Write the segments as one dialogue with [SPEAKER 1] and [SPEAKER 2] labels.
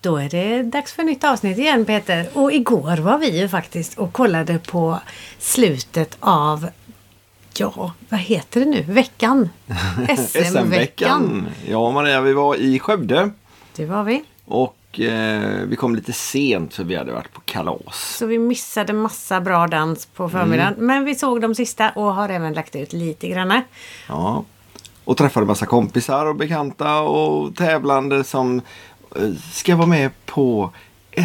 [SPEAKER 1] Då är det dags för nytt avsnitt igen Peter. Och igår var vi ju faktiskt och kollade på slutet av, ja, vad heter det nu? Veckan? SM-veckan.
[SPEAKER 2] SM-veckan. Ja, Maria, vi var i Skövde
[SPEAKER 1] Det var vi.
[SPEAKER 2] och eh, vi kom lite sent för vi hade varit på kalas.
[SPEAKER 1] Så vi missade massa bra dans på förmiddagen.
[SPEAKER 2] Mm.
[SPEAKER 1] Men vi såg de sista och har även lagt ut lite grann.
[SPEAKER 2] Ja. Och träffade massa kompisar och bekanta och tävlande som eh, ska vara med på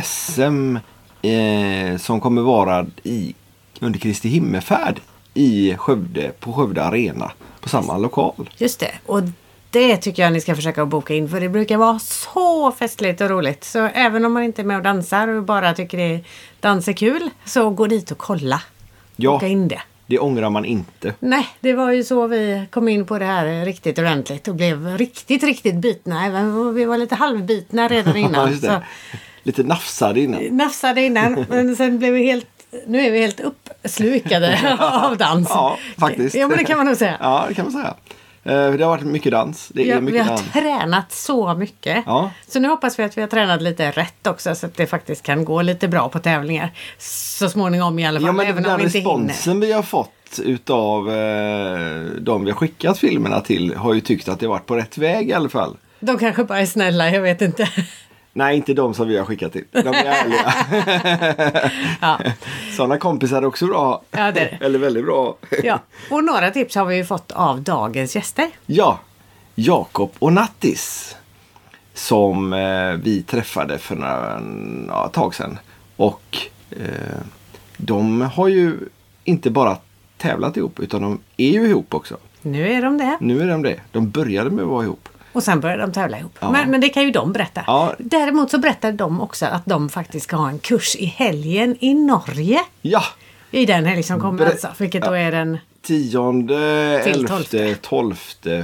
[SPEAKER 2] SM eh, som kommer vara i, under Kristi himmelsfärd i Skövde, på Skövde Arena, på samma lokal.
[SPEAKER 1] Just det. Och det tycker jag ni ska försöka att boka in för det brukar vara så festligt och roligt. Så även om man inte är med och dansar och bara tycker det dans är kul så gå dit och kolla.
[SPEAKER 2] Ja.
[SPEAKER 1] Boka in det.
[SPEAKER 2] Det ångrar man inte.
[SPEAKER 1] Nej, det var ju så vi kom in på det här riktigt ordentligt och blev riktigt, riktigt bitna. Även vi var lite halvbitna redan
[SPEAKER 2] Ja,
[SPEAKER 1] innan.
[SPEAKER 2] just det.
[SPEAKER 1] så
[SPEAKER 2] Lite nafsade innan.
[SPEAKER 1] nafsade innan men sen blev vi helt nu är vi helt uppslukade av dans.
[SPEAKER 2] Ja, faktiskt.
[SPEAKER 1] Ja, men det kan man nog säga.
[SPEAKER 2] Ja, det kan man säga. Eh, Det har varit mycket dans. Det är
[SPEAKER 1] Ja, vi
[SPEAKER 2] mycket
[SPEAKER 1] har
[SPEAKER 2] dans.
[SPEAKER 1] tränat så mycket.
[SPEAKER 2] Ja.
[SPEAKER 1] Så nu hoppas vi att vi har tränat lite rätt också så att det faktiskt kan gå lite bra på tävlingar. Så småningom i alla fall.
[SPEAKER 2] Ja, men
[SPEAKER 1] även om
[SPEAKER 2] den
[SPEAKER 1] vi inte hinner.
[SPEAKER 2] responsen vi har fått utav eh, de vi har skickat filmerna till har ju tyckt att det varit på rätt väg i alla fall.
[SPEAKER 1] De kanske bara är snälla, jag vet inte.
[SPEAKER 2] Nej, inte de som vi har skickat till. De är ärliga.
[SPEAKER 1] Ja.
[SPEAKER 2] Sådana kompisar är också bra.
[SPEAKER 1] Ja, det är det.
[SPEAKER 2] Eller väldigt bra.
[SPEAKER 1] Ja. Och några tips har vi ju fått av dagens gäster.
[SPEAKER 2] Ja, Jakob och Nattis. Som eh, vi träffade för några ja, ett tag sedan. Och eh, de har ju inte bara tävlat ihop utan de är ju ihop också.
[SPEAKER 1] Nu är de det.
[SPEAKER 2] Nu är de det. De började med att vara ihop.
[SPEAKER 1] Och sen börjar de tävla ihop.
[SPEAKER 2] Ja.
[SPEAKER 1] Men, men det kan ju de berätta.
[SPEAKER 2] Ja.
[SPEAKER 1] Däremot så berättar de också att de faktiskt ska ha en kurs i helgen i Norge.
[SPEAKER 2] Ja!
[SPEAKER 1] I den helg som kommer
[SPEAKER 2] Ber-
[SPEAKER 1] alltså. Vilket då är den...
[SPEAKER 2] 10,
[SPEAKER 1] Till
[SPEAKER 2] 11,
[SPEAKER 1] tolfte.
[SPEAKER 2] 12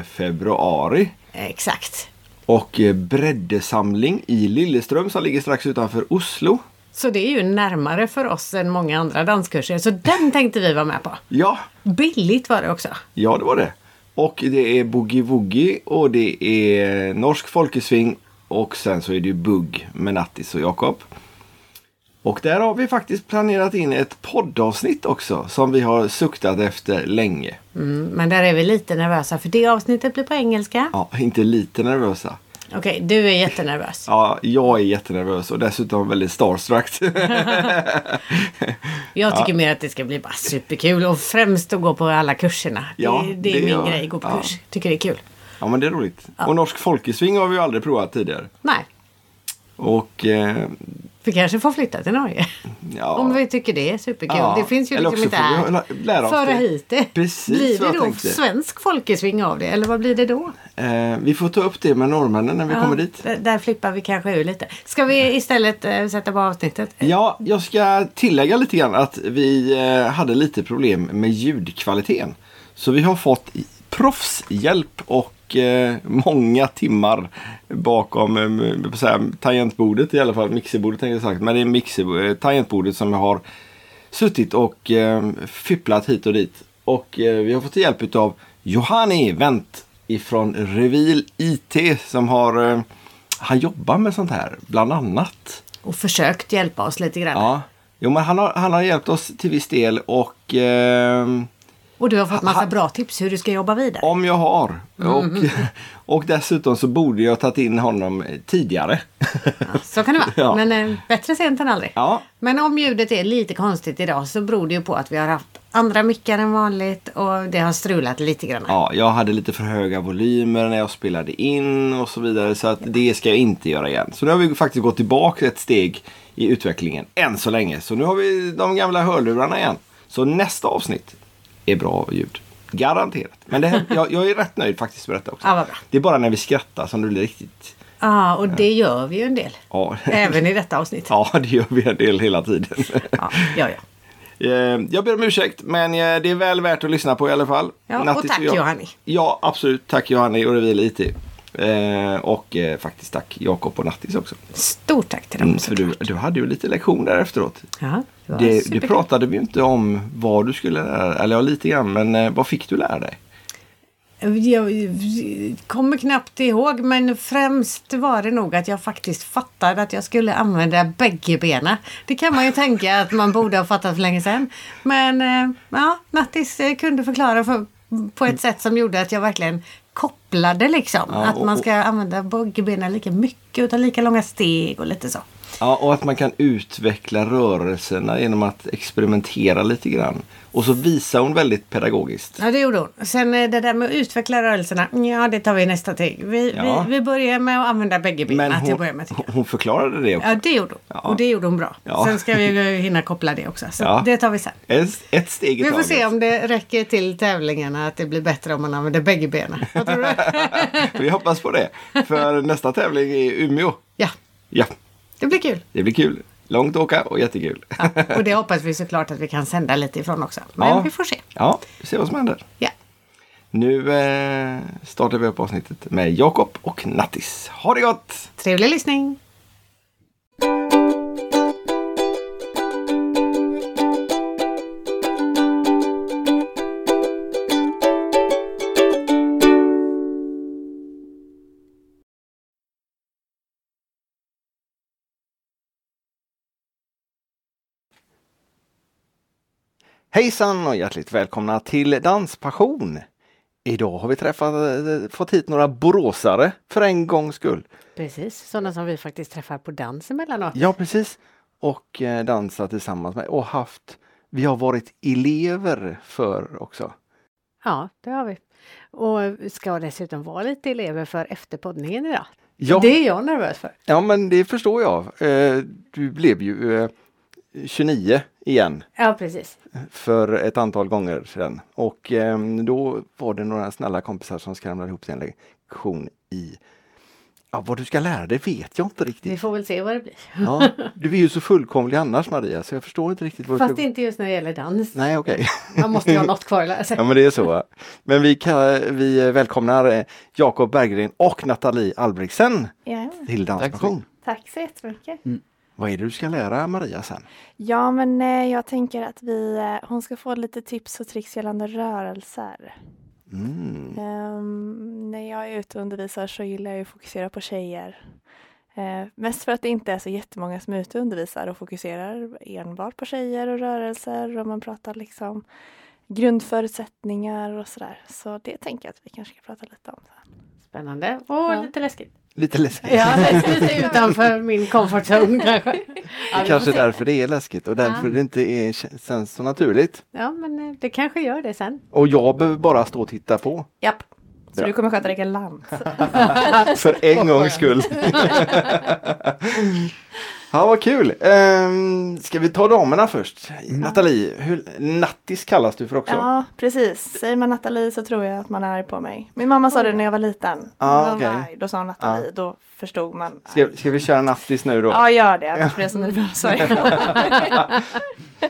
[SPEAKER 2] februari.
[SPEAKER 1] Exakt.
[SPEAKER 2] Och eh, breddesamling i Lilleström som ligger strax utanför Oslo.
[SPEAKER 1] Så det är ju närmare för oss än många andra danskurser. Så den tänkte vi vara med på.
[SPEAKER 2] Ja,
[SPEAKER 1] Billigt var det också.
[SPEAKER 2] Ja, det var det. Och det är boogie woogie och det är norsk folkesving och sen så är det ju bugg med Nattis och Jakob. Och där har vi faktiskt planerat in ett poddavsnitt också som vi har suktat efter länge.
[SPEAKER 1] Mm, men där är vi lite nervösa för det avsnittet blir på engelska.
[SPEAKER 2] Ja, inte lite nervösa.
[SPEAKER 1] Okej, du är jättenervös.
[SPEAKER 2] Ja, jag är jättenervös och dessutom väldigt starstruck.
[SPEAKER 1] Jag tycker mer att det ska bli bara superkul och främst att gå på alla kurserna.
[SPEAKER 2] Ja,
[SPEAKER 1] det, det är
[SPEAKER 2] det
[SPEAKER 1] min
[SPEAKER 2] gör-
[SPEAKER 1] grej, gå på
[SPEAKER 2] ja.
[SPEAKER 1] kurs. Tycker det är kul.
[SPEAKER 2] ja, men det är roligt. Och norsk folkesving har vi ju aldrig provat tidigare.
[SPEAKER 1] Nej,
[SPEAKER 2] Och eh,
[SPEAKER 1] vi kanske får flytta till Norge.
[SPEAKER 2] ja.
[SPEAKER 1] Om vi tycker det är superkul.
[SPEAKER 2] Ja,
[SPEAKER 1] Det finns ju
[SPEAKER 2] eller
[SPEAKER 1] liksom inte
[SPEAKER 2] också får vi
[SPEAKER 1] här.
[SPEAKER 2] lä- lära oss
[SPEAKER 1] Föra
[SPEAKER 2] det.
[SPEAKER 1] hit det.
[SPEAKER 2] Precis
[SPEAKER 1] blir
[SPEAKER 2] vad
[SPEAKER 1] det
[SPEAKER 2] jag
[SPEAKER 1] då
[SPEAKER 2] tänkte.
[SPEAKER 1] svensk folkesving av det? Eller vad blir det då?
[SPEAKER 2] Eh, vi får ta upp det med norrmännen när vi kommer dit.
[SPEAKER 1] Där, där flippar vi kanske ur lite. Ska vi istället eh, sätta på avsnittet?
[SPEAKER 2] Ja, jag ska tillägga lite grann att vi eh, hade lite problem med ljudkvaliteten. Så vi har fått proffshjälp och eh, många timmar bakom eh, jag vill säga, tangentbordet i alla fall. Mixerbordet tänkte jag sagt. Men det är mixer, eh, tangentbordet som jag har suttit och eh, fipplat hit och dit. Och eh, vi har fått hjälp av Johanni Wendt ifrån Revil IT som har eh, han jobbar med sånt här bland annat.
[SPEAKER 1] Och försökt hjälpa oss lite grann.
[SPEAKER 2] Ja, jo, men han har, han har hjälpt oss till viss del och ehm,
[SPEAKER 1] Och du har fått massa
[SPEAKER 2] Ha-
[SPEAKER 1] bra tips hur du ska jobba vidare.
[SPEAKER 2] om jag har.
[SPEAKER 1] Mhm.
[SPEAKER 2] Och, och dessutom så borde jag tagit in honom tidigare.
[SPEAKER 1] Så kan det vara.
[SPEAKER 2] Ja.
[SPEAKER 1] Men eh, bättre sent än aldrig.
[SPEAKER 2] Ja.
[SPEAKER 1] Men om ljudet är lite konstigt idag så beror det ju på att vi har haft andra mickar än vanligt och det har strulat lite grann.
[SPEAKER 2] ja, jag hade lite för höga volymer när jag spelade in och så vidare. Så att det ska jag inte göra igen. Så nu har vi faktiskt gått tillbaka ett steg i utvecklingen än så länge. Så nu har vi de gamla hörlurarna igen. Så nästa avsnitt är bra ljud. Garanterat. Men det här, jag, jag är rätt nöjd faktiskt med detta också.
[SPEAKER 1] Ja, vad bra.
[SPEAKER 2] Det är bara när vi skrattar som det blir riktigt...
[SPEAKER 1] Ja, och det gör vi ju en del.
[SPEAKER 2] Ja.
[SPEAKER 1] Även i detta avsnitt.
[SPEAKER 2] Ja, det gör vi en del hela tiden.
[SPEAKER 1] Ja, ja. ja.
[SPEAKER 2] Eh, jag ber om ursäkt, men eh, det är väl värt att lyssna på i alla fall.
[SPEAKER 1] Ja, och
[SPEAKER 2] Nattis
[SPEAKER 1] tack,
[SPEAKER 2] jag-
[SPEAKER 1] Johanni.
[SPEAKER 2] Ja, absolut. Tack Johanni och Revil IT. Eh, och eh, faktiskt tack Jakob och Nattis också.
[SPEAKER 1] Stort tack till dem.
[SPEAKER 2] Mm, för du, du hade ju lite lektion där efteråt.
[SPEAKER 1] Ja, det var
[SPEAKER 2] Det, det
[SPEAKER 1] superkul.
[SPEAKER 2] pratade vi ju inte om vad du skulle lära dig. Eller ja, lite grann, men eh, vad fick du lära dig?
[SPEAKER 1] Jag kommer knappt ihåg men främst var det nog att jag faktiskt fattade att jag skulle använda bägge benen. Det kan man ju tänka att man borde ha fattat för länge sedan. Men eh, ja, Nattis eh, kunde förklara för, på ett sätt som gjorde att jag verkligen kopplade liksom.
[SPEAKER 2] Ja,
[SPEAKER 1] att
[SPEAKER 2] och-
[SPEAKER 1] man
[SPEAKER 2] och-
[SPEAKER 1] ska använda bägge benen lika mycket och ta lika långa steg och lite så.
[SPEAKER 2] Ja, och att man kan utveckla rörelserna genom att experimentera lite grann. Och så visar hon väldigt pedagogiskt.
[SPEAKER 1] Ja, det gjorde hon. Sen eh, det där med att utveckla rörelserna, ja det tar vi i nästa steg. Vi,
[SPEAKER 2] Ja.
[SPEAKER 1] vi, vi börjar med att använda bägge benen
[SPEAKER 2] Men
[SPEAKER 1] till att
[SPEAKER 2] hon,
[SPEAKER 1] börja med. tycker jag.
[SPEAKER 2] hon förklarade det också.
[SPEAKER 1] Ja, det gjorde hon.
[SPEAKER 2] Ja.
[SPEAKER 1] Och det gjorde hon bra.
[SPEAKER 2] Ja.
[SPEAKER 1] Sen ska vi ju hinna koppla det också. Så
[SPEAKER 2] Ja.
[SPEAKER 1] det tar vi sen.
[SPEAKER 2] Ett, ett steg i
[SPEAKER 1] Vi får
[SPEAKER 2] taget.
[SPEAKER 1] se om det räcker till tävlingarna att det blir bättre om man använder bägge benen. Vad tror du?
[SPEAKER 2] Vi hoppas på det. För nästa tävling är Umeå.
[SPEAKER 1] ja,
[SPEAKER 2] Ja,
[SPEAKER 1] det blir kul.
[SPEAKER 2] det blir kul. Långt att åka och jättekul.
[SPEAKER 1] Ja. Och det hoppas vi såklart att vi kan sända lite ifrån också. Men
[SPEAKER 2] Ja.
[SPEAKER 1] vi får se.
[SPEAKER 2] Ja, vi ser vad som händer.
[SPEAKER 1] Ja.
[SPEAKER 2] Nu eh, startar vi upp avsnittet med Jakob och Nattis. Ha det gott!
[SPEAKER 1] Trevlig lyssning!
[SPEAKER 2] Hejsan och hjärtligt välkomna till Danspassion! Idag har vi träffat, eh, fått hit några boråsare för en gångs skull.
[SPEAKER 1] Precis, sådana som vi faktiskt träffar på dans emellanåt.
[SPEAKER 2] Ja, precis. Och eh, dansat tillsammans med och haft, vi har varit elever för också.
[SPEAKER 1] Ja, det har vi. Och ska dessutom vara lite elever för efterpoddningen idag.
[SPEAKER 2] Ja,
[SPEAKER 1] Det är jag nervös för.
[SPEAKER 2] ja men det förstår jag. Eh, Du blev ju eh, 29 igen
[SPEAKER 1] Ja, precis.
[SPEAKER 2] för ett antal gånger sedan. Och eh, då var det några snälla kompisar som skramlade ihop till en lektion i Ja, vad du ska lära dig vet jag inte riktigt.
[SPEAKER 1] Vi får väl se vad det blir.
[SPEAKER 2] Ja, du är ju så fullkomlig annars Maria, så jag förstår inte riktigt vad du
[SPEAKER 1] Fast
[SPEAKER 2] ska...
[SPEAKER 1] inte just när det gäller dans.
[SPEAKER 2] Nej, okej.
[SPEAKER 1] Man måste ju ha något kvar att lära sig.
[SPEAKER 2] Ja, men det är så. va. Men vi, kan, vi välkomnar eh, Jakob Berggren och Nathalie Albrektsen
[SPEAKER 3] Ja,
[SPEAKER 2] till Danspassion.
[SPEAKER 3] tack så jättemycket.
[SPEAKER 2] Vad är det du ska lära Maria sen?
[SPEAKER 3] Ja, men eh, jag tänker att vi, eh, hon ska få lite tips och tricks gällande rörelser.
[SPEAKER 2] Mm.
[SPEAKER 3] Ehm, när jag är ute och undervisar så gillar jag ju att fokusera på tjejer. Eh, mest för att det inte är så jättemånga som är ute och undervisar och fokuserar enbart på tjejer och rörelser och man pratar liksom grundförutsättningar och sådär. Så det tänker jag att vi kanske ska prata lite om. Sen.
[SPEAKER 1] Spännande och
[SPEAKER 3] Ja.
[SPEAKER 1] lite läskigt.
[SPEAKER 2] Lite läskigt.
[SPEAKER 1] Ja, lite utanför min comfort zone kanske. Ja, vi får
[SPEAKER 2] Kanske
[SPEAKER 1] se.
[SPEAKER 2] därför det är läskigt och därför
[SPEAKER 1] Ja.
[SPEAKER 2] det inte är, känns så naturligt.
[SPEAKER 1] Ja, men eh, det kanske gör det sen.
[SPEAKER 2] Och jag behöver bara stå och titta på.
[SPEAKER 3] Japp. Så
[SPEAKER 2] Bra.
[SPEAKER 3] du kommer sköta dig galant.
[SPEAKER 2] För en gångs skull. ja, vad kul. Ehm, ska vi ta damerna först? Nathalie, hur, Nattis kallas du för också?
[SPEAKER 3] Ja, precis. Säger man Nathalie så tror jag att man är arg på mig. Min mamma sa det när jag var liten.
[SPEAKER 2] Ja,
[SPEAKER 3] När man var
[SPEAKER 2] Ah, okej. Ah.
[SPEAKER 3] arg, Då sa hon Nathalie, då förstod man.
[SPEAKER 2] Ska, ska vi köra Nattis nu då?
[SPEAKER 3] Ja, gör det. Jag blev så nervös. Sorry.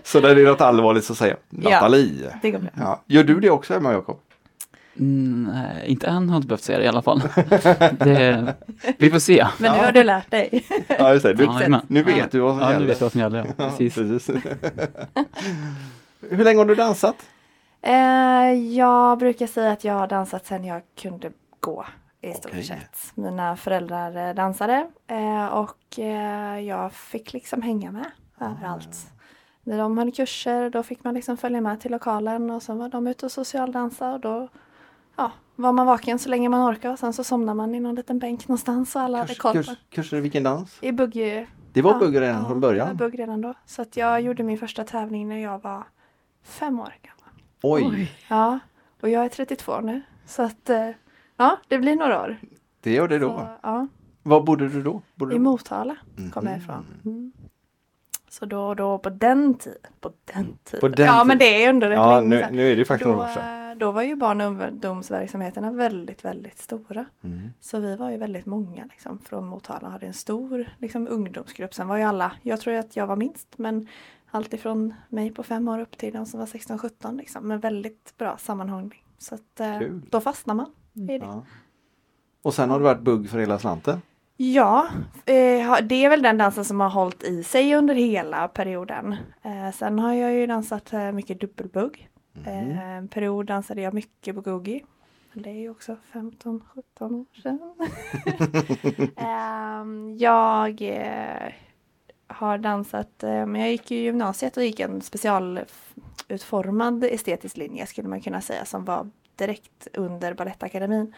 [SPEAKER 2] Så när det är något allvarligt så säger jag
[SPEAKER 3] Ja.
[SPEAKER 2] Nathalie.
[SPEAKER 3] Det går bra.
[SPEAKER 2] Ja. Gör du det också hemma Jakob?
[SPEAKER 4] Mm, nej, inte än har jag inte behövt säga det i alla fall. det, vi får se.
[SPEAKER 3] Men nu har du lärt dig.
[SPEAKER 2] Ja, just det. Du,
[SPEAKER 4] Jajamän.
[SPEAKER 2] nu vet du vad som
[SPEAKER 4] Ja, nu
[SPEAKER 2] gäller.
[SPEAKER 4] vet jag vad som gäller. Ja. Precis.
[SPEAKER 2] Precis. Hur länge har du dansat?
[SPEAKER 3] Eh, jag brukar säga att jag har dansat sedan jag kunde gå. I stort
[SPEAKER 2] Okej.
[SPEAKER 3] sett. Mina föräldrar eh, dansade eh, och eh, jag fick liksom hänga med överallt.
[SPEAKER 2] Ah.
[SPEAKER 3] När de hade kurser då fick man liksom följa med till lokalen och sen var de ute och socialdansade och då ja, var man vaken så länge man orkade och sen så somnade man i någon liten bänk någonstans och alla hade
[SPEAKER 2] Kurs-
[SPEAKER 3] koll på.
[SPEAKER 2] kurs- Kurser i vilken dans?
[SPEAKER 3] I bugg
[SPEAKER 2] Det var
[SPEAKER 3] Ja,
[SPEAKER 2] bugg redan
[SPEAKER 3] ja,
[SPEAKER 2] från
[SPEAKER 3] ja,
[SPEAKER 2] början.
[SPEAKER 3] bugg redan då. Så att jag gjorde min första tävling när jag var fem år gammal.
[SPEAKER 2] Oj,
[SPEAKER 3] Ja, och jag är 32 nu. Så att eh, ja, det blir några år.
[SPEAKER 2] det gör det då.
[SPEAKER 3] Så, ja,
[SPEAKER 2] Var bodde du då? Bodde
[SPEAKER 3] I
[SPEAKER 2] du- Mhm.
[SPEAKER 3] Motala kommer jag ifrån. Mm. Så då och då på den tiden. På den tiden.
[SPEAKER 2] På den
[SPEAKER 3] ja,
[SPEAKER 2] tiden.
[SPEAKER 3] men det är under rätt
[SPEAKER 2] Ja,
[SPEAKER 3] länge
[SPEAKER 2] nu,
[SPEAKER 3] sedan.
[SPEAKER 2] nu är det faktiskt några
[SPEAKER 3] Då,
[SPEAKER 2] år sedan.
[SPEAKER 3] eh, då var ju barn och ungdomsverksamheterna väldigt, väldigt stora.
[SPEAKER 2] Mm.
[SPEAKER 3] Så vi var ju väldigt många liksom, från Motala och hade en stor liksom, ungdomsgrupp. Sen var ju alla, jag tror att jag var minst, men allt ifrån mig på fem år upp till de som var 16-17. Liksom, men väldigt bra sammanhållning. Så att, eh,
[SPEAKER 2] Kul.
[SPEAKER 3] då fastnar man. i det.
[SPEAKER 2] Ja. Och sen har det varit bugg för hela slanten.
[SPEAKER 3] Ja, eh, ha- det är väl den dansen som har hållit i sig under hela perioden. Eh, sen har jag ju dansat eh, mycket dubbelbugg. Eh, en period dansade jag mycket boogie. Men det är ju också 15-17 år sedan. Ehm, jag eh, har dansat, eh, men jag gick ju i gymnasiet och gick en specialutformad estetisk linje skulle man kunna säga som var direkt under Balettakademin.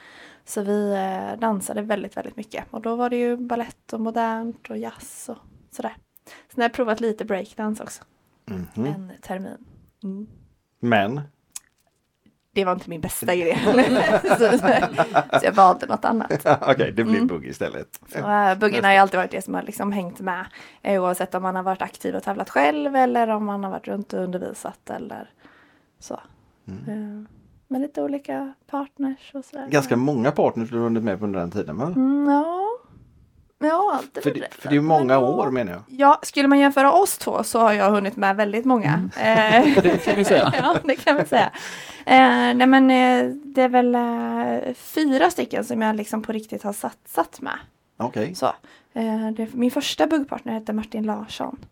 [SPEAKER 3] Så vi eh, dansade väldigt, väldigt mycket och då var det ju ballett och modernt och jazz och sådär. Sen har jag provat lite breakdance också,
[SPEAKER 2] Mhm.
[SPEAKER 3] en termin. Mm
[SPEAKER 2] Men
[SPEAKER 3] det var inte min bästa grej. så, så jag valde något annat.
[SPEAKER 2] okej, det blir
[SPEAKER 3] Mm.
[SPEAKER 2] bugg istället.
[SPEAKER 3] Och, eh, buggen har ju alltid varit det som har liksom hängt med. Eh, oavsett om man har varit aktiv och tävlat själv eller om man har varit runt och undervisat eller så.
[SPEAKER 2] Mm.
[SPEAKER 3] Eh, med lite olika partners och sådär.
[SPEAKER 2] Ganska många partners du har hunnit med på under den tiden va?
[SPEAKER 3] Mm, ja. Ja, det
[SPEAKER 2] För,
[SPEAKER 3] var
[SPEAKER 2] det,
[SPEAKER 3] rätt.
[SPEAKER 2] för det är ju många
[SPEAKER 3] Men,
[SPEAKER 2] år menar jag.
[SPEAKER 3] Ja, skulle man jämföra oss två så har jag hunnit med väldigt många. Eh,
[SPEAKER 4] Mm. Det kan vi säga.
[SPEAKER 3] ja, det kan man säga. Eh, nej men eh, det är väl eh, fyra stycken som jag liksom på riktigt har satsat med.
[SPEAKER 2] Okej.
[SPEAKER 3] Så, eh, det, min första buggpartner hette Martin Larsson.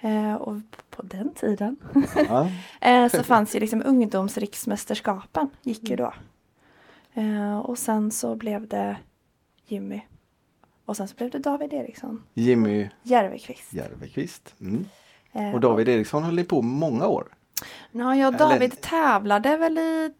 [SPEAKER 3] Eh, och på den tiden
[SPEAKER 2] Ja.
[SPEAKER 3] eh, så fanns ju liksom ungdomsriksmästerskapen gick ju
[SPEAKER 4] Mm.
[SPEAKER 3] då. Eh, och sen så blev det Jimmy. Och sen så blev det David Eriksson
[SPEAKER 2] Jimmy
[SPEAKER 3] Järvekvist.
[SPEAKER 2] Järvekvist. Mm.
[SPEAKER 3] Eh,
[SPEAKER 2] Och David Eriksson höll ju på många år.
[SPEAKER 3] Ja, jag och
[SPEAKER 2] Eller-
[SPEAKER 3] David tävlade väl i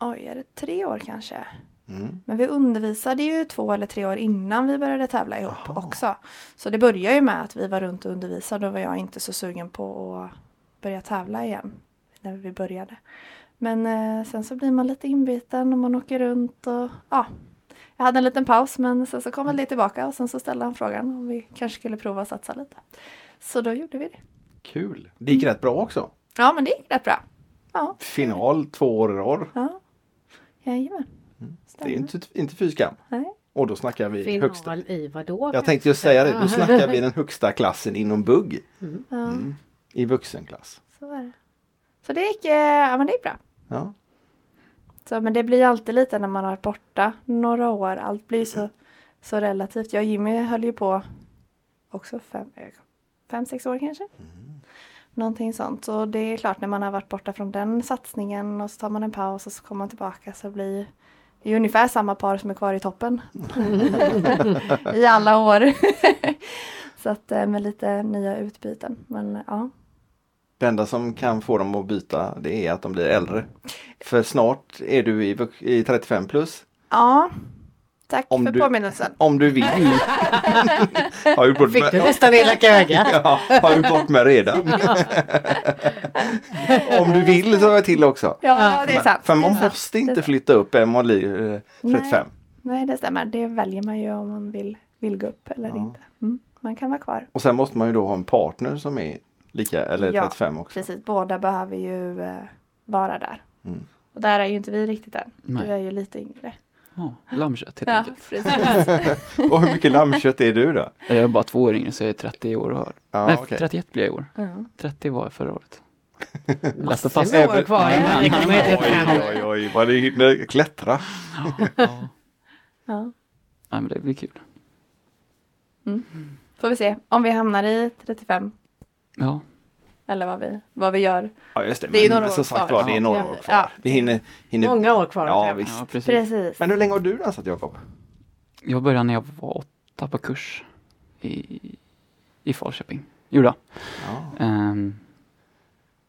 [SPEAKER 3] Oj, är det tre år kanske?
[SPEAKER 2] Mm.
[SPEAKER 3] Men vi undervisade ju två eller tre år innan vi började tävla ihop också. Så det började ju med att vi var runt och undervisade och var jag inte så sugen på att börja tävla igen. När vi började. Men eh, sen så blir man lite inbiten och man åker runt och ja. Jag hade en liten paus men sen så kom väl det tillbaka och sen så ställde han frågan om vi kanske skulle prova att satsa lite. Så då gjorde vi det.
[SPEAKER 2] Kul. Det gick rätt bra också.
[SPEAKER 3] Ja men det gick rätt bra. Ja,
[SPEAKER 2] Final två år i rad.
[SPEAKER 3] ja. Jajamän.
[SPEAKER 2] Mm. Det är
[SPEAKER 3] Stämmer.
[SPEAKER 2] inte, inte fy skam.
[SPEAKER 3] Nej.
[SPEAKER 2] Och då snackar vi högsta.
[SPEAKER 1] Final i vadå?
[SPEAKER 2] Jag tänkte just säga det. Då snackar vi den högsta klassen inom bugg.
[SPEAKER 3] Ja,
[SPEAKER 2] Mm. I vuxenklass.
[SPEAKER 3] så var det. Så det gick, eh, ja, men det gick bra.
[SPEAKER 2] Ja.
[SPEAKER 3] Så, men det blir alltid lite när man har varit borta några år. Allt blir så,
[SPEAKER 2] Mm.
[SPEAKER 3] så relativt. Jag och Jimmy höll ju på också fem, eh, fem sex år kanske.
[SPEAKER 2] Mm.
[SPEAKER 3] Någonting sånt. Så det är klart när man har varit borta från den satsningen och så tar man en paus och så kommer man tillbaka så blir det är ungefär samma par som är kvar i toppen. I alla år. så att eh, med lite nya utbyten. Men eh, ja.
[SPEAKER 2] Det enda som kan få dem att byta det är att de blir äldre. För snart är du i, vux- i 35 plus.
[SPEAKER 3] Ja. Tack
[SPEAKER 2] Om
[SPEAKER 3] för
[SPEAKER 2] du-
[SPEAKER 3] påminnelsen.
[SPEAKER 2] Om du vill. har gjort bort
[SPEAKER 1] Fick du
[SPEAKER 2] med,
[SPEAKER 1] nästan elaka ögat?
[SPEAKER 2] ja, har gjort bort med redan. Om du vill så har jag till också.
[SPEAKER 3] Ja, det är sant.
[SPEAKER 2] För
[SPEAKER 3] Det
[SPEAKER 2] man
[SPEAKER 3] är sant.
[SPEAKER 2] måste inte flytta upp en man blir eh, 35.
[SPEAKER 3] Nej, det stämmer. Det väljer man ju om man vill, vill gå upp eller inte. Mm. Man kan vara kvar.
[SPEAKER 2] Och sen måste man ju då ha en partner som är lika, eller
[SPEAKER 3] Ja,
[SPEAKER 2] 35 också.
[SPEAKER 3] Precis, båda behöver ju eh, vara där.
[SPEAKER 2] Mm.
[SPEAKER 3] Och där är ju inte vi riktigt än.
[SPEAKER 4] Nej.
[SPEAKER 3] Du är ju lite yngre.
[SPEAKER 4] Ja, lammkött helt
[SPEAKER 3] Ja,
[SPEAKER 4] enkelt.
[SPEAKER 3] precis.
[SPEAKER 2] Och hur mycket lammkött är du då?
[SPEAKER 4] Jag är bara två år yngre så jag är 30 år och har.
[SPEAKER 2] Ja,
[SPEAKER 4] Nej,
[SPEAKER 2] okej.
[SPEAKER 4] 31 blir jag i år.
[SPEAKER 3] Ja.
[SPEAKER 4] 30 var jag förra året. Läste
[SPEAKER 1] Massor
[SPEAKER 4] fast.
[SPEAKER 1] med år kvar innan det kommer
[SPEAKER 2] Oj,
[SPEAKER 1] ett program.
[SPEAKER 2] oj, oj, vad det hinner klättra.
[SPEAKER 4] Ja.
[SPEAKER 3] Ja.
[SPEAKER 4] Nej men det blir kul.
[SPEAKER 3] Får vi se om vi hamnar i 35
[SPEAKER 4] Ja,
[SPEAKER 3] eller vad vi, vad vi gör.
[SPEAKER 2] Ja, just det.
[SPEAKER 3] Det är ju
[SPEAKER 2] Men
[SPEAKER 3] några år
[SPEAKER 2] som sagt
[SPEAKER 3] kvar.
[SPEAKER 2] var, det är några
[SPEAKER 3] Ja.
[SPEAKER 2] år kvar.
[SPEAKER 3] Ja.
[SPEAKER 2] Vi hinner, hinner...
[SPEAKER 1] Många år kvar.
[SPEAKER 2] Ja,
[SPEAKER 1] att träffa.
[SPEAKER 2] visst.
[SPEAKER 4] ja precis.
[SPEAKER 3] Precis.
[SPEAKER 2] Men hur länge har du dansat Jakob?
[SPEAKER 4] Jag började när jag var åtta på kurs i, i Falköping. Gjorde jag.
[SPEAKER 2] Ja.
[SPEAKER 4] Ehm,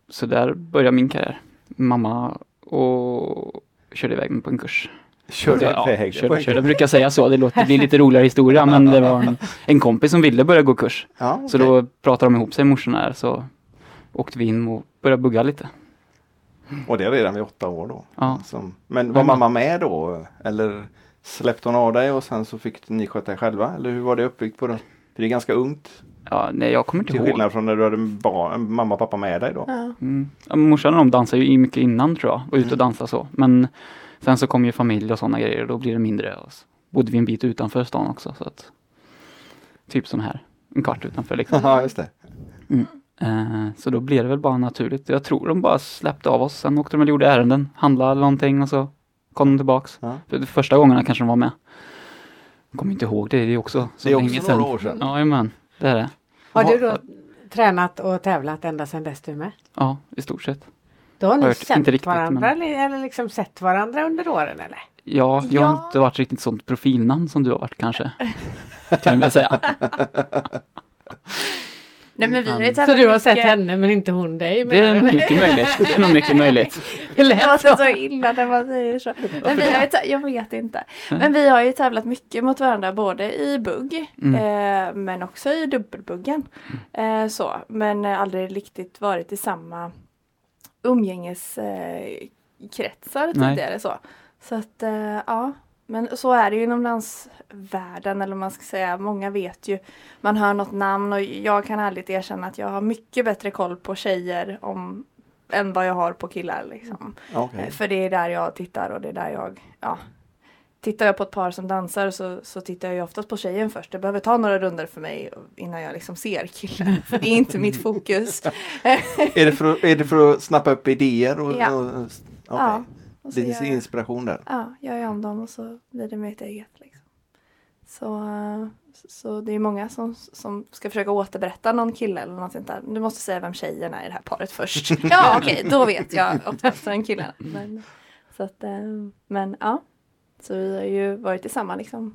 [SPEAKER 4] så där började min karriär. Mamma och körde iväg mig på en kurs.
[SPEAKER 2] Körde
[SPEAKER 4] ja,
[SPEAKER 2] iväg på
[SPEAKER 4] körde,
[SPEAKER 2] en-
[SPEAKER 4] körde brukar jag säga så, det låter det blir lite roligare historia men det var en, en kompis som ville börja gå kurs.
[SPEAKER 2] Ja, okej.
[SPEAKER 4] Så då pratade de ihop sig morsorna här så åkte vi in och började bugga lite.
[SPEAKER 2] Och det är redan vid åtta år då.
[SPEAKER 4] Ja.
[SPEAKER 2] Som... Men var
[SPEAKER 4] Men-
[SPEAKER 2] mamma med då? Eller släppte hon av dig och sen så fick ni sköta er själva? Eller hur var det uppbyggt på den? För det är ganska ungt.
[SPEAKER 4] Ja, nej jag kommer inte
[SPEAKER 2] Till
[SPEAKER 4] ihåg.
[SPEAKER 2] skillnad från när du hade en barn, en mamma och pappa med dig då.
[SPEAKER 3] Ja.
[SPEAKER 4] Mm. Ja, men Morsan och de dansar ju mycket innan tror jag, och ut och dansar så. Men sen så kom ju familj och sådana grejer och då blir det mindre. Och så bodde vi en bit utanför stan också. Så att, typ som här, en kvart utanför liksom.
[SPEAKER 2] Ja, just det.
[SPEAKER 4] Eh, så då blev det väl bara naturligt. Jag tror de bara släppte av oss. Sen åkte de och gjorde ärenden, handlade eller någonting och så kom de tillbaks.
[SPEAKER 2] Ja.
[SPEAKER 4] För de första gångerna kanske de var med. Jag kommer inte ihåg det, det är också så
[SPEAKER 2] Det är också
[SPEAKER 4] länge
[SPEAKER 2] några
[SPEAKER 4] sedan.
[SPEAKER 2] år sedan.
[SPEAKER 4] Ja, jajamän, det är det.
[SPEAKER 1] Har du då tränat och tävlat ända sedan dess du med?
[SPEAKER 4] Ja, i stort sett.
[SPEAKER 5] Då har ni
[SPEAKER 4] Hört,
[SPEAKER 5] känt
[SPEAKER 4] inte riktigt,
[SPEAKER 5] varandra
[SPEAKER 4] men-
[SPEAKER 5] eller- eller liksom sett varandra under åren eller?
[SPEAKER 4] Ja, jag har
[SPEAKER 3] Ja.
[SPEAKER 4] inte varit riktigt sånt profilnamn som du har varit kanske. Kan jag säga.
[SPEAKER 3] Nej men vi har ju
[SPEAKER 1] Så
[SPEAKER 3] träffat
[SPEAKER 1] du har sett
[SPEAKER 3] mycket-
[SPEAKER 1] henne men inte hon dig?
[SPEAKER 4] Det är
[SPEAKER 1] menar du?
[SPEAKER 4] mycket möjligt. Det är nog mycket möjligt.
[SPEAKER 1] Det lät
[SPEAKER 3] Det låter
[SPEAKER 1] så.
[SPEAKER 3] så illa när man säger så. Men vi har ju tä- jag vet inte.
[SPEAKER 1] Mm.
[SPEAKER 3] Men vi har ju tävlat mycket mot varandra både i bugg
[SPEAKER 4] Mm.
[SPEAKER 3] eh, men också i dubbelbuggen. Eh, så. Men eh, aldrig riktigt varit i samma umgängeskretsar eh, kretsar
[SPEAKER 4] Nej.
[SPEAKER 3] tidigare. Så, så att eh, ja. Men så är det ju inom dansvärlden eller vad man ska säga. Många vet ju. Man hör något namn och jag kan ärligt erkänna att jag har mycket bättre koll på tjejer om, än vad jag har på killar. Liksom. Eh,
[SPEAKER 2] Okej.
[SPEAKER 3] För det är där jag tittar och det är där jag, ja. Tittar jag på ett par som dansar så, så tittar jag ju oftast på tjejen först. Det behöver ta några runder för mig innan jag liksom ser killen. För det är inte mitt fokus.
[SPEAKER 2] Är, det för att, är det för att snappa upp idéer? Och,
[SPEAKER 3] Ja.
[SPEAKER 2] och, okej.
[SPEAKER 3] Ja, och så
[SPEAKER 2] Det finns
[SPEAKER 3] gör jag, Mm.
[SPEAKER 2] inspiration där.
[SPEAKER 3] ja, jag gör om dem och så blir det mitt eget. Liksom. Så, eh, så det är många som, som ska försöka återberätta någon kille eller något sånt där. Du måste säga vem tjejen är i det här paret först. Ja okej, då vet jag oftast vem killen är. men, så att, eh, men ja. Så vi har ju varit tillsammans liksom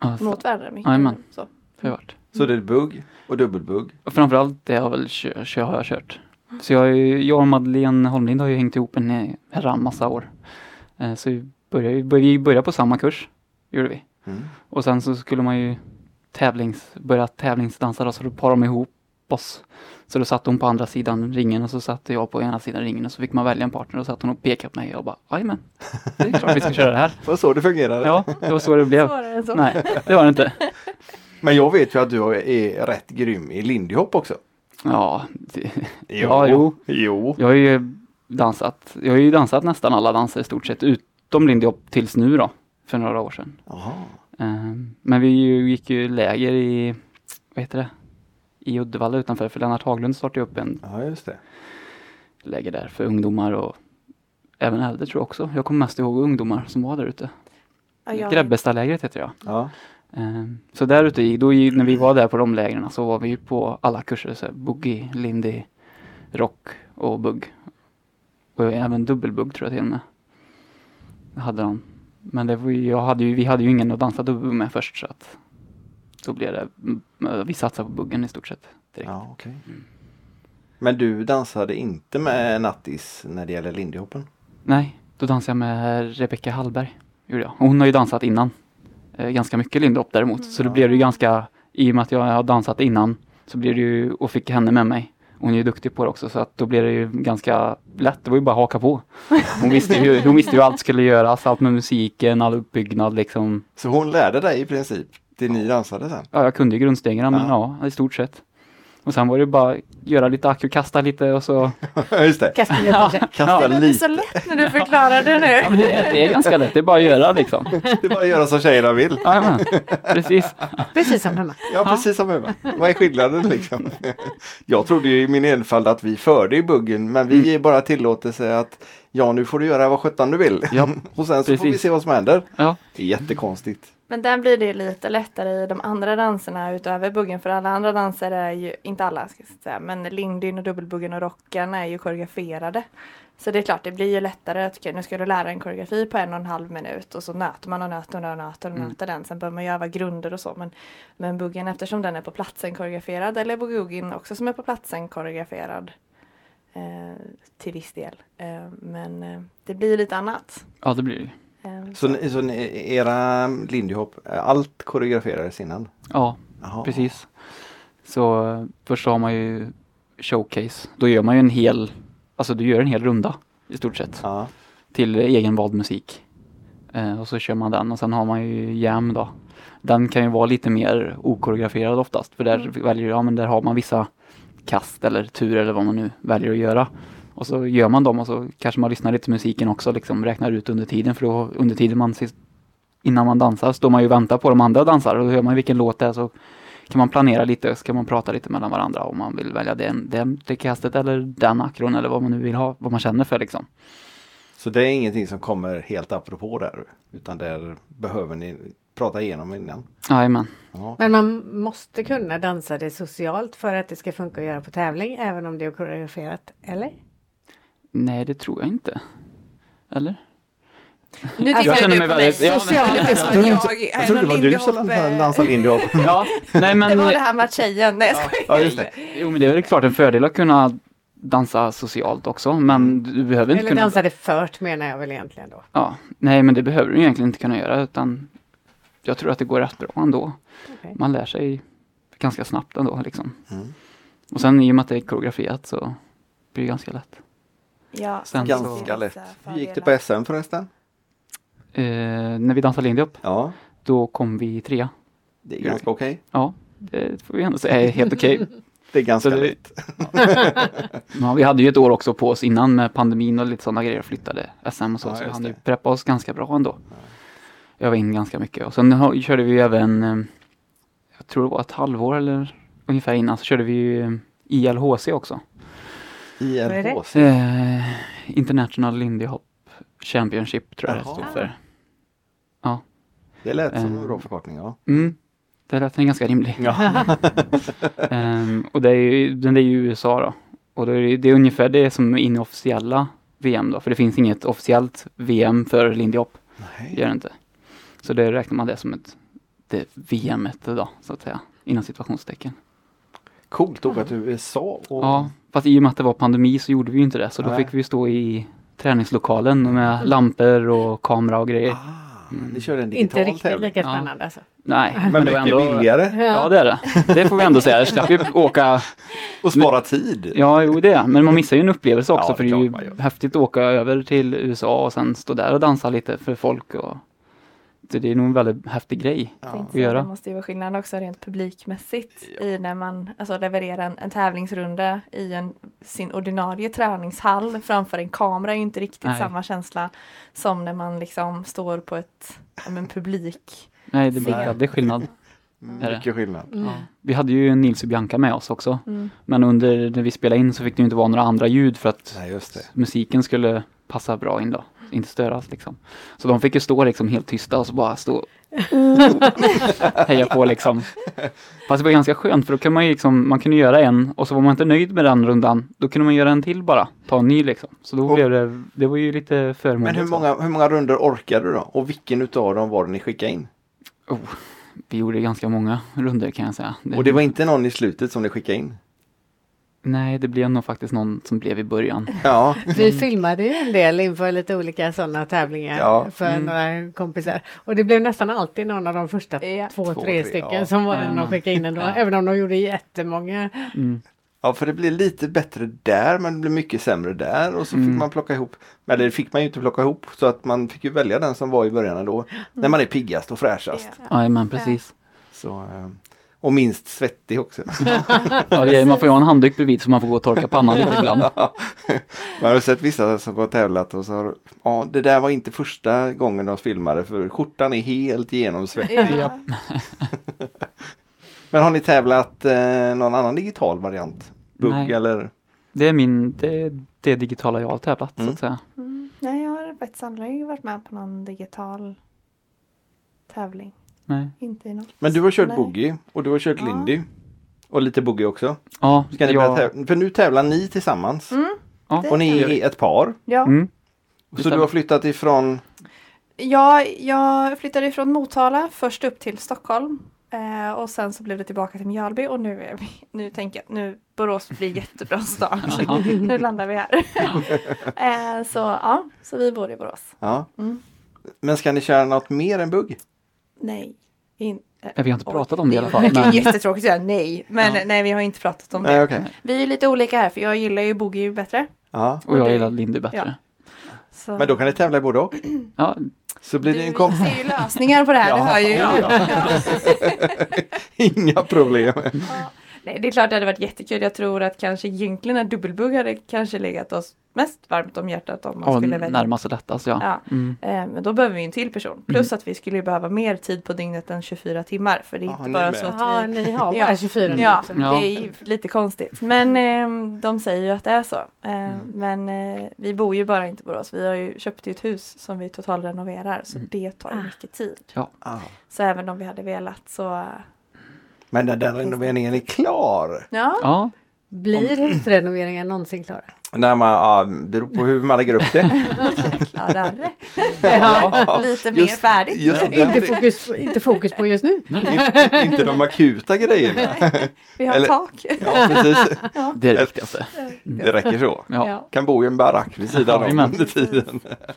[SPEAKER 4] Ja, så
[SPEAKER 3] mot varandra mycket.
[SPEAKER 4] Jajamän.
[SPEAKER 3] Så.
[SPEAKER 4] har jag varit.
[SPEAKER 2] Så det är bugg och dubbelbugg.
[SPEAKER 4] Och framförallt det har väl kö, kö, har jag kört. Så jag, har ju- jag och Madeleine Holmlind har ju hängt ihop en eh, herra massa år. Eh, Så vi började, ju- vi började på samma kurs, gjorde vi.
[SPEAKER 2] Mm.
[SPEAKER 4] Och sen så skulle man ju tävlings, börja tävlingsdansa då, så då parade de ihop oss. Så då satt hon på andra sidan ringen och så satt jag på ena sidan ringen och så fick man välja en partner och satt hon och pekade på mig och jag bara jajamän, det är klart vi ska köra det här.
[SPEAKER 2] Var så det fungerade?
[SPEAKER 4] Ja, det var så det blev.
[SPEAKER 3] Svårare än så.
[SPEAKER 4] Nej, det var det inte.
[SPEAKER 2] Men jag vet ju att du är rätt grym i lindyhopp också.
[SPEAKER 4] Ja, det, Ja, jo.
[SPEAKER 2] Jo.
[SPEAKER 4] jag har ju dansat, jag har ju dansat nästan alla danser i stort sett utom lindy hop tills nu då, för några år sedan.
[SPEAKER 2] Jaha.
[SPEAKER 4] Eh, Men vi ju- gick ju läger i, vad heter det, i Uddevalla utanför, för Lennart Haglund startade ju upp en
[SPEAKER 2] Ja, just det.
[SPEAKER 4] läger där för ungdomar och även äldre tror jag också. Jag kommer mest ihåg ungdomar som var där ute.
[SPEAKER 3] Ja, jag-
[SPEAKER 4] Grebbestalägret heter jag.
[SPEAKER 2] Ja.
[SPEAKER 4] Ehm, Så där ute, i- då, i- när vi var där på de lägren så var vi ju på alla kurser. Så här, boogie, lindy, rock och bugg. Och även dubbelbugg tror jag till och med. Det hade de. Men det var ju, jag hade ju, vi hade ju ingen att dansa dubbelbugg med först så att då blev det, mm, vi satsade på buggen i stort sett. Direkt.
[SPEAKER 2] ja okej. Men du dansade inte med Nattis när det gäller lindyhoppen?
[SPEAKER 4] Nej, då dansade jag med Rebecca Hallberg. Gjorde jag. Och Hon har ju dansat innan. Eh, ganska mycket lindhopp däremot. Så det blev det ju ganska, i och med att jag har dansat innan, så blev det ju, och fick henne med mig. Hon är ju duktig på det också så att då blev det ju ganska lätt. Det var ju bara att haka på. Hon visste ju, hon visste ju allt skulle göras, allt med musiken, all uppbyggnad liksom.
[SPEAKER 2] Så hon lärde dig i princip det ni dansade sen?
[SPEAKER 4] Ja, jag kunde ju grundstegen men ja, i stort sett. Och sen var det ju bara göra lite ack och kasta lite och så.
[SPEAKER 2] just det.
[SPEAKER 5] Kasta ner på sig.
[SPEAKER 2] Kasta
[SPEAKER 3] Det låter så
[SPEAKER 2] lite.
[SPEAKER 3] lätt när du förklarar det nu.
[SPEAKER 4] Ja, men det, är- det är ganska lätt, det är bara att göra liksom.
[SPEAKER 2] Det är bara att göra som tjejerna vill.
[SPEAKER 4] Jajamän, precis.
[SPEAKER 1] Precis som hemma.
[SPEAKER 2] Ja, precis som Emma. Vad är skillnaden liksom? Jag trodde ju i min enfald att vi förde i buggen, men vi ger bara tillåtelse att ja, nu får du göra vad sjutton du vill.
[SPEAKER 4] Ja,
[SPEAKER 2] Och sen så får vi
[SPEAKER 4] precis.
[SPEAKER 2] se vad som händer.
[SPEAKER 4] Ja.
[SPEAKER 2] Det är jättekonstigt.
[SPEAKER 3] Men där blir det ju lite lättare i de andra danserna utöver buggen för alla andra danser är ju, inte alla ska jag säga, men lindyn och dubbelbuggen och rocken är ju koreograferade. Så det är klart, det blir ju lättare att okej, nu ska du lära en koreografi på en och en halv minut och så nöter man och nöter och nöter
[SPEAKER 2] Mm.
[SPEAKER 3] och nöter den. Sen behöver man ju öva grunder och så. Men, men buggen eftersom den är på platsen koreograferad eller boogie också som är på platsen koreograferad eh, till viss del. Eh, men eh, det blir ju lite annat.
[SPEAKER 4] ja, det blir det ju.
[SPEAKER 3] Eh,
[SPEAKER 2] Så, ni- så ni- era lindyhopp, allt koreograferades innan?
[SPEAKER 4] Ja,
[SPEAKER 2] Jaha.
[SPEAKER 4] precis. Så eh, först har man ju showcase. Då gör man ju en hel, alltså du gör en hel runda i stort sett
[SPEAKER 2] Ja.
[SPEAKER 4] till egenvald musik. Eh, och så kör man den och sen har man ju jam då. Den kan ju vara lite mer okoreograferad oftast för där väljer ja, men där har man vissa kast eller tur eller vad man nu väljer att göra. Och så gör man dem och så kanske man lyssnar lite till musiken också liksom räknar ut under tiden för då under tiden man sist, innan man dansar står man ju och väntar på de andra dansar och då hör man vilken låt det är så kan man planera lite, så kan man prata lite mellan varandra om man vill välja den, den, det kastet eller den akron eller vad man nu vill ha, vad man känner för liksom.
[SPEAKER 2] Så det är ingenting som kommer helt apropå där, utan där behöver ni prata igenom innan?
[SPEAKER 4] Jajamän.
[SPEAKER 2] Ja.
[SPEAKER 1] Men man måste kunna dansa det socialt för att det ska funka att göra på tävling även om det är koreograferat. Eller?
[SPEAKER 4] Nej, det tror jag inte. Eller?
[SPEAKER 6] Nu
[SPEAKER 4] Jag
[SPEAKER 6] tittar
[SPEAKER 4] känner
[SPEAKER 6] du
[SPEAKER 4] mig
[SPEAKER 6] på mig.
[SPEAKER 4] väldigt- ja, men-
[SPEAKER 6] Socialt
[SPEAKER 5] Jag
[SPEAKER 6] liksom.
[SPEAKER 5] trodde
[SPEAKER 6] Jag,
[SPEAKER 2] Jag trodde det var du som dansade lindy hop.
[SPEAKER 4] Ja, nej men...
[SPEAKER 6] Det var det här med att tjejen. Nej, jag skojar.
[SPEAKER 2] Ja, just det.
[SPEAKER 4] Jo, men det är väl klart en fördel att kunna dansa socialt också,
[SPEAKER 6] Mm.
[SPEAKER 4] men du behöver inte
[SPEAKER 1] Eller
[SPEAKER 4] kunna...
[SPEAKER 1] dansade fört menar jag väl egentligen då.
[SPEAKER 4] Ja, nej, men det behöver du egentligen inte kunna göra, utan jag tror att det går rätt bra ändå.
[SPEAKER 1] Okej.
[SPEAKER 4] Man lär sig ganska snabbt ändå, liksom. Och sen i och med att det är koreograferat så blir det ganska lätt.
[SPEAKER 3] Ja,
[SPEAKER 4] Sen
[SPEAKER 1] Alltså,
[SPEAKER 4] så,
[SPEAKER 2] Ganska lätt. Hur gick det på SM förresten?
[SPEAKER 4] eh, när vi dansade lindy hop,
[SPEAKER 2] Ja,
[SPEAKER 4] då kom vi trea.
[SPEAKER 2] det är ganska okej.
[SPEAKER 4] Ja, det får vi ändå säga är helt okej.
[SPEAKER 2] Det är ganska
[SPEAKER 4] Så det-
[SPEAKER 2] lätt.
[SPEAKER 4] Ja, vi hade ju ett år också på oss innan med pandemin och lite sådana grejer, flyttade SM och så,
[SPEAKER 2] Ja,
[SPEAKER 4] så vi
[SPEAKER 2] just
[SPEAKER 4] hann ju
[SPEAKER 2] det.
[SPEAKER 4] preppa oss ganska bra ändå. Öva in ganska mycket och sen har- körde vi ju även, eh, jag tror det var ett halvår eller ungefär innan, så körde vi ju eh, ILHC också.
[SPEAKER 1] är det?
[SPEAKER 2] IRHC.
[SPEAKER 4] Eh, International Lindy Hop Championship tror jag det
[SPEAKER 2] Jaha.
[SPEAKER 4] stod för.
[SPEAKER 2] Det lät som
[SPEAKER 4] Eh.
[SPEAKER 2] en bra förkortning. Ja.
[SPEAKER 4] Mm. Det lät en ganska rimlig.
[SPEAKER 2] Ja.
[SPEAKER 4] Ehm, och det är ju, den är ju USA då. Och det är, det är ungefär det som är inofficiella VM då, för det finns inget officiellt VM för Lindy Hop. Det
[SPEAKER 2] Nej.
[SPEAKER 4] gör det inte. Så det räknar man det som ett det VM et då, så att säga. Inom situationstecken.
[SPEAKER 2] Coolt att åka till USA. Och...
[SPEAKER 4] Ja, fast i och med att det var pandemi så gjorde vi ju inte det, så då
[SPEAKER 2] Nej.
[SPEAKER 4] fick vi ju stå i träningslokalen med lampor och kamera och grejer.
[SPEAKER 2] Ah, ni körde en
[SPEAKER 1] Inte
[SPEAKER 2] digital
[SPEAKER 1] riktigt
[SPEAKER 2] tävling.
[SPEAKER 1] lika
[SPEAKER 4] Ja.
[SPEAKER 1] spännande alltså.
[SPEAKER 4] Nej,
[SPEAKER 2] Men
[SPEAKER 4] det var
[SPEAKER 2] mycket
[SPEAKER 4] ändå-
[SPEAKER 2] billigare
[SPEAKER 4] Ja, det är det. Det får vi ändå säga. Jag slapp ju åka
[SPEAKER 2] och spara tid.
[SPEAKER 4] Ja, jo det. Men man missar ju en upplevelse också
[SPEAKER 2] Ja, det
[SPEAKER 4] för det är
[SPEAKER 2] klart
[SPEAKER 4] ju
[SPEAKER 2] man gör.
[SPEAKER 4] häftigt att åka över till USA och sen stå där och dansa lite för folk. Och... Så det är nog en väldigt häftig grej.
[SPEAKER 2] Ja.
[SPEAKER 4] att göra.
[SPEAKER 3] Det måste ju vara skillnad också rent publikmässigt i när man alltså, levererar en, en tävlingsrunda i en, sin ordinarie träningshall framför en kamera är ju inte riktigt
[SPEAKER 4] Nej.
[SPEAKER 3] samma känsla som när man liksom står på ett ja, men, publik.
[SPEAKER 4] Nej, det blir
[SPEAKER 2] Nej.
[SPEAKER 4] väldigt skillnad. Är det?
[SPEAKER 2] Mycket skillnad.
[SPEAKER 1] Mm.
[SPEAKER 4] Ja. Vi hade ju en Nils och Bianca med oss också.
[SPEAKER 3] Mm.
[SPEAKER 4] Men under när vi spelade in så fick det ju inte vara några andra ljud för att
[SPEAKER 2] Nej, just det.
[SPEAKER 4] musiken skulle passa bra in då. Inte störas liksom. Så de fick ju stå liksom helt tysta och så bara stå och heja på liksom. Fast det var ganska skönt för då kunde man ju liksom, man kunde göra en och så var man inte nöjd med den rundan. Då kunde man göra en till bara, ta en ny liksom. Så då
[SPEAKER 2] Och-
[SPEAKER 4] blev det, det var ju lite förmånligt.
[SPEAKER 2] Men hur
[SPEAKER 4] så.
[SPEAKER 2] många, hur många runder orkade du då? Och vilken utav dem var det ni skickade in?
[SPEAKER 4] Vi gjorde ganska många runder kan jag säga.
[SPEAKER 2] Och det var inte någon i slutet som ni skickade in?
[SPEAKER 4] Nej, det blev nog faktiskt någon som blev i början.
[SPEAKER 2] Ja,
[SPEAKER 1] Vi filmade ju en del inför lite olika sådana tävlingar
[SPEAKER 2] Ja.
[SPEAKER 1] för några kompisar. Och det blev nästan alltid någon av de första
[SPEAKER 3] Ja.
[SPEAKER 1] två,
[SPEAKER 2] Två,
[SPEAKER 1] tre,
[SPEAKER 2] tre,
[SPEAKER 1] stycken
[SPEAKER 2] ja.
[SPEAKER 1] som var den
[SPEAKER 4] Mm.
[SPEAKER 1] de skickade in ändå. Även om de gjorde jättemånga.
[SPEAKER 2] ja för det blir lite bättre där men det blir mycket sämre där och så
[SPEAKER 4] Mm.
[SPEAKER 2] fick man plocka ihop. Eller det fick man ju inte plocka ihop så att man fick ju välja den som var i början ändå. När man är piggast och fräschast.
[SPEAKER 4] Mm. Ja, men precis.
[SPEAKER 2] Så, eh, och minst svettig också.
[SPEAKER 4] Ja, det är, man får ju ha en handduk bredvid så man får gå och torka pannan lite ibland.
[SPEAKER 2] Man har sett vissa som har tävlat och så har ja det där var inte första gången de filmade för skjortan är helt genomsvettig.
[SPEAKER 3] Ja.
[SPEAKER 2] Men har ni tävlat eh, någon annan digital variant? Bugg
[SPEAKER 4] Nej.
[SPEAKER 2] eller?
[SPEAKER 4] Det är min, det, det digitala jag har tävlat så
[SPEAKER 2] Mm.
[SPEAKER 4] att säga.
[SPEAKER 3] Mm. Nej, jag har faktiskt aldrig varit med på någon digital tävling.
[SPEAKER 4] Nej.
[SPEAKER 3] Inte i något.
[SPEAKER 2] Men du har kört
[SPEAKER 3] Nej.
[SPEAKER 2] boogie och du har kört
[SPEAKER 3] Ja.
[SPEAKER 2] lindy. Och lite boogie också.
[SPEAKER 4] Ja,
[SPEAKER 2] Ska ni börja
[SPEAKER 4] jag,
[SPEAKER 2] tävla? För nu tävlar ni tillsammans.
[SPEAKER 3] Mm.
[SPEAKER 4] ja.
[SPEAKER 3] Det-
[SPEAKER 2] Och ni är ett par.
[SPEAKER 3] Ja.
[SPEAKER 4] Mm.
[SPEAKER 2] Så
[SPEAKER 4] stämmer.
[SPEAKER 2] du har flyttat ifrån
[SPEAKER 3] Ja, jag flyttade ifrån Motala först upp till Stockholm eh, och sen så blev det tillbaka till Mjölby och nu, är vi, nu tänker jag att nu Borås blir jättebra start. nu landar vi här. eh, så ja, så vi bor i Borås.
[SPEAKER 2] Ja.
[SPEAKER 3] Mm.
[SPEAKER 2] Men ska ni köra något mer än bugg?
[SPEAKER 3] Nej. In, eh,
[SPEAKER 4] Ja, vi har inte
[SPEAKER 3] oj,
[SPEAKER 4] pratat om det i alla fall.
[SPEAKER 3] Det är
[SPEAKER 4] Men,
[SPEAKER 3] jättetråkigt att säga nej, men nej vi har inte pratat om det.
[SPEAKER 2] Nej, okej.
[SPEAKER 3] Vi är lite olika här för jag gillar ju boogie bättre.
[SPEAKER 2] Ja.
[SPEAKER 4] och jag gillar Lindy bättre.
[SPEAKER 3] Så.
[SPEAKER 2] Men då kan ni tävla i både och.
[SPEAKER 4] Ja.
[SPEAKER 2] Så blir det en kom...
[SPEAKER 3] Du ser ju lösningar på det här, det
[SPEAKER 2] Ja.
[SPEAKER 3] hör ju jag.
[SPEAKER 2] Inga problem.
[SPEAKER 3] Nej, det är klart det hade varit jättekul. Jag tror att kanske egentligen en dubbelbugg hade kanske legat oss mest varmt om hjärtat om man
[SPEAKER 4] Ja,
[SPEAKER 3] skulle välja.
[SPEAKER 4] närmast Mm. lättast ja.
[SPEAKER 3] Ja.
[SPEAKER 4] Mm.
[SPEAKER 3] Eh, Men då behöver vi ju en till person. Plus att vi skulle ju behöva mer tid på dygnet än 24 timmar. För det är
[SPEAKER 2] Ja,
[SPEAKER 3] inte
[SPEAKER 2] ni
[SPEAKER 3] bara
[SPEAKER 2] med.
[SPEAKER 3] så
[SPEAKER 1] Jaha,
[SPEAKER 3] att vi...
[SPEAKER 1] ni har
[SPEAKER 3] Ja.
[SPEAKER 1] bara 24 nu
[SPEAKER 3] Ja,
[SPEAKER 1] också.
[SPEAKER 4] Ja.
[SPEAKER 3] det är ju lite konstigt. Men eh, de säger ju att det är så. Eh,
[SPEAKER 4] Mm.
[SPEAKER 3] Men eh, vi bor ju bara inte i Borås. Vi har ju köpt ett hus som vi totalrenoverar. Så
[SPEAKER 4] Mm.
[SPEAKER 3] det tar ju mycket tid.
[SPEAKER 2] Ja.
[SPEAKER 3] Så även om vi hade velat så... eh,
[SPEAKER 2] Men när den renoveringen är klar.
[SPEAKER 3] Ja,
[SPEAKER 4] Ja,
[SPEAKER 1] Blir husrenoveringen någonsin klara?
[SPEAKER 2] När man, ja, det beror på hur man lägger upp det.
[SPEAKER 6] Klarare.
[SPEAKER 2] Ja,
[SPEAKER 6] Lite mer
[SPEAKER 2] just-
[SPEAKER 6] färdigt.
[SPEAKER 2] just den-
[SPEAKER 1] Inte fokus, inte fokus på just nu.
[SPEAKER 2] inte, inte de akuta grejerna.
[SPEAKER 6] Vi har
[SPEAKER 2] Eller-
[SPEAKER 6] tak.
[SPEAKER 2] Ja, precis.
[SPEAKER 4] Det är det viktigaste.
[SPEAKER 2] Det räcker så.
[SPEAKER 4] Ja.
[SPEAKER 6] Ja.
[SPEAKER 2] Kan bo i en barack vid sidan om
[SPEAKER 4] Jajamän.
[SPEAKER 2] under tiden.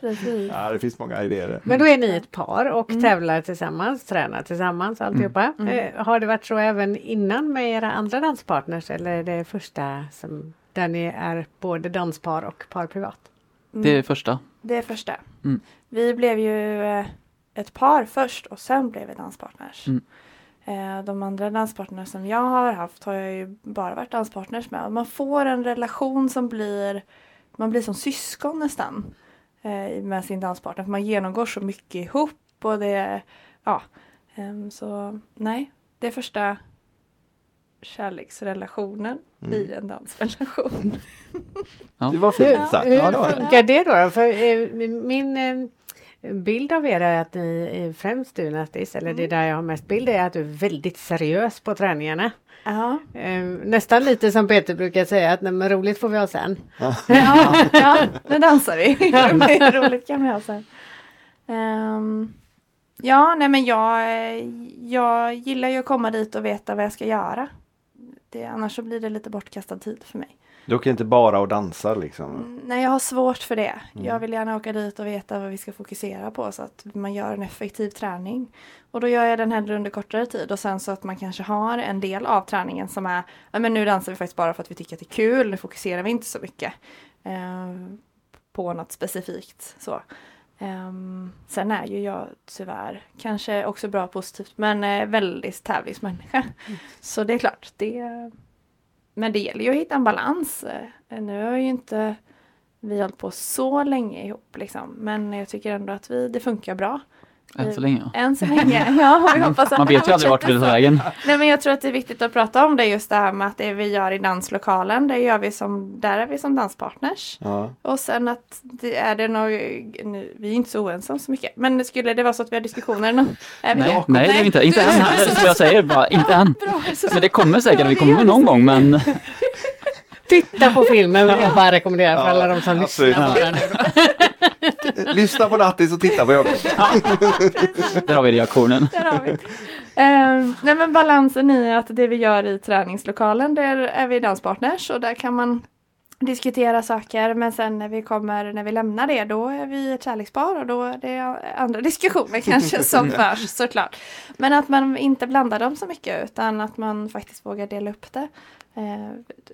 [SPEAKER 3] Precis.
[SPEAKER 2] Ja, det finns många idéer.
[SPEAKER 1] Men då är ni ett par och tävlar tillsammans, tränar tillsammans alltihopa. Eh, har det varit så även innan med era andra danspartners eller är det första som, där ni är både danspar och par privat?
[SPEAKER 4] Det är första.
[SPEAKER 3] Mm, Det är första.
[SPEAKER 4] Mm.
[SPEAKER 3] Vi blev ju eh, ett par först och sen blev vi danspartners.
[SPEAKER 4] Mm.
[SPEAKER 3] Eh, De andra danspartners som jag har haft har jag ju bara varit danspartners med. Och Man får en relation som blir, man blir som syskon nästan eh, med sin danspartner. För man genomgår så mycket ihop och det, ja. Ehm, Så nej, det är första kärleksrelationen i en dansrelation.
[SPEAKER 2] Det var fint sagt. Ja, det var
[SPEAKER 1] Hur
[SPEAKER 2] det.
[SPEAKER 1] funkar det då? För, eh, min- min eh, bild av er är att ni, eh, främst du Nattis, eller det där jag har mest bild är att du är väldigt seriös på träningarna.
[SPEAKER 3] Ja.
[SPEAKER 1] Eh, Nästan lite som Peter brukar säga att nej, men roligt får vi ha sen.
[SPEAKER 3] Ja, ja nu dansar vi. Det är roligt kan vi ha sen. Ehm, ja, nej men jag, eh, jag gillar ju att komma dit och veta vad jag ska göra. Det, annars så blir det lite bortkastad tid för mig.
[SPEAKER 2] Du åker inte bara och dansar liksom.
[SPEAKER 3] Mm, Nej, jag har svårt för det. Jag vill gärna åka dit och veta vad vi ska fokusera på så att man gör en effektiv träning. Och då gör jag den hellre under kortare tid och sen så att man kanske har en del av träningen som är, ja men nu dansar vi faktiskt bara för att vi tycker att det är kul, nu fokuserar vi inte så mycket eh, på något specifikt så. Ehm, sen är ju jag tyvärr kanske också bra positivt men eh, väldigt tävlingsmänniska. Så det är klart, det men det gäller ju att hitta en balans. Eh, Nu har ju inte vi hållit på så länge ihop liksom. Men jag tycker ändå att vi, det funkar bra.
[SPEAKER 4] Än så länge. ja.
[SPEAKER 3] Än så länge. Ja, vi hoppas att
[SPEAKER 4] Man
[SPEAKER 3] det
[SPEAKER 4] vet ju aldrig vart det
[SPEAKER 3] fortsätter
[SPEAKER 4] tar
[SPEAKER 3] så.
[SPEAKER 4] vägen.
[SPEAKER 3] Nej men jag tror att det är viktigt att prata om det just det här med att det vi gör i danslokalen, det gör vi som, där är vi som danspartners.
[SPEAKER 2] Ja.
[SPEAKER 3] Och sen att det är det nog, nu, vi är inte så oense om så mycket, men skulle det vara så att vi har diskussioner om... Är vi
[SPEAKER 4] Nej, nej, det är vi inte. Inte
[SPEAKER 3] du-
[SPEAKER 4] än. Det är som jag säger bara, inte än.
[SPEAKER 3] Bra, så-
[SPEAKER 4] Men det kommer säkert, vi kommer någon gång men
[SPEAKER 1] Titta på filmen vill jag bara rekommendera för alla de som lyssnar.
[SPEAKER 2] Absolut. Eh, Lyssna på Nattis och titta på jag.
[SPEAKER 4] där har vi reaktionen.
[SPEAKER 3] Där har vi. Ehm, nej men balansen i att det vi gör i träningslokalen där är vi danspartners och där kan man diskutera saker men sen när vi kommer, när vi lämnar det då är vi ett kärlekspar och då är det andra diskussioner kanske som förs såklart. Men att man inte blandar dem så mycket utan att man faktiskt vågar dela upp det. eh,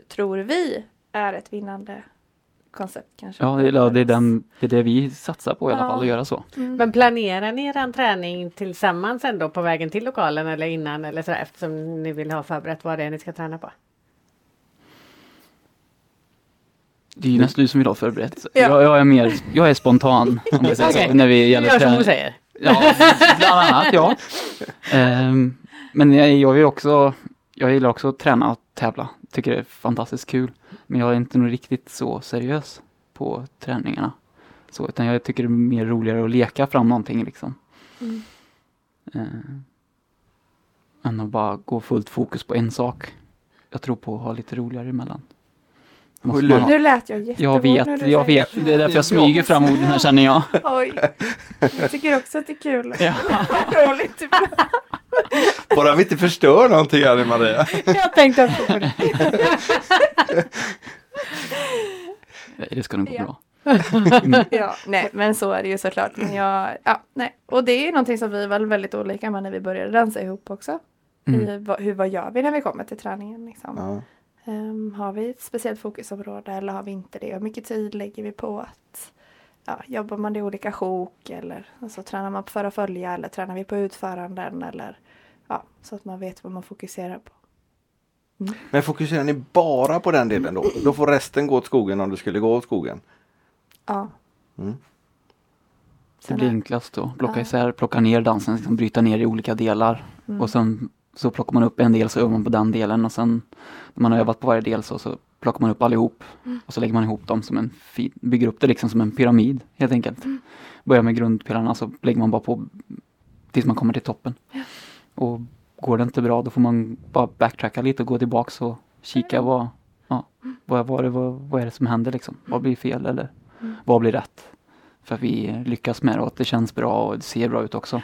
[SPEAKER 3] tror vi är ett vinnande koncept kanske.
[SPEAKER 4] Ja, det, ja, det, är den, det är det vi satsar på i alla
[SPEAKER 3] Ja.
[SPEAKER 4] fall, att göra så.
[SPEAKER 1] Men planerar ni er träning tillsammans ändå på vägen till lokalen eller innan eller så eftersom ni vill ha förberett vad det är ni ska träna på?
[SPEAKER 4] Det är ju nästan du som vill ha förberett.
[SPEAKER 3] Ja.
[SPEAKER 4] Jag, jag är mer, jag är spontan om jag säger
[SPEAKER 1] Okej.
[SPEAKER 4] så. När vi
[SPEAKER 1] Du
[SPEAKER 4] gäller
[SPEAKER 1] gör som hon
[SPEAKER 4] trä-
[SPEAKER 1] säger.
[SPEAKER 4] Ja, bland annat ja. Ehm, men jag, jag, är också, jag gillar också att träna och tävla. Tycker det är fantastiskt kul. Men jag är inte nog riktigt så seriös på träningarna. Så, utan jag tycker det är mer roligare att leka fram någonting liksom.
[SPEAKER 3] Mm.
[SPEAKER 4] Ehm, än att bara gå fullt fokus på en sak. Jag tror på att ha lite roligare emellan. Måste man ha.
[SPEAKER 3] Nu lät jag jättebra
[SPEAKER 4] Jag vet, jag vet. Det är därför jag smyger fram orden här känner jag.
[SPEAKER 3] Oj, jag tycker också att det är kul.
[SPEAKER 4] Ja.
[SPEAKER 3] Roligt.
[SPEAKER 2] Bara vi inte förstör någonting här Maria.
[SPEAKER 1] Jag tänkte också på det.
[SPEAKER 4] Nej, Det ska nog gå
[SPEAKER 3] Ja.
[SPEAKER 4] bra.
[SPEAKER 3] Ja, nej, men så är det ju såklart. Men jag, ja, nej. Och det är ju någonting som vi var väldigt olika med när vi började dansa ihop också.
[SPEAKER 4] Mm.
[SPEAKER 3] I, vad, hur, vad gör vi när vi kommer till träningen? Liksom?
[SPEAKER 2] Ja.
[SPEAKER 3] Ehm, har vi ett speciellt fokusområde eller har vi inte det? Hur mycket tid lägger vi på att ja, jobbar man i olika sjok eller alltså, tränar man på för att följa eller tränar vi på utföranden eller ja, så att man vet vad man fokuserar på.
[SPEAKER 2] Men fokuserar ni bara på den delen då? Då får resten gå åt skogen om du skulle gå åt skogen.
[SPEAKER 3] Ja.
[SPEAKER 2] Mm.
[SPEAKER 4] Det
[SPEAKER 3] Sen
[SPEAKER 4] blir
[SPEAKER 3] är-
[SPEAKER 4] enklast att plocka
[SPEAKER 3] Ja.
[SPEAKER 4] isär, plocka ner dansen, liksom bryta ner i olika delar. Och sen så plockar man upp en del så övar man på den delen och sen när man har övat på varje del så, så plockar man upp allihop. Och så lägger man ihop dem som en fin, bygger upp det liksom som en pyramid helt enkelt. Börjar med grundpelarna så lägger man bara på tills man kommer till toppen. Och går det inte bra då får man bara backtracka lite och gå tillbaks och kika vad Ja.
[SPEAKER 3] Mm.
[SPEAKER 4] Vad, vad, är det- vad, vad är det som händer liksom? Vad blir fel eller
[SPEAKER 3] Mm.
[SPEAKER 4] vad blir rätt? För att vi lyckas med det och att det känns bra och det ser bra ut också.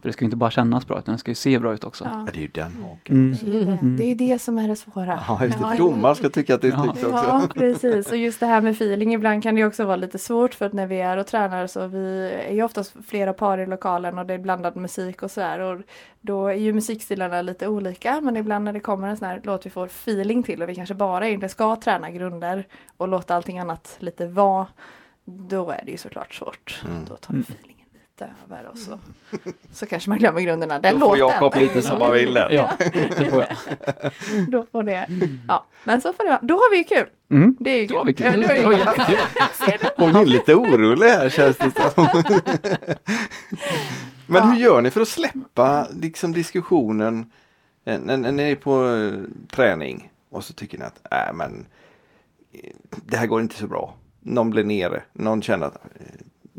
[SPEAKER 4] För det ska ju inte bara kännas bra utan det ska ju se bra ut också.
[SPEAKER 3] Ja,
[SPEAKER 2] Ja, det är ju den haken.
[SPEAKER 4] Mm.
[SPEAKER 3] det, är det. det är ju det som är det svåra.
[SPEAKER 2] Ja, just det.
[SPEAKER 3] Ja.
[SPEAKER 2] Domaren ska tycka att det är
[SPEAKER 4] Ja.
[SPEAKER 2] snyggt också.
[SPEAKER 3] Ja, precis. Och just det här med feeling, ibland kan det ju också vara lite svårt för att när vi är och tränar så vi är ju oftast flera par i lokalen och det är blandad musik och sådär och då är ju musikstilarna lite olika men ibland när det kommer en sån här låt vi får feeling till och vi kanske bara egentligen ska träna grunder och låta allting annat lite vara, då är det ju såklart svårt. Då tar feelingen lite över och så, så kanske man glömmer grunderna. Den
[SPEAKER 2] Då får
[SPEAKER 3] låten!
[SPEAKER 2] Jakob lite som han vill där.
[SPEAKER 4] Ja, det får jag.
[SPEAKER 3] Då får det. Ja, men så får det vara. Då har vi ju kul!
[SPEAKER 4] Mm.
[SPEAKER 3] Det är ju
[SPEAKER 4] Det var
[SPEAKER 3] kul.
[SPEAKER 4] vi
[SPEAKER 3] Ja, men
[SPEAKER 4] kul.
[SPEAKER 3] det var ju
[SPEAKER 4] Det var jättekul.
[SPEAKER 2] Hon är lite orolig här känns det som. Men hur gör ni för att släppa liksom, diskussionen eh, när, när ni är på eh, träning och så tycker ni att äh, men, eh, det här går inte så bra. Någon blir nere, någon känner att eh,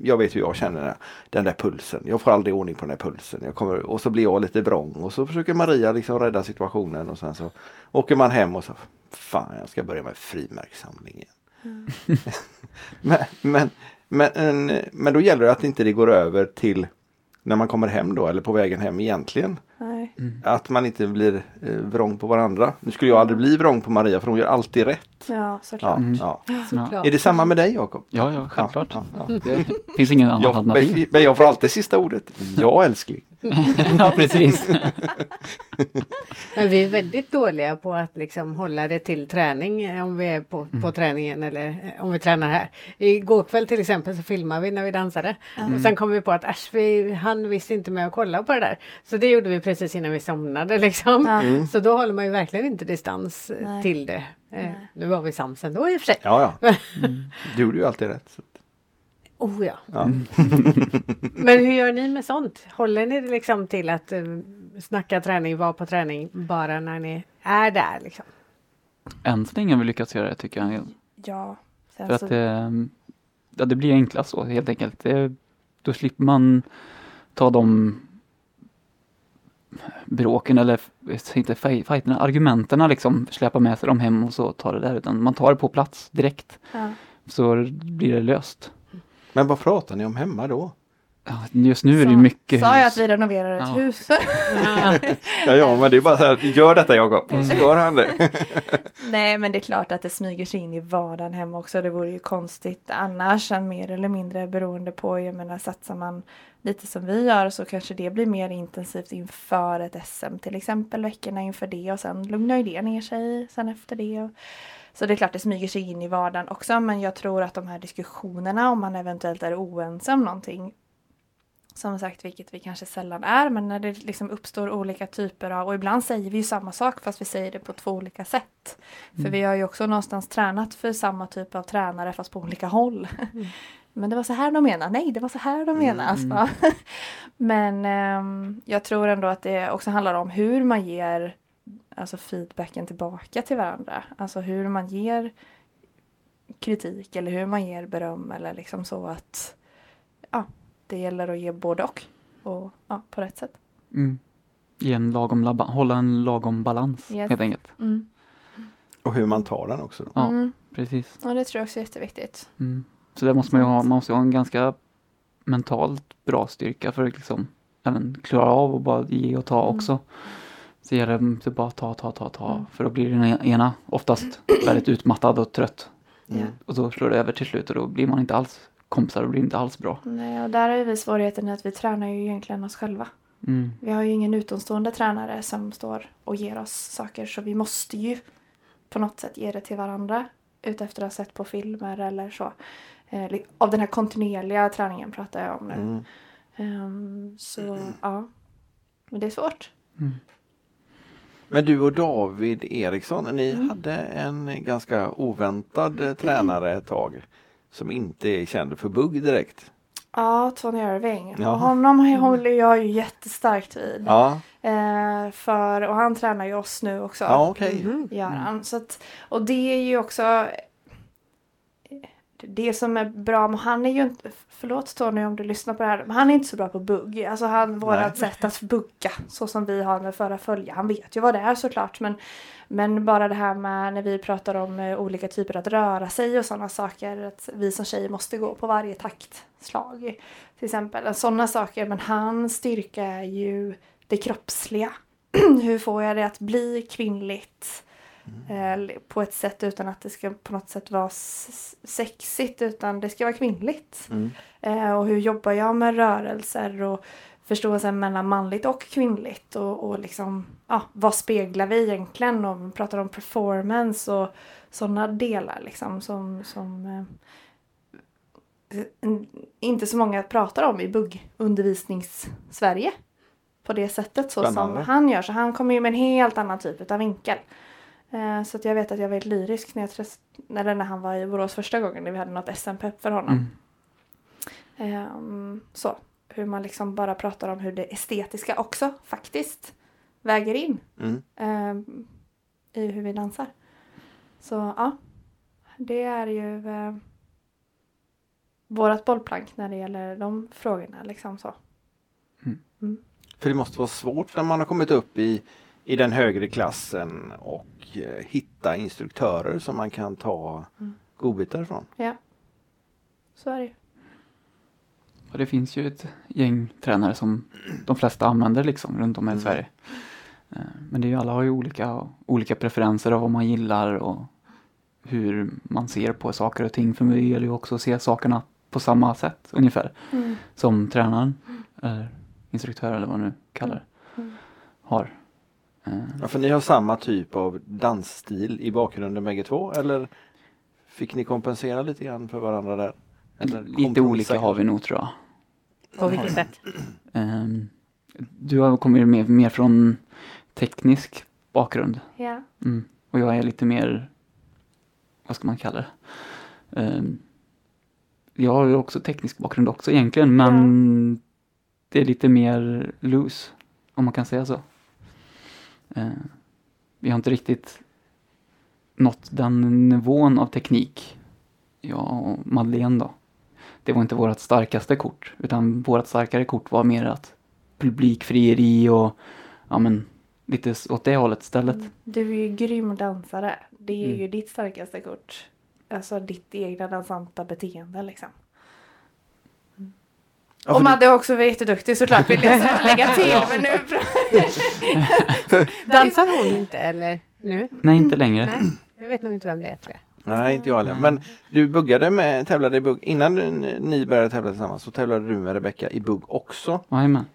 [SPEAKER 2] jag vet hur jag känner den där pulsen. Jag får aldrig ordning på den där pulsen. Jag kommer, och så blir jag lite vrång och så försöker Maria liksom rädda situationen och sen så åker man hem och så Fan, jag ska börja med frimärkssamling igen. Men, men, men, en- men då gäller det att inte det går över till när man kommer hem då eller på vägen hem egentligen.
[SPEAKER 3] Nej.
[SPEAKER 2] Att man inte blir eh, vrång på varandra. Nu skulle jag aldrig bli vrång på Maria för hon gör alltid rätt.
[SPEAKER 3] Ja, såklart.
[SPEAKER 2] Ja, ja.
[SPEAKER 1] Såklart.
[SPEAKER 2] Är det samma med dig Jakob?
[SPEAKER 4] mm. Ja, ja, självklart.
[SPEAKER 2] Ja, ja, ja.
[SPEAKER 4] Det finns ingen annan
[SPEAKER 2] Jag, men,
[SPEAKER 4] alternativ.
[SPEAKER 2] men jag får alltid sista ordet. Ja älskling.
[SPEAKER 4] Ja, precis.
[SPEAKER 1] Men vi är väldigt dåliga på att liksom hålla det till träning eh, om vi är på, på träningen eller eh, om vi tränar här. Igår kväll till exempel så filmade vi när vi dansade och sen kom vi på att äsch, vi hann visst inte med att kolla på det där. Så det gjorde vi precis innan vi somnade liksom.
[SPEAKER 3] Ja. Mm.
[SPEAKER 1] Så då håller man ju verkligen inte distans eh,
[SPEAKER 3] Nej.
[SPEAKER 1] till det. Eh, Nu var vi sams ändå i och för sig.
[SPEAKER 2] Ja, ja. Du gjorde ju alltid rätt. Så. att-
[SPEAKER 1] Oh ja.
[SPEAKER 2] Ja.
[SPEAKER 4] Mm.
[SPEAKER 1] Men hur gör ni med sånt? Håller ni det liksom till att eh, snacka träning, vara på träning bara när ni är där liksom?
[SPEAKER 4] Än så länge har vi lyckats göra det tycker jag.
[SPEAKER 3] Ja. Sen
[SPEAKER 4] För
[SPEAKER 3] så,
[SPEAKER 4] att ehm, ja, det blir enklast så helt enkelt. Det, då slipper man ta de bråken eller f- inte fej- fighterna, argumenten liksom, släpa med sig dem hem och så tar det där. Utan man tar det på plats direkt
[SPEAKER 3] ja.
[SPEAKER 4] så blir det löst.
[SPEAKER 2] Men vad pratar ni om hemma då?
[SPEAKER 4] Ja, Just nu är det
[SPEAKER 3] Sa-
[SPEAKER 4] ju mycket
[SPEAKER 3] Sa jag
[SPEAKER 4] hus.
[SPEAKER 3] att vi renoverar ett
[SPEAKER 4] Ja.
[SPEAKER 3] hus?
[SPEAKER 2] Ja, ja men det är bara så här. Gör detta Jakob.
[SPEAKER 4] Mm.
[SPEAKER 2] Så gör han det.
[SPEAKER 3] Nej, men det är klart att det smyger sig in i vardagen hemma också. Det vore ju konstigt annars, än mer eller mindre beroende på. Jag menar, satsar man lite som vi gör så kanske det blir mer intensivt inför ett SM till exempel, veckorna inför det och sen lugnar ju det ner sig sen efter det. Och- Så det är klart det smyger sig in i vardagen också, men jag tror att de här diskussionerna om man eventuellt är oense om någonting som sagt, vilket vi kanske sällan är, men när det liksom uppstår olika typer av, och ibland säger vi ju samma sak fast vi säger det på två olika sätt. För vi har ju också någonstans tränat för samma typ av tränare fast på olika håll. Men det var så här de menade, nej det var så här de menade. Alltså. Men ehm, jag tror ändå att det också handlar om hur man ger alltså feedbacken tillbaka till varandra. Alltså hur man ger kritik eller hur man ger beröm eller liksom så att ja, det gäller att ge både och. Och ja, på rätt sätt.
[SPEAKER 4] Mm. Ge en lagom laba- hålla en lagom balans
[SPEAKER 3] Yes.
[SPEAKER 4] helt enkelt.
[SPEAKER 3] Mm.
[SPEAKER 2] Och hur man tar den också. Då.
[SPEAKER 4] Ja.
[SPEAKER 3] Mm.
[SPEAKER 4] Precis.
[SPEAKER 3] Och det tror jag också är jätteviktigt.
[SPEAKER 4] Mm. Så där måste man ju ha, man måste ju ha en ganska mentalt bra styrka för att liksom även klara av att bara ge och ta också. Så gäller det att bara ta, ta, ta, ta. För då blir den e- ena oftast väldigt utmattad och trött.
[SPEAKER 3] Ja.
[SPEAKER 2] Mm.
[SPEAKER 4] Och då slår det över till slut och då blir man inte alls kompisar och blir inte alls bra.
[SPEAKER 3] Nej, och där har ju vi svårigheten att vi tränar ju egentligen oss själva.
[SPEAKER 4] Mm.
[SPEAKER 3] Vi har ju ingen utomstående tränare som står och ger oss saker så vi måste ju på något sätt ge det till varandra utefter att ha sett på filmer eller så. Eh, li- Av den här kontinuerliga träningen pratar jag om nu.
[SPEAKER 2] Mm.
[SPEAKER 3] Ehm, så ja, men det är svårt.
[SPEAKER 2] Men du och David Eriksson, ni hade en ganska oväntad eh, tränare ett tag som inte är känd för bugg direkt.
[SPEAKER 3] Ja, Tony Irving.
[SPEAKER 2] Ja.
[SPEAKER 3] Och honom har jag- håller jag ju jättestarkt vid.
[SPEAKER 2] Ja,
[SPEAKER 3] Eh, för, och han tränar ju oss nu också. Mm.
[SPEAKER 2] ja okej.
[SPEAKER 3] gör han. Så att, och det är ju också det som är bra med han är ju inte, förlåt Tony om du lyssnar på det här, men han är inte så bra på bugg. Alltså han, vårat sätt att bugga så som vi har med förra följa. Han vet ju vad det är såklart men, men bara det här med när vi pratar om eh, olika typer att röra sig och sådana saker. Att vi som tjejer måste gå på varje taktslag. Till exempel sådana saker. Men hans styrka är ju det kroppsliga. Hur får jag det att bli kvinnligt? eh, på ett sätt utan att det ska på något sätt vara s- sexigt utan det ska vara kvinnligt. Eh, och hur jobbar jag med rörelser och förståelsen mellan manligt och kvinnligt och, och liksom ja, vad speglar vi egentligen och vi pratar om performance och sådana delar liksom som, som eh, n- inte så många pratar om i buggundervisnings-Sverige på det sättet så som
[SPEAKER 2] Spännande.
[SPEAKER 3] han gör så han kommer ju med en helt annan typ av vinkel. Eh, Så att jag vet att jag var väldigt lyrisk när, jag träff- eller när han var i Borås första gången när vi hade något SM-pepp för
[SPEAKER 4] Mm.
[SPEAKER 3] honom. Ehm, så, hur man liksom bara pratar om hur det estetiska också faktiskt väger in
[SPEAKER 2] Mm.
[SPEAKER 3] ehm, i hur vi dansar. Så ja, det är ju eh, vårat bollplank när det gäller de frågorna. Liksom så.
[SPEAKER 2] För det måste vara svårt när man har kommit upp i, i den högre klassen och eh, hitta instruktörer som man kan ta godbitar ifrån.
[SPEAKER 3] Ja, så är det ju.
[SPEAKER 4] Och det finns ju ett gäng tränare som de flesta använder liksom runt om i Sverige. Eh, Men det är ju, alla har ju olika, olika preferenser av vad man gillar och hur man ser på saker och ting. För mig gäller ju också att se sakerna på samma sätt ungefär som tränaren eller instruktör eller vad man nu kallar det, har. Eh,
[SPEAKER 2] Ja, för ni har samma typ av dansstil i bakgrunden bägge två eller fick ni kompensera lite grann för varandra där? Eller
[SPEAKER 4] Lite
[SPEAKER 2] kompromissa
[SPEAKER 4] olika har vi
[SPEAKER 2] kanske?
[SPEAKER 4] nog tror jag.
[SPEAKER 6] På vilket sätt?
[SPEAKER 4] Ehm, Du har kommit mer, mer från teknisk bakgrund.
[SPEAKER 3] Ja.
[SPEAKER 4] Mm. Och jag är lite mer, vad ska man kalla det? Ehm, jag har ju också teknisk bakgrund också egentligen men det är lite mer loose, om man kan säga så. Ehm, vi har inte riktigt nått den nivån av teknik, jag och Madeleine då. Det var inte vårt starkaste kort utan vårt starkare kort var mer att publikfrieri och ja men lite s- åt det hållet istället.
[SPEAKER 3] Mm. Du är ju grym dansare. Det är ju
[SPEAKER 4] Mm.
[SPEAKER 3] ditt starkaste kort. Alltså ditt egna dansanta beteende liksom.
[SPEAKER 2] Ja,
[SPEAKER 3] och
[SPEAKER 2] för
[SPEAKER 3] Madde har också varit jätteduktig såklart vill jag lägga till. men nu
[SPEAKER 5] Dansar hon inte eller? Nu?
[SPEAKER 4] Nej, inte längre.
[SPEAKER 5] Mm, Nej. Jag vet nog inte vem det är tror jag.
[SPEAKER 2] Nej, inte jag heller. Men du buggade med, tävlade i bugg. Innan du- ni började tävla tillsammans så tävlade du med Rebecca i bugg också.
[SPEAKER 4] Jajamän.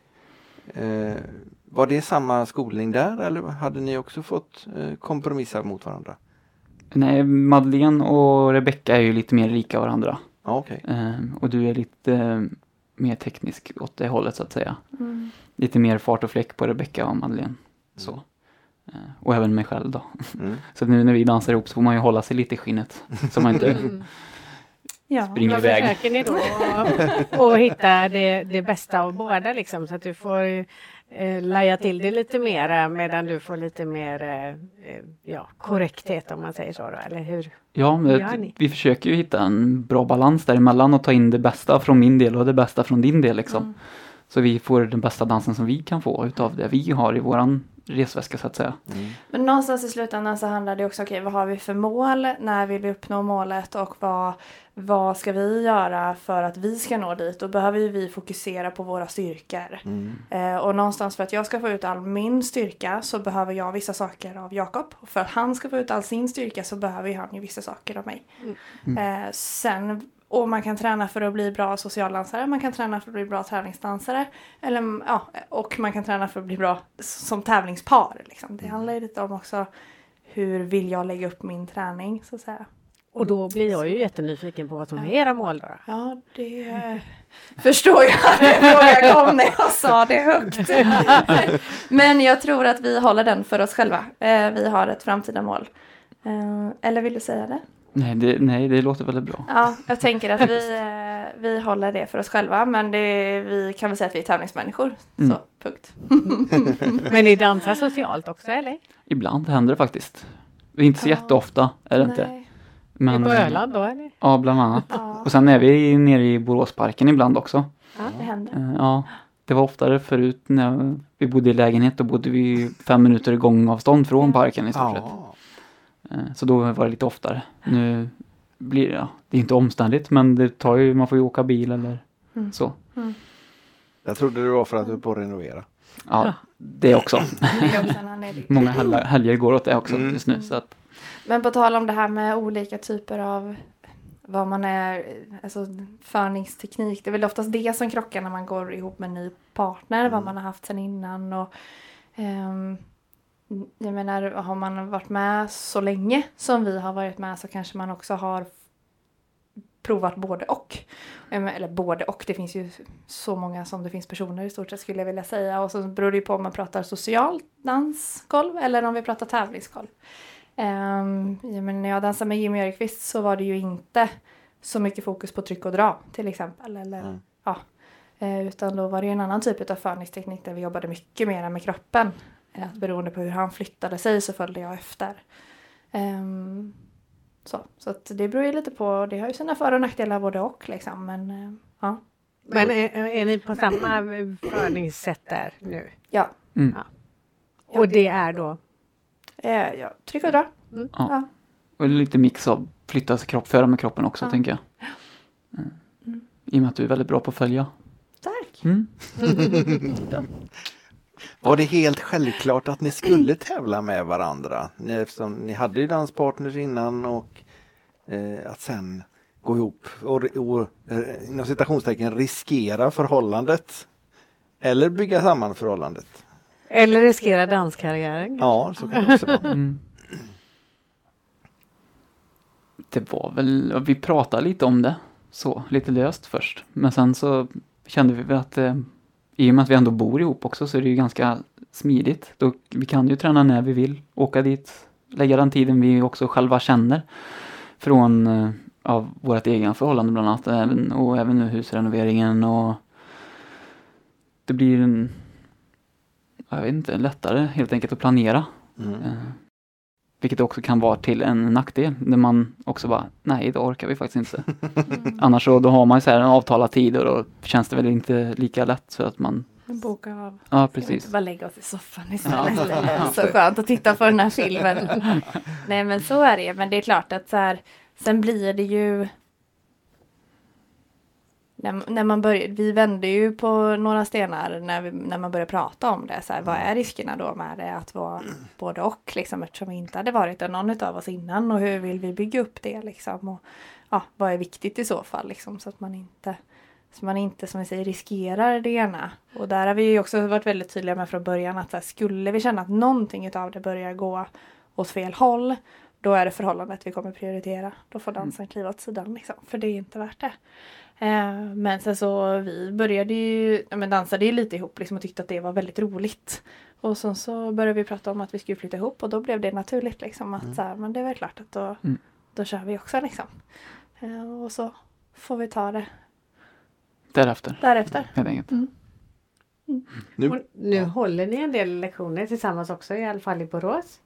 [SPEAKER 2] Eh, var det samma skolning där eller hade ni också fått eh, kompromissa mot varandra?
[SPEAKER 4] Nej, Madeleine och Rebecca är ju lite mer lika varandra.
[SPEAKER 2] Ja, okej.
[SPEAKER 4] Ehm, och du är lite eh, mer teknisk åt det hållet så att säga. Lite mer fart och fläck på Rebecca och Madeleine. Så. Eh, och även mig själv då.
[SPEAKER 2] Mm.
[SPEAKER 4] Så nu när vi dansar ihop så får man ju hålla sig lite i skinnet. Så man inte
[SPEAKER 5] Mm.
[SPEAKER 3] ja.
[SPEAKER 4] springer
[SPEAKER 5] Vad
[SPEAKER 4] iväg.
[SPEAKER 5] försöker ni då att- att hitta det, det bästa av båda liksom så att du får eh, laja till det lite mera medan du får lite mer eh, eh, ja, korrekthet om man säger så då, eller hur?
[SPEAKER 4] Ja, men
[SPEAKER 5] Gör ni?
[SPEAKER 4] vi försöker ju hitta en bra balans däremellan och ta in det bästa från min del och det bästa från din del liksom.
[SPEAKER 5] Mm.
[SPEAKER 4] Så vi får den bästa dansen som vi kan få utav det vi har i våran resväska så att säga.
[SPEAKER 3] Men någonstans i slutändan så handlar det också okej vad har vi för mål? När vill vi uppnå målet och vad, vad ska vi göra för att vi ska nå dit? Då behöver ju vi fokusera på våra styrkor. Eh, och någonstans för att jag ska få ut all min styrka så behöver jag vissa saker av Jakob. Och för att han ska få ut all sin styrka så behöver ju han ju vissa saker av mig. Eh, sen, och man kan träna för att bli bra socialdansare, man kan träna för att bli bra tävlingsdansare. Eller, mm, ja, och man kan träna för att bli bra s- som tävlingspar. Liksom. Det handlar ju lite om också hur vill jag lägga upp min träning så att säga.
[SPEAKER 5] Och då blir jag ju jättenyfiken på vad som är era mål då.
[SPEAKER 3] Ja, det förstår jag att den frågan kom när jag sa det högt. Men jag tror att vi håller den för oss själva. Eh, Vi har ett framtida mål. Eh, Eller vill du säga det?
[SPEAKER 4] Nej, det, nej, det låter väldigt bra.
[SPEAKER 3] Ja, jag tänker att vi, eh, vi håller det för oss själva. Men det, vi kan väl säga att vi är tävlingsmänniskor.
[SPEAKER 4] Mm.
[SPEAKER 3] Så, punkt.
[SPEAKER 5] Men ni dansar socialt också eller?
[SPEAKER 4] Ibland händer det faktiskt. Det är inte så
[SPEAKER 3] Ja.
[SPEAKER 4] jätteofta, är det inte? Men,
[SPEAKER 5] på Öland då eller?
[SPEAKER 4] Ja, bland annat.
[SPEAKER 3] Ja,
[SPEAKER 4] Och sen är vi nere i Boråsparken ibland också.
[SPEAKER 3] det händer.
[SPEAKER 4] Eh, Ja, det var oftare förut när vi bodde i lägenhet. Då bodde vi fem minuter i gångavstånd från parken i stort sett.
[SPEAKER 2] Ja.
[SPEAKER 4] Eh, Så då var det lite oftare. Nu blir det, ja, det är inte omständigt men det tar ju, man får ju åka bil eller
[SPEAKER 3] Mm.
[SPEAKER 4] så.
[SPEAKER 2] Jag trodde det var för att du är på att renovera.
[SPEAKER 4] Ja, det också.
[SPEAKER 3] Det är också en anledning.
[SPEAKER 4] Många helga- helger går åt det också
[SPEAKER 2] Mm.
[SPEAKER 4] just nu. Så att,
[SPEAKER 3] Men på tal om det här med olika typer av vad man är, alltså förningsteknik. Det är väl oftast det som krockar när man går ihop med en ny partner. Vad man har haft sen innan och ehm, jag menar har man varit med så länge som vi har varit med så kanske man också har provat både och. Ehm, Eller både och, det finns ju så många som det finns personer i stort sett skulle jag vilja säga. Och så beror det ju på om man pratar social dansgolv eller om vi pratar tävlingsgolv. Um, jag menar, när jag dansade med Jimmy Örqvist så var det ju inte så mycket fokus på tryck och dra till exempel. Eller,
[SPEAKER 2] Mm.
[SPEAKER 3] ja, Eh, utan då var det ju en annan typ av förningsteknik där vi jobbade mycket mer med kroppen. Eh, Att beroende på hur han flyttade sig så följde jag efter. Ehm, så så att det beror ju lite på, det har ju sina för och nackdelar både och liksom. Men eh, ja,
[SPEAKER 5] Men är, är ni på samma förningssätt där nu?
[SPEAKER 3] ja.
[SPEAKER 4] mm.
[SPEAKER 5] Och det är då?
[SPEAKER 3] Eh, ja tryck och dra.
[SPEAKER 4] Ja.
[SPEAKER 3] Ja.
[SPEAKER 4] Och lite mix av flytta sig kropp, föra med kroppen också
[SPEAKER 3] Ja.
[SPEAKER 4] tänker jag. Mm. I och med att du är väldigt bra på att följa.
[SPEAKER 3] Tack!
[SPEAKER 4] Mm.
[SPEAKER 2] Var det helt självklart att ni skulle tävla med varandra? Ni- Eftersom ni hade ju danspartners innan och eh, att sen gå ihop och, och eh, inom citationstecken riskera förhållandet. Eller bygga samman förhållandet.
[SPEAKER 5] Eller riskera danskarriären?
[SPEAKER 2] Ja, så kan det också vara.
[SPEAKER 4] Mm. Det var väl, vi pratade lite om det så, lite löst först. Men sen så kände vi väl att eh, i och med att vi ändå bor ihop också så är det ju ganska smidigt. Då, vi kan ju träna när vi vill, åka dit, lägga den tiden vi också själva känner från eh, av vårt egna förhållande bland annat även, och även nu husrenoveringen och det blir en, jag vet inte, lättare helt enkelt att planera
[SPEAKER 2] Mm.
[SPEAKER 4] Eh, Vilket också kan vara till en nackdel när man också bara, nej det orkar vi faktiskt inte. Annars så då har man ju så här en avtalad tid och då känns det väl inte lika lätt så att man,
[SPEAKER 3] Boka av.
[SPEAKER 4] ja
[SPEAKER 3] Ska vi inte
[SPEAKER 4] precis.
[SPEAKER 3] bara lägga oss i soffan
[SPEAKER 4] Ja.
[SPEAKER 3] istället? Så skönt att titta på den här filmen. Nej men så är det Men det är klart att så här, sen blir det ju... När, när man börjar, vi vände ju på några stenar när, vi, när man började prata om det. Så här,
[SPEAKER 4] Mm.
[SPEAKER 3] vad är riskerna då med det att vara både och? Liksom, eftersom vi inte hade varit det någon av oss innan. Och hur vill vi bygga upp det? Liksom, och, ja, vad är viktigt i så fall? Liksom, så att man inte så man inte som vi säger riskerar det ena. Och där har vi ju också varit väldigt tydliga med från början att så här, skulle vi känna att någonting utav det börjar gå åt fel håll. Då är det förhållandet vi kommer prioritera. Då får dansen kliva åt sidan liksom. För det är inte värt det. Eh, men sen så vi började ju, ja, men dansade ju lite ihop liksom och tyckte att det var väldigt roligt. Och sen så började vi prata om att vi skulle flytta ihop och då blev det naturligt liksom att så här, men det är väl klart att då,
[SPEAKER 4] Mm.
[SPEAKER 3] då kör vi också liksom. Eh, och så får vi ta det
[SPEAKER 4] Därefter
[SPEAKER 3] därefter.
[SPEAKER 4] helt enkelt.
[SPEAKER 2] Nu,
[SPEAKER 5] Och nu håller ni en del lektioner tillsammans också, i alla fall i Borås.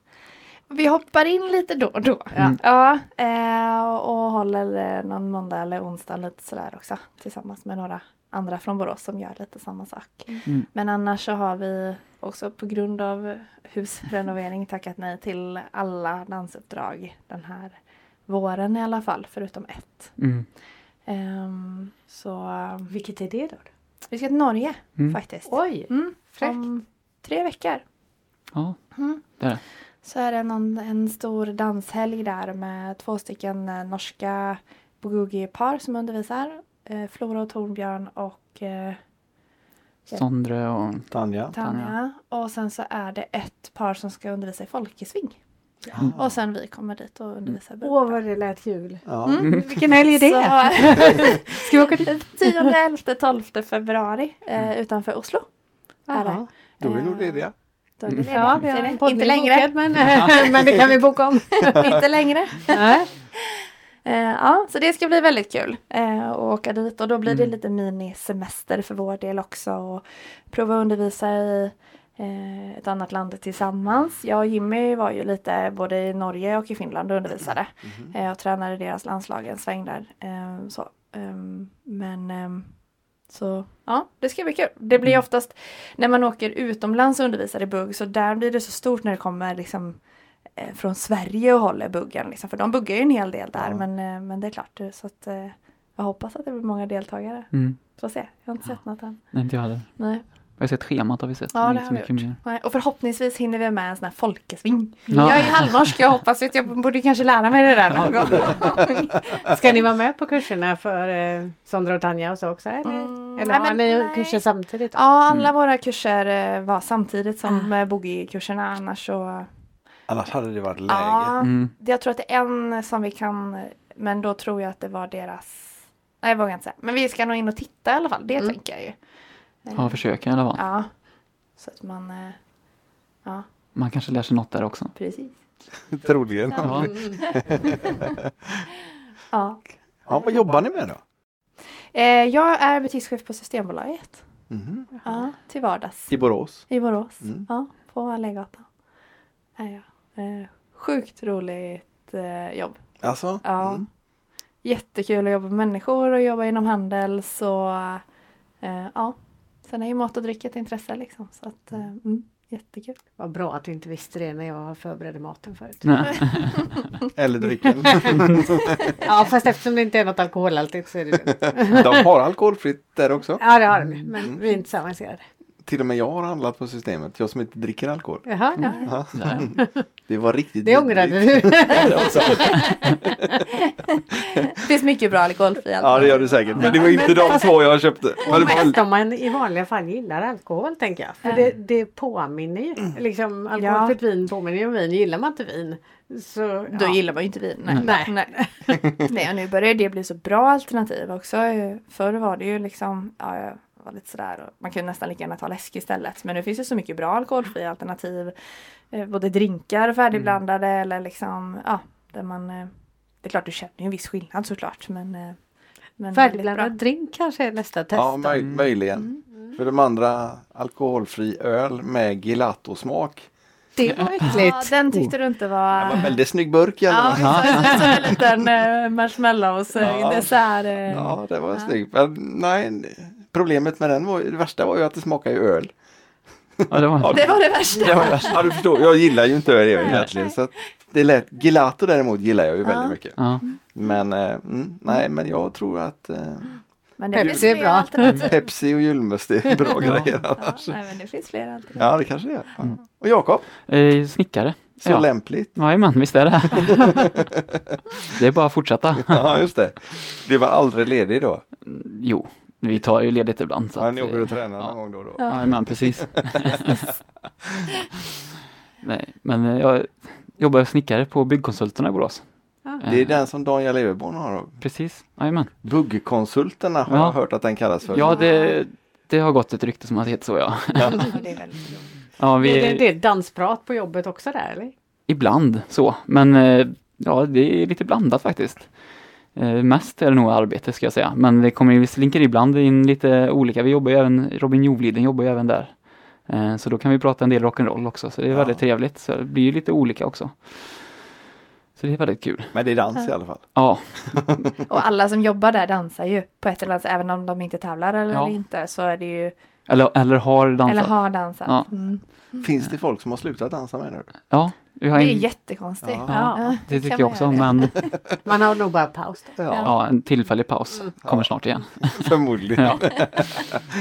[SPEAKER 3] Vi hoppar in lite då och då.
[SPEAKER 4] Mm.
[SPEAKER 3] Ja, eh, och håller eh, någon måndag eller onsdag lite sådär också. Tillsammans med några andra från Borås som gör lite samma sak.
[SPEAKER 4] Mm.
[SPEAKER 3] Men annars så har vi också på grund av husrenovering tackat nej till alla dansuppdrag den här våren i alla fall, förutom ett.
[SPEAKER 4] Mm.
[SPEAKER 3] Ehm, så eh,
[SPEAKER 5] Vilket är det då?
[SPEAKER 3] vi ska till Norge
[SPEAKER 4] Mm.
[SPEAKER 3] faktiskt.
[SPEAKER 5] Oj,
[SPEAKER 3] Mm,
[SPEAKER 5] fräckt.
[SPEAKER 3] om tre veckor.
[SPEAKER 4] Ja,
[SPEAKER 3] Mm.
[SPEAKER 4] det är det.
[SPEAKER 3] Så är det någon, en stor danshelg där med två stycken eh, norska boogie-par som undervisar. Eh, Flora och Tornbjörn och eh,
[SPEAKER 4] Sondre och
[SPEAKER 2] Tanja.
[SPEAKER 3] Tanja. Och sen så är det ett par som ska undervisa i folkesving.
[SPEAKER 2] Mm.
[SPEAKER 3] Och sen vi kommer dit och undervisar. Mm.
[SPEAKER 5] Åh vad det lät kul.
[SPEAKER 2] Ja.
[SPEAKER 4] Mm.
[SPEAKER 5] Mm. Vilken helg är det?
[SPEAKER 3] Ska vi åka dit? 10, 11, 12 februari
[SPEAKER 5] Mm.
[SPEAKER 3] eh, utanför Oslo. Är det.
[SPEAKER 5] Jaha.
[SPEAKER 2] Då är vi nog
[SPEAKER 3] Eh,
[SPEAKER 2] lediga.
[SPEAKER 3] Då är det ledigt.
[SPEAKER 5] Ja, vi
[SPEAKER 3] Ser
[SPEAKER 5] har
[SPEAKER 3] ni?
[SPEAKER 5] en podd
[SPEAKER 3] Inte längre.
[SPEAKER 5] bokad, men, men det kan vi boka om.
[SPEAKER 3] Inte längre.
[SPEAKER 5] Nej.
[SPEAKER 3] Eh, ja, så det ska bli väldigt kul eh, att åka dit och då blir det lite minisemester för vår del också och prova att undervisa i eh, ett annat land tillsammans. Jag och Jimmy var ju lite både i Norge och i Finland och undervisade eh, och tränade deras landslag en sväng där. Eh, så. Ehm, men ehm, så ja, det ska bli kul. Det blir oftast när man åker utomlands och undervisar i bugg så där blir det så stort när det kommer liksom eh, från Sverige och håller buggen. Liksom, för de buggar ju en hel del där
[SPEAKER 2] Ja.
[SPEAKER 3] men, eh, men det är klart. eh, Så att, eh, jag hoppas att det blir många deltagare.
[SPEAKER 4] Mm.
[SPEAKER 3] Får se, jag har inte sett något än.
[SPEAKER 4] Nej, inte jag heller.
[SPEAKER 3] Nej.
[SPEAKER 4] Jag har sett schemat har vi sett.
[SPEAKER 3] Ja,
[SPEAKER 4] men
[SPEAKER 3] det
[SPEAKER 4] inte
[SPEAKER 3] har vi
[SPEAKER 4] mycket mer.
[SPEAKER 3] Nej, och förhoppningsvis hinner vi med en sån här folkesving.
[SPEAKER 4] Ja.
[SPEAKER 3] Jag är halvnorsk, jag hoppas att jag borde kanske lära mig det där någon gång.
[SPEAKER 5] Ska ni vara med på kurserna för eh, Sondra och Tanja och så också? Eller,
[SPEAKER 3] Mm,
[SPEAKER 5] eller
[SPEAKER 3] nej,
[SPEAKER 5] har
[SPEAKER 3] men
[SPEAKER 5] ni
[SPEAKER 3] nej.
[SPEAKER 5] kurser samtidigt?
[SPEAKER 3] Ja, alla våra kurser eh, var samtidigt som ah. boogie-kurserna annars så...
[SPEAKER 2] Annars hade det varit läge.
[SPEAKER 3] Ja,
[SPEAKER 4] Mm.
[SPEAKER 3] det- jag tror att det är en som vi kan, men då tror jag att det var deras... Nej, jag vågar inte säga. Men vi ska nog in och titta i alla fall, det tänker jag ju.
[SPEAKER 4] Ja, försöka i alla fall.
[SPEAKER 3] Ja, så att man... eh, Ja,
[SPEAKER 4] Man kanske lär sig något där också.
[SPEAKER 3] precis.
[SPEAKER 2] Troligen.
[SPEAKER 4] Ja.
[SPEAKER 5] Mm.
[SPEAKER 3] Ja.
[SPEAKER 2] Ja, vad jobbar ni med då?
[SPEAKER 3] Eh, jag är butikschef på Systembolaget.
[SPEAKER 2] Mhm.
[SPEAKER 3] Ja, till vardags.
[SPEAKER 2] I Borås.
[SPEAKER 3] I Borås.
[SPEAKER 2] Mm.
[SPEAKER 3] Ja, på Allégatan. Ja, ja. Eh, sjukt roligt eh, jobb.
[SPEAKER 2] Alltså?
[SPEAKER 3] Ja.
[SPEAKER 2] Mm.
[SPEAKER 3] Jättekul att jobba med människor och jobba inom handel så eh, ja. Sen är ju mat och dryck ett intresse liksom så att eh, mm, jättekul.
[SPEAKER 5] Vad bra att du inte visste det när jag förberedde maten förut.
[SPEAKER 4] Nej.
[SPEAKER 2] Eller drycken.
[SPEAKER 5] Ja, fast eftersom det inte är något alkoholhaltigt så är det lugnt.
[SPEAKER 2] De har alkoholfritt där också.
[SPEAKER 5] Ja, det har de. Men vi är inte samma serie.
[SPEAKER 2] Till och med jag har handlat på systemet. Jag som inte dricker alkohol.
[SPEAKER 5] Jaha, ja.
[SPEAKER 4] Mm. Där.
[SPEAKER 2] Det var riktigt
[SPEAKER 5] Det ångrade
[SPEAKER 2] vidrigt.
[SPEAKER 5] du.
[SPEAKER 4] Mm.
[SPEAKER 3] Det finns mycket bra alkoholfri
[SPEAKER 2] Ja det gör du säkert. Men det var inte de två jag köpte. Men det
[SPEAKER 5] Mest
[SPEAKER 2] var...
[SPEAKER 5] om man i vanliga fall gillar alkohol tänker jag. För det, det påminner
[SPEAKER 4] Mm.
[SPEAKER 5] ju. Liksom, alkoholfritt vin påminner ju om vin. Gillar man inte vin så...
[SPEAKER 3] Då
[SPEAKER 5] ja. Mm.
[SPEAKER 3] gillar man ju inte vin. Nej.
[SPEAKER 5] Nej.
[SPEAKER 3] Nej. Nej, och nu börjar det bli så bra alternativ också. Förr var det ju liksom, ja, jag var lite sådär, och man kunde nästan lika gärna ta läsk istället. Men nu finns det så mycket bra alkoholfria alternativ. Eh, Både drinkar färdigblandade
[SPEAKER 5] Mm.
[SPEAKER 3] eller liksom, ja, där man, eh, det är klart du känner ju en viss skillnad såklart. Men, eh, men väldigt bra.
[SPEAKER 5] Färdigblandad drink kanske är nästa test.
[SPEAKER 2] Ja
[SPEAKER 5] då.
[SPEAKER 2] möj- möjligen. För de andra alkoholfri öl med gelatosmak.
[SPEAKER 5] Det var
[SPEAKER 3] Ja,
[SPEAKER 5] äckligt.
[SPEAKER 3] den tyckte du inte var...
[SPEAKER 2] Det var en väldigt snygg burk i alla
[SPEAKER 3] Ah. Ja,
[SPEAKER 2] fall.
[SPEAKER 3] visst, en liten eh, marshmallows eh,
[SPEAKER 2] Ja.
[SPEAKER 3] dessert. eh.
[SPEAKER 2] Ja det var snyggt. Men nej. Problemet med den var ju, det värsta var ju att det smakade ju öl.
[SPEAKER 4] Ja, det var
[SPEAKER 3] Det var det värsta.
[SPEAKER 2] Det var värst. Ja du förstår, jag gillar ju inte öl egentligen. Så att det lät, gelato däremot gillar jag ju väldigt mycket.
[SPEAKER 4] Ja.
[SPEAKER 2] Men eh, mm, nej men jag tror att eh,
[SPEAKER 3] Men
[SPEAKER 5] Pepsi är
[SPEAKER 3] fler
[SPEAKER 5] bra.
[SPEAKER 3] alternativ.
[SPEAKER 2] Pepsi och julmust är bra grejer
[SPEAKER 3] Ja,
[SPEAKER 4] Alltså.
[SPEAKER 2] annars.
[SPEAKER 3] nej, men det finns fler alternativ.
[SPEAKER 2] Ja det kanske det är. Ja. Och Jakob,
[SPEAKER 4] Eh, snickare.
[SPEAKER 2] så
[SPEAKER 4] Mm. ja.
[SPEAKER 2] lämpligt.
[SPEAKER 4] Jajamän, visst är det. det är bara att fortsätta.
[SPEAKER 2] Ja, just det. Du var aldrig ledig då?
[SPEAKER 4] Jo, vi tar ju ledigt ibland. Så
[SPEAKER 2] Han
[SPEAKER 4] att,
[SPEAKER 2] åker
[SPEAKER 4] eh,
[SPEAKER 2] och tränar
[SPEAKER 4] ja.
[SPEAKER 2] någon gång då och då.
[SPEAKER 4] Ja, men precis. Nej, men eh, jag jobbar som snickare på Byggkonsulterna i Borås. Eh,
[SPEAKER 2] Det är den som Daniel Everborn har.
[SPEAKER 4] Precis, jajamän.
[SPEAKER 2] Buggkonsulterna har
[SPEAKER 4] Ja.
[SPEAKER 2] jag hört att den kallas för.
[SPEAKER 4] Ja, det, det har gått ett rykte som har hetat så ja.
[SPEAKER 3] Ja, det är väldigt roligt.
[SPEAKER 4] ja vi,
[SPEAKER 5] Är det, det är dansprat på jobbet också där eller?
[SPEAKER 4] Ibland så, men eh, ja, det är lite blandat faktiskt. Eh, Mest är det nog arbete ska jag säga, men det kommer ju slinker ibland in lite olika. Vi jobbar ju även, Robin Jovliden jobbar ju även där. Eh, Så då kan vi prata en del rock'n'roll också, så det är
[SPEAKER 2] Ja.
[SPEAKER 4] väldigt trevligt. Så det blir ju lite olika också. Så det är väldigt kul.
[SPEAKER 2] Men det är dans i alla fall.
[SPEAKER 4] Ja,
[SPEAKER 3] Och alla som jobbar där dansar ju på ett eller annat sätt, även om de inte tävlar eller
[SPEAKER 4] Ja.
[SPEAKER 3] inte så är det ju,
[SPEAKER 4] eller, eller har dansat.
[SPEAKER 3] eller har dansat.
[SPEAKER 4] Ja.
[SPEAKER 3] Mm.
[SPEAKER 2] Finns det folk som har slutat dansa med nu?
[SPEAKER 4] Ja, vi
[SPEAKER 3] Det
[SPEAKER 4] har
[SPEAKER 3] är
[SPEAKER 4] en,
[SPEAKER 3] jättekonstigt.
[SPEAKER 2] Ja.
[SPEAKER 5] Ja.
[SPEAKER 4] det
[SPEAKER 3] kan
[SPEAKER 4] tycker jag
[SPEAKER 3] man
[SPEAKER 4] också,
[SPEAKER 3] göra.
[SPEAKER 4] men
[SPEAKER 5] Man har nog bara paus. då.
[SPEAKER 4] ja, en tillfällig paus
[SPEAKER 2] Mm.
[SPEAKER 4] kommer snart igen.
[SPEAKER 2] Förmodligen.
[SPEAKER 4] Ja.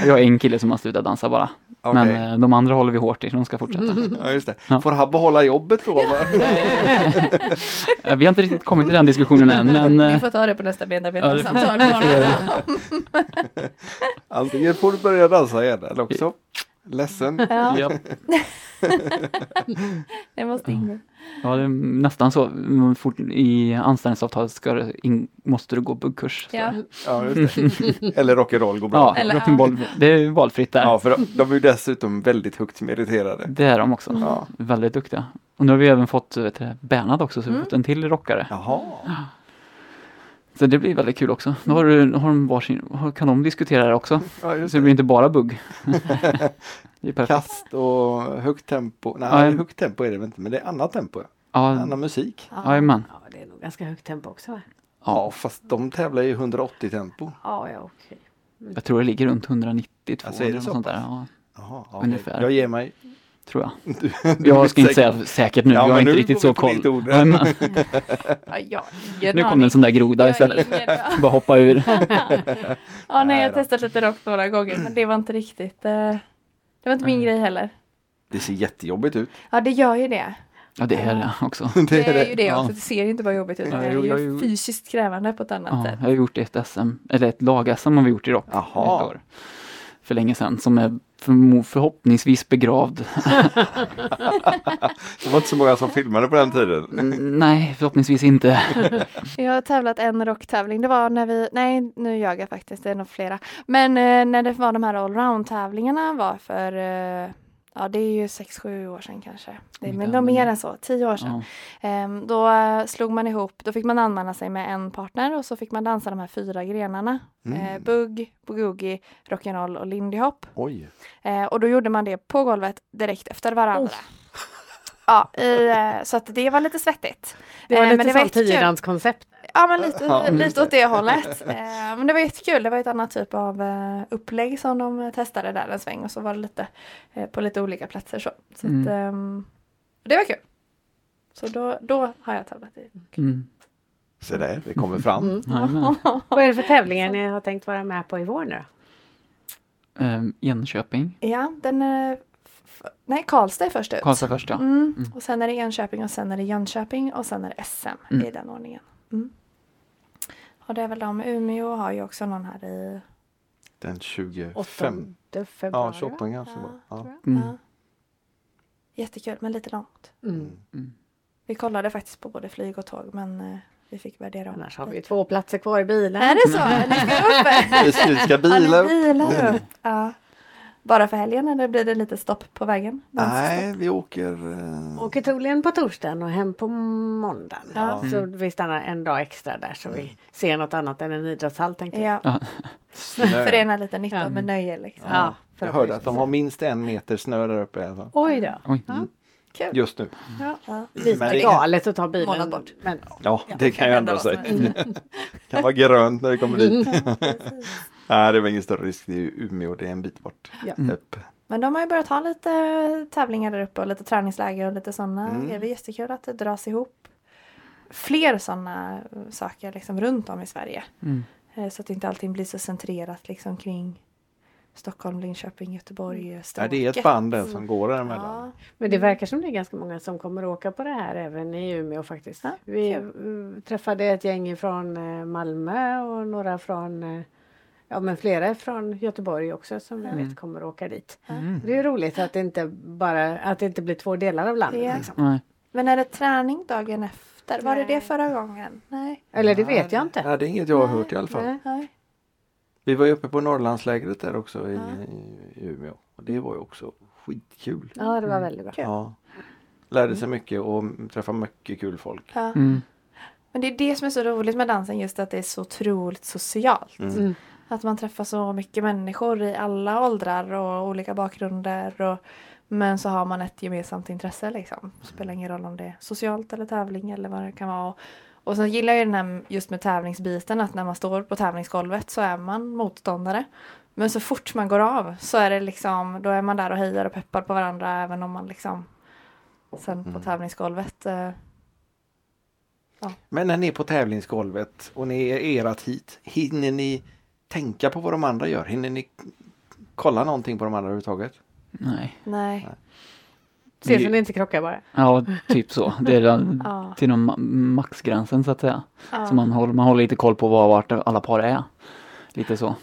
[SPEAKER 4] Jag har en kille som har slutat dansa bara,
[SPEAKER 2] Okej.
[SPEAKER 4] men eh, de andra håller vi hårt i, de ska fortsätta.
[SPEAKER 2] Ja, just det. Får han behålla jobbet då? va?
[SPEAKER 4] Eh, Vi har inte riktigt kommit till den diskussionen än, men
[SPEAKER 3] Vi
[SPEAKER 4] eh,
[SPEAKER 3] får ta det på nästa
[SPEAKER 4] Ja,
[SPEAKER 3] medarbetarsamtal.
[SPEAKER 2] Antingen får du börja dansa igen eller också ledsen.
[SPEAKER 3] ja,
[SPEAKER 4] ja,
[SPEAKER 3] det måste
[SPEAKER 4] Mm.
[SPEAKER 3] ingå.
[SPEAKER 4] ja, det är nästan så. Mm, Fort, I anställningsavtalet ska det in, måste du gå buggkurs. så.
[SPEAKER 3] Ja.
[SPEAKER 2] Ja, just det. Eller rock'n'roll går
[SPEAKER 4] ja
[SPEAKER 2] bra.
[SPEAKER 3] Eller-
[SPEAKER 4] rock'n'roll, det är ju valfritt där.
[SPEAKER 2] Ja, för de, de är ju dessutom väldigt högt meriterade.
[SPEAKER 4] Det är de också.
[SPEAKER 2] Ja.
[SPEAKER 4] Väldigt duktiga. Och nu har vi även fått eh, vet du, Bernhard också, så
[SPEAKER 3] Mm.
[SPEAKER 4] vi har fått en till rockare.
[SPEAKER 2] Jaha.
[SPEAKER 4] Så det blir väldigt kul också. Då har, du, har de varsin, har- kan de diskutera det också.
[SPEAKER 2] Ja, just
[SPEAKER 4] Så det blir inte bara bugg. Det är perfekt.
[SPEAKER 2] Kast och högt tempo. Nej,
[SPEAKER 4] Ja, en-
[SPEAKER 2] högt tempo är det väl inte, men det är annat tempo.
[SPEAKER 4] Ja,
[SPEAKER 2] Annan musik.
[SPEAKER 4] Jajamän.
[SPEAKER 1] Ja, det är nog ganska högt tempo också va?
[SPEAKER 2] Ja, fast de tävlar ju i 180 tempo.
[SPEAKER 1] Ja, ja okej.
[SPEAKER 4] Jag tror det ligger runt 190
[SPEAKER 2] Alltså, är det
[SPEAKER 4] 200
[SPEAKER 2] så
[SPEAKER 4] sånt där.
[SPEAKER 2] pass?
[SPEAKER 4] Ja,
[SPEAKER 2] Jaha, ja,
[SPEAKER 4] Ungefär.
[SPEAKER 2] Jag ger mig.
[SPEAKER 4] tror jag.
[SPEAKER 2] Du- du är
[SPEAKER 4] Jag ska inte
[SPEAKER 2] säker.
[SPEAKER 4] säga säkert nu,
[SPEAKER 2] Ja,
[SPEAKER 4] jag
[SPEAKER 2] men
[SPEAKER 4] har inte
[SPEAKER 2] nu
[SPEAKER 4] riktigt
[SPEAKER 2] går vi
[SPEAKER 4] så
[SPEAKER 2] på
[SPEAKER 4] koll.
[SPEAKER 2] ditt ord.
[SPEAKER 4] Jajamän.
[SPEAKER 3] Ja, jag har ingen
[SPEAKER 4] Nu kom
[SPEAKER 3] aning.
[SPEAKER 4] det en sån där groda
[SPEAKER 3] Jag
[SPEAKER 4] istället.
[SPEAKER 3] har ingen aning.
[SPEAKER 4] Bara hoppa ur.
[SPEAKER 3] Ja, nej, jag
[SPEAKER 2] Nej
[SPEAKER 3] har
[SPEAKER 2] då.
[SPEAKER 3] testat lite rock några gånger men det var inte riktigt. Eh, det var inte
[SPEAKER 4] Mm.
[SPEAKER 3] min grej heller.
[SPEAKER 2] Det ser jättejobbigt ut.
[SPEAKER 3] Ja, det gör ju det.
[SPEAKER 4] Ja, det är det också.
[SPEAKER 3] Det är ju det
[SPEAKER 4] Ja.
[SPEAKER 3] också. Det ser ju inte bara jobbigt ut. utan
[SPEAKER 4] Ja,
[SPEAKER 3] Det
[SPEAKER 4] jo,
[SPEAKER 3] är
[SPEAKER 4] jag
[SPEAKER 3] ju
[SPEAKER 4] gjorde-
[SPEAKER 3] fysiskt krävande på ett annat
[SPEAKER 4] Ja, jag
[SPEAKER 3] sätt.
[SPEAKER 4] har gjort ett SM, eller ett lag-SM har vi gjort i rock.
[SPEAKER 2] Jaha.
[SPEAKER 4] Ett år, för länge sedan, som är förmo- förhoppningsvis begravd.
[SPEAKER 2] Det var inte så många som filmade på den tiden.
[SPEAKER 4] Mm, Nej, förhoppningsvis inte.
[SPEAKER 3] Jag har tävlat en rocktävling. Det var när vi, nej nu ljög jag faktiskt, det är nog flera. Men eh, när det var de här allround-tävlingarna var för, eh, ja det är ju 6-7 år sedan kanske. Det, men det var mer än så, 10 år sedan.
[SPEAKER 4] Ja.
[SPEAKER 3] Ehm, då eh, slog man ihop, då fick man anmäla sig med en partner och så fick man dansa de här fyra grenarna.
[SPEAKER 1] Mm.
[SPEAKER 3] Eh, bugg, boogie, rock'n'roll och lindy hop.
[SPEAKER 2] Oj.
[SPEAKER 3] Eh, och då gjorde man det på golvet direkt efter varandra. Ja, i, eh, så att det var lite svettigt.
[SPEAKER 1] Det var
[SPEAKER 3] Eh,
[SPEAKER 1] lite sånt
[SPEAKER 3] jättekul.
[SPEAKER 1] tiodanskoncept.
[SPEAKER 3] Ja men lite,
[SPEAKER 2] Ja,
[SPEAKER 3] lite åt det hållet. Eh, men det var jättekul, det var ett annat typ av eh, upplägg som de eh, testade där en sväng och så var det lite eh, på lite olika platser så. så
[SPEAKER 4] Mm.
[SPEAKER 3] att, ehm, det var kul. Så då, då har jag tävlat i.
[SPEAKER 4] Mm.
[SPEAKER 2] Se där, det kommer fram.
[SPEAKER 4] Jajamän.
[SPEAKER 1] Vad är det för tävlingar ni har tänkt vara med på i vår nu då?
[SPEAKER 4] Ehm, Enköping.
[SPEAKER 3] Ja, den är, f- nej Karlstad är först ut.
[SPEAKER 4] Karlstad först ja.
[SPEAKER 3] Mm. Och sen är det Enköping och sen är det Jönköping och sen är det SM
[SPEAKER 4] Mm.
[SPEAKER 3] i den ordningen. Mm. Och det är väl de, Umeå har ju också någon här i
[SPEAKER 2] Den 25.
[SPEAKER 1] Åttonde
[SPEAKER 2] Ja,
[SPEAKER 1] februari. va?
[SPEAKER 2] 28 kanske.
[SPEAKER 3] Ja,
[SPEAKER 2] var. Ja.
[SPEAKER 3] tror jag.
[SPEAKER 4] Mm.
[SPEAKER 3] Ja. Jättekul, men lite långt.
[SPEAKER 1] Mm.
[SPEAKER 3] Vi kollade faktiskt på både flyg och tåg, men eh, vi fick värdera om.
[SPEAKER 1] Annars har vi ju två platser kvar i bilen.
[SPEAKER 3] Är det så? Ni ska upp?
[SPEAKER 2] Vi ska- vi ska
[SPEAKER 3] Ja, ni
[SPEAKER 2] bila upp.
[SPEAKER 3] bilar upp. Ja. Bara för helgen eller blir det lite stopp på vägen?
[SPEAKER 2] Nej, vi åker... eh,
[SPEAKER 1] Åker troligen på torsdagen och hem på måndagen.
[SPEAKER 3] Ja.
[SPEAKER 1] Så
[SPEAKER 2] Mm.
[SPEAKER 1] vi stannar en dag extra där så vi ser något annat än en idrottshall tänkte jag.
[SPEAKER 3] Ja,
[SPEAKER 2] snö.
[SPEAKER 3] förena lite nytta med nöje liksom.
[SPEAKER 1] Ja,
[SPEAKER 2] Jag hörde att de har minst en meter snö där uppe. Alltså.
[SPEAKER 1] Oj då.
[SPEAKER 4] Oj. Mm.
[SPEAKER 1] Ja.
[SPEAKER 3] Kul.
[SPEAKER 2] Just nu.
[SPEAKER 3] Ja.
[SPEAKER 2] Men
[SPEAKER 1] Lite
[SPEAKER 2] det-
[SPEAKER 1] galet att ta bilen
[SPEAKER 3] Månad bort.
[SPEAKER 1] Men
[SPEAKER 2] Ja, det kan ju
[SPEAKER 3] ändra
[SPEAKER 2] ändra
[SPEAKER 3] vad
[SPEAKER 2] sig.
[SPEAKER 3] som
[SPEAKER 2] kan vara grönt när det kommer dit.
[SPEAKER 1] Mm.
[SPEAKER 2] Nej, det var ingen större risk. Det är ju Umeå, det är en bit bort.
[SPEAKER 1] Ja. Mm.
[SPEAKER 2] Upp.
[SPEAKER 3] Men de har ju börjat ha lite eh, tävlingar där uppe och lite träningsläger och lite sådana
[SPEAKER 2] Mm.
[SPEAKER 3] grejer. Det är jättekul att det dras ihop fler sådana saker liksom runt om i Sverige.
[SPEAKER 4] Mm.
[SPEAKER 3] Eh, Så att inte allting blir så centrerat liksom kring Stockholm, Linköping, Göteborg,
[SPEAKER 2] Mm. Ja,
[SPEAKER 3] Stråket.
[SPEAKER 2] det är ett band där som går däremellan.
[SPEAKER 3] Ja.
[SPEAKER 1] Men det verkar som det är ganska många som kommer att åka på det här även i Umeå faktiskt.
[SPEAKER 3] Ja,
[SPEAKER 1] Vi eh, träffade ett gäng från eh, Malmö och några från eh, Ja men flera från Göteborg också som vi vet kommer att åka dit.
[SPEAKER 4] Mm.
[SPEAKER 1] Det är ju roligt att det inte bara att det inte blir två delar av landet.
[SPEAKER 3] Ja.
[SPEAKER 1] Liksom.
[SPEAKER 4] Nej.
[SPEAKER 3] Men är det träning dagen efter? Var det det förra gången? Nej.
[SPEAKER 1] Eller det vet jag inte.
[SPEAKER 2] Nej, det är inget jag har hört i alla fall.
[SPEAKER 1] Nej.
[SPEAKER 3] Nej.
[SPEAKER 2] Vi var ju uppe på Norrlandslägret där också i, i Umeå. Och det var ju också skitkul.
[SPEAKER 1] Ja det var väldigt bra.
[SPEAKER 2] Ja. Lärde
[SPEAKER 1] Mm.
[SPEAKER 2] sig mycket och träffade mycket kul folk.
[SPEAKER 3] Ja.
[SPEAKER 4] Mm.
[SPEAKER 3] Men det är det som är så roligt med dansen, just att det är så otroligt socialt.
[SPEAKER 2] Mm.
[SPEAKER 1] Mm.
[SPEAKER 3] Att man träffar så mycket människor i alla åldrar och olika bakgrunder. Och, men så har man ett gemensamt intresse liksom. Det spelar ingen roll om det är socialt eller tävling eller vad det kan vara. Och sen gillar jag ju den här just med tävlingsbiten att när man står på tävlingsgolvet så är man motståndare. Men så fort man går av så är det liksom, då är man där och hejar och peppar på varandra även om man liksom sen på
[SPEAKER 2] Mm.
[SPEAKER 3] tävlingsgolvet eh,
[SPEAKER 2] Men när ni är på tävlingsgolvet och ni är erat hit, hinner ni tänka på vad de andra gör? Hinner ni kolla någonting på de andra överhuvudtaget?
[SPEAKER 4] Nej.
[SPEAKER 3] Nej.
[SPEAKER 1] Se så ni inte krockar bara.
[SPEAKER 4] Ja, typ så. Det är den,
[SPEAKER 3] Ja.
[SPEAKER 4] till den ma- maxgränsen så att säga.
[SPEAKER 3] Ja.
[SPEAKER 4] Så man håller, man håller lite koll på var vart alla par är. Lite så.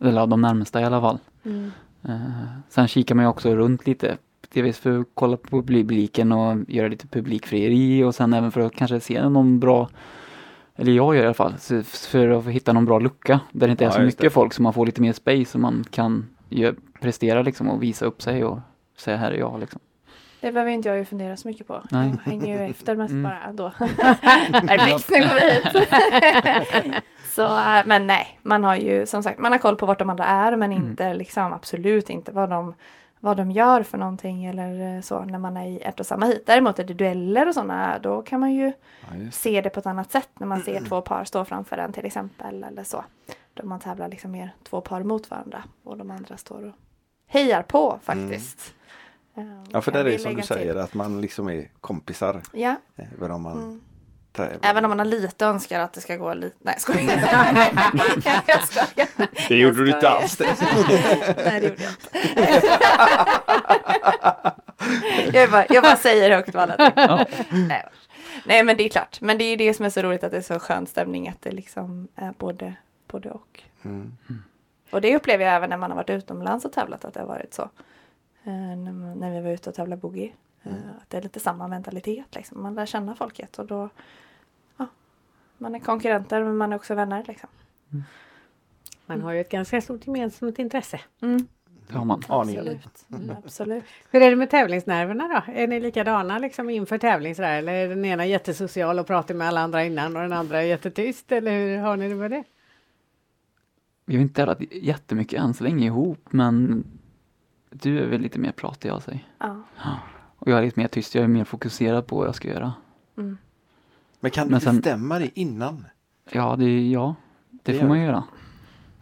[SPEAKER 4] Eller de närmsta i alla fall.
[SPEAKER 3] Mm.
[SPEAKER 4] Eh, sen kikar man ju också runt lite. Delvis för att kolla på publiken och göra lite publikfrieri och sen även för att kanske se någon bra, eller jag gör i alla fall, så- för att hitta någon bra lucka där det inte är
[SPEAKER 2] Ja,
[SPEAKER 4] så
[SPEAKER 2] just
[SPEAKER 4] mycket
[SPEAKER 2] det.
[SPEAKER 4] folk så man får lite mer space så man kan gö- prestera liksom och visa upp sig och säga här är jag liksom.
[SPEAKER 3] Det behöver inte jag ju fundera så mycket på.
[SPEAKER 4] Nej.
[SPEAKER 3] Jag hänger ju efter mest
[SPEAKER 4] Mm.
[SPEAKER 3] bara då. Perfekt, nu går vi hit. så, äh, men
[SPEAKER 4] Mm.
[SPEAKER 3] nej, man har ju som sagt, man har koll på vart de andra är men inte liksom absolut inte vad de vad de gör för någonting eller eh, så när man är i ett och samma hit. Däremot är det dueller och sådana, då kan man ju
[SPEAKER 2] Ja, just.
[SPEAKER 3] se det på ett annat sätt när man ser
[SPEAKER 2] Mm.
[SPEAKER 3] två par stå framför en till exempel eller så. Då man tävlar liksom mer två par mot varandra och de andra står och hejar på faktiskt. Eh,
[SPEAKER 2] Mm. ja, för
[SPEAKER 3] kan
[SPEAKER 2] där är
[SPEAKER 3] vi
[SPEAKER 2] det som
[SPEAKER 3] lägga
[SPEAKER 2] du
[SPEAKER 3] till.
[SPEAKER 2] säger att man liksom är kompisar. eh,
[SPEAKER 3] Ja,
[SPEAKER 2] Även om man...
[SPEAKER 3] Mm.
[SPEAKER 2] trä-
[SPEAKER 3] även om man har lite önskar att det ska gå lite... Nej, skojar. jag skojar.
[SPEAKER 2] Det gjorde du inte alls.
[SPEAKER 3] Nej, det gjorde jag inte. jag, bara, jag bara säger högt vad alla tänker.
[SPEAKER 4] Ja.
[SPEAKER 3] Nej. Nej, men det är klart. Men det är ju det som är så roligt att det är så skön stämning att det liksom är både, både och.
[SPEAKER 2] Mm.
[SPEAKER 3] Och det upplever jag även när man har varit utomlands och tävlat att det har varit så. Eh, när, man, när vi var ute och tävlade boogie. Eh, att det är lite samma mentalitet liksom. Man lär känna folket och då ja, man är konkurrenter men man är också vänner liksom.
[SPEAKER 1] Man har ju ett ganska stort gemensamt intresse.
[SPEAKER 4] Det har man.
[SPEAKER 2] Aningen.
[SPEAKER 3] Absolut. Mm, absolut.
[SPEAKER 1] Hur är det med tävlingsnerverna då? Är ni likadana liksom inför tävling sådär? Eller är den ena jättesocial och pratar med alla andra innan och den andra är jättetyst? Eller hur har ni det med det?
[SPEAKER 4] Vi har inte tävlat jättemycket än så länge ihop men du är väl lite mer pratig av sig.
[SPEAKER 3] Ja.
[SPEAKER 4] Och jag är lite mer tyst, jag är mer fokuserad på vad jag ska göra.
[SPEAKER 3] Mm.
[SPEAKER 2] Men kan du
[SPEAKER 4] Men sen-
[SPEAKER 2] bestämma det innan?
[SPEAKER 4] Ja, det, ja, det,
[SPEAKER 2] Det
[SPEAKER 4] får
[SPEAKER 2] gör
[SPEAKER 4] man göra.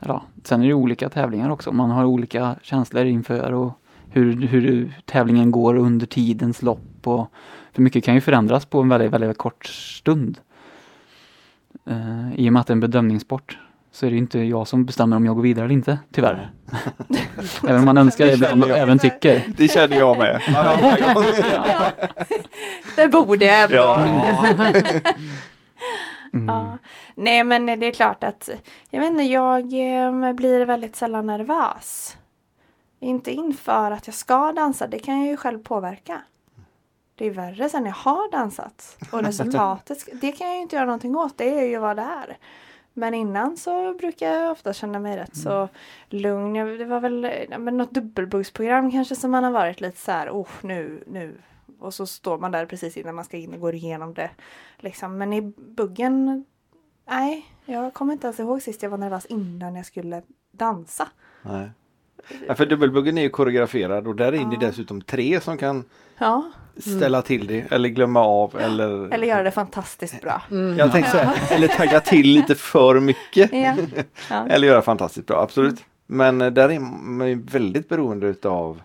[SPEAKER 4] Ja. Sen är det olika tävlingar också, man har olika känslor inför och hur, hur tävlingen går under tidens lopp. Och, för mycket kan ju förändras på en väldigt, väldigt kort stund. Eh, I och med att det är en bedömningssport så är det ju inte jag som bestämmer om jag går vidare eller inte, tyvärr. även om man önskar det, ibland och även tycker.
[SPEAKER 2] Det känner jag med.
[SPEAKER 3] Det borde jag ändå. Mm.
[SPEAKER 2] ja.
[SPEAKER 3] Ja. Nej men det är klart att jag vet inte, jag eh, blir väldigt sällan nervös. Inte inför att jag ska dansa, det kan jag ju själv påverka. Det är värre sen jag har dansat och resultatet, sk- det kan jag ju inte göra någonting åt, det är ju vad det är. Men innan så brukar jag ofta känna mig rätt så lugn. Jag- Det var väl eh, men något dubbelbuggsprogram kanske som man har varit lite så här, oh nu, nu. Och så står man där precis innan man ska in och går igenom det. Liksom. Men i buggen, nej, jag kommer inte ens ihåg sist jag var nervös innan jag skulle dansa.
[SPEAKER 2] Nej. Ja, för dubbelbuggen är ju koreograferad och där är det dessutom tre som kan
[SPEAKER 3] Ja,
[SPEAKER 2] ställa till det eller glömma av eller,
[SPEAKER 3] Mm. eller göra det fantastiskt bra.
[SPEAKER 2] jag tänkte så här, eller tagga till lite för mycket.
[SPEAKER 3] Ja. Ja.
[SPEAKER 2] Eller göra fantastiskt bra, absolut. Men eh, där är man ju väldigt beroende utav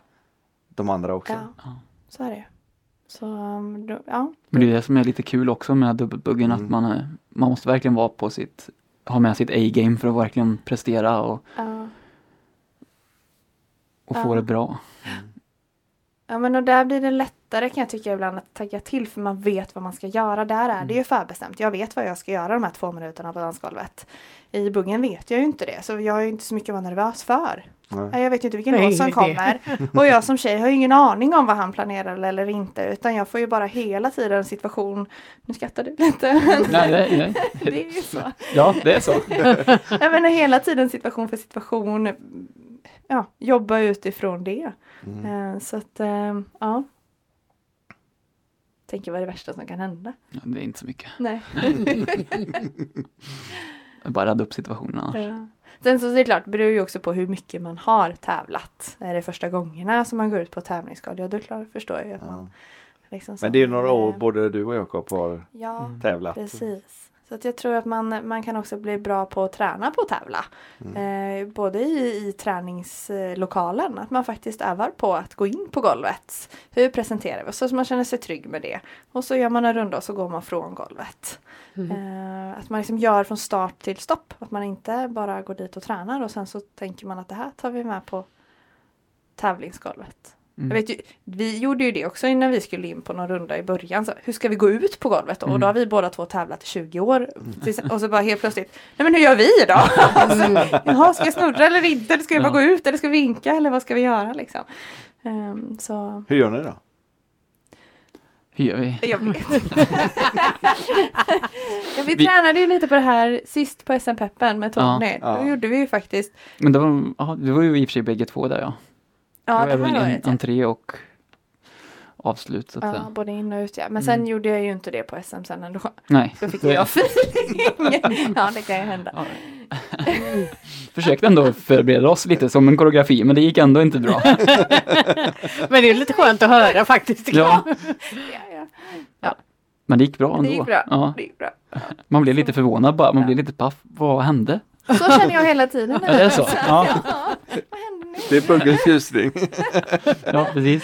[SPEAKER 2] de andra också.
[SPEAKER 3] Ja, så är det ju. Så, um, då, ja.
[SPEAKER 4] Men det är det som är lite kul också med dubbelbuggen att man, eh, man måste verkligen vara på sitt, ha med sitt A-game för att verkligen prestera och,
[SPEAKER 3] ja.
[SPEAKER 4] och
[SPEAKER 3] Ja.
[SPEAKER 4] få det bra.
[SPEAKER 3] Ja men och där blir det lättare kan jag tycka ibland att tagga till för man vet vad man ska göra. Där är det
[SPEAKER 4] Mm.
[SPEAKER 3] ju förbestämt. Jag vet vad jag ska göra de här två minuterna på dansgolvet. I buggen vet jag ju inte det så jag har ju inte så mycket att vara nervös för.
[SPEAKER 2] Nej.
[SPEAKER 3] Nej, Jag vet ju inte vilken
[SPEAKER 1] Nej,
[SPEAKER 3] låt som
[SPEAKER 1] det.
[SPEAKER 3] kommer. Och jag som tjej har ju ingen aning om vad han planerar eller inte utan jag får ju bara hela tiden en situation. Nu skrattar du lite.
[SPEAKER 4] Nej, nej,
[SPEAKER 3] det är ju så.
[SPEAKER 4] Ja, det är så.
[SPEAKER 3] Jag menar hela tiden situation för situation. Ja, jobba utifrån det.
[SPEAKER 2] Mm.
[SPEAKER 3] Eh, Så att, eh, ja. Tänker vad är det värsta som kan hända?
[SPEAKER 4] Ja, det är inte så mycket.
[SPEAKER 3] Nej.
[SPEAKER 4] Jag bara radda upp situationen annars.
[SPEAKER 3] Ja. Sen så är det klart, det beror ju också på hur mycket man har tävlat. Är det första gångerna som man går ut på tävlingsskal, ja då är det klart, förstår jag ju att man liksom så.
[SPEAKER 2] Men det är ju några år Mm.
[SPEAKER 3] Eh,
[SPEAKER 2] både du och Jakob har
[SPEAKER 3] Ja,
[SPEAKER 2] tävlat.
[SPEAKER 3] Precis. Så att jag tror att man, man kan också bli bra på att träna på att tävla. Eh, både i, i träningslokalen, att man faktiskt övar på att gå in på golvet. Hur presenterar vi oss? Så man känner sig trygg med det. Och så gör man en runda och så går man från golvet.
[SPEAKER 1] Mm.
[SPEAKER 3] Eh, att man liksom gör från start till stopp. Att man inte bara går dit och tränar och sen så tänker man att det här tar vi med på tävlingsgolvet.
[SPEAKER 4] Mm.
[SPEAKER 3] Jag
[SPEAKER 2] Mm.
[SPEAKER 3] vet ju, vi gjorde ju det också innan vi skulle in på någon runda i början. Så, hur ska vi gå ut på golvet då? Och då
[SPEAKER 2] Mm.
[SPEAKER 3] har vi båda två tävlat i 20 år. Tills- Och så bara helt plötsligt, nej men hur gör vi då? alltså, jaha, ska jag snurra eller inte? Eller ska jag bara gå ut? Eller ska vi vinka? Eller vad ska vi göra liksom? Ehm, så
[SPEAKER 2] Hur gör ni då?
[SPEAKER 4] Hur gör vi?
[SPEAKER 3] jag vet. ja, vi, tränade ju lite på det här sist på SM Peppen med Tony.
[SPEAKER 2] Ja, ja.
[SPEAKER 3] Då gjorde vi ju faktiskt,
[SPEAKER 4] Men det var, ja, det var ju i och för sig bägge två där ja.
[SPEAKER 3] ja
[SPEAKER 4] det
[SPEAKER 3] det
[SPEAKER 4] var
[SPEAKER 3] här
[SPEAKER 4] även
[SPEAKER 3] året.
[SPEAKER 4] en, entré och avslut så att
[SPEAKER 3] Ja,
[SPEAKER 4] säga.
[SPEAKER 3] både in och ut ja.
[SPEAKER 2] Mm.
[SPEAKER 3] Men sen gjorde jag ju inte det på SM sen ändå.
[SPEAKER 4] Nej.
[SPEAKER 3] Då fick jag feeling. ja, det kan ju hända.
[SPEAKER 4] Ja. Försökte ändå förbereda oss lite som en koreografi, men det gick ändå inte bra.
[SPEAKER 1] Men det är lite skönt att höra faktiskt.
[SPEAKER 4] Ja,
[SPEAKER 3] Ja, ja.
[SPEAKER 4] men det gick bra ändå.
[SPEAKER 3] Det gick bra.
[SPEAKER 4] Ja,
[SPEAKER 3] Det gick bra.
[SPEAKER 4] man blev lite förvånad bara, man blev lite paff. Vad hände?
[SPEAKER 3] Så känner jag hela tiden.
[SPEAKER 4] Ja, det är så. Ja,
[SPEAKER 3] Ja, vad händer nu?
[SPEAKER 2] Det är Buggles tjusning.
[SPEAKER 4] ja precis.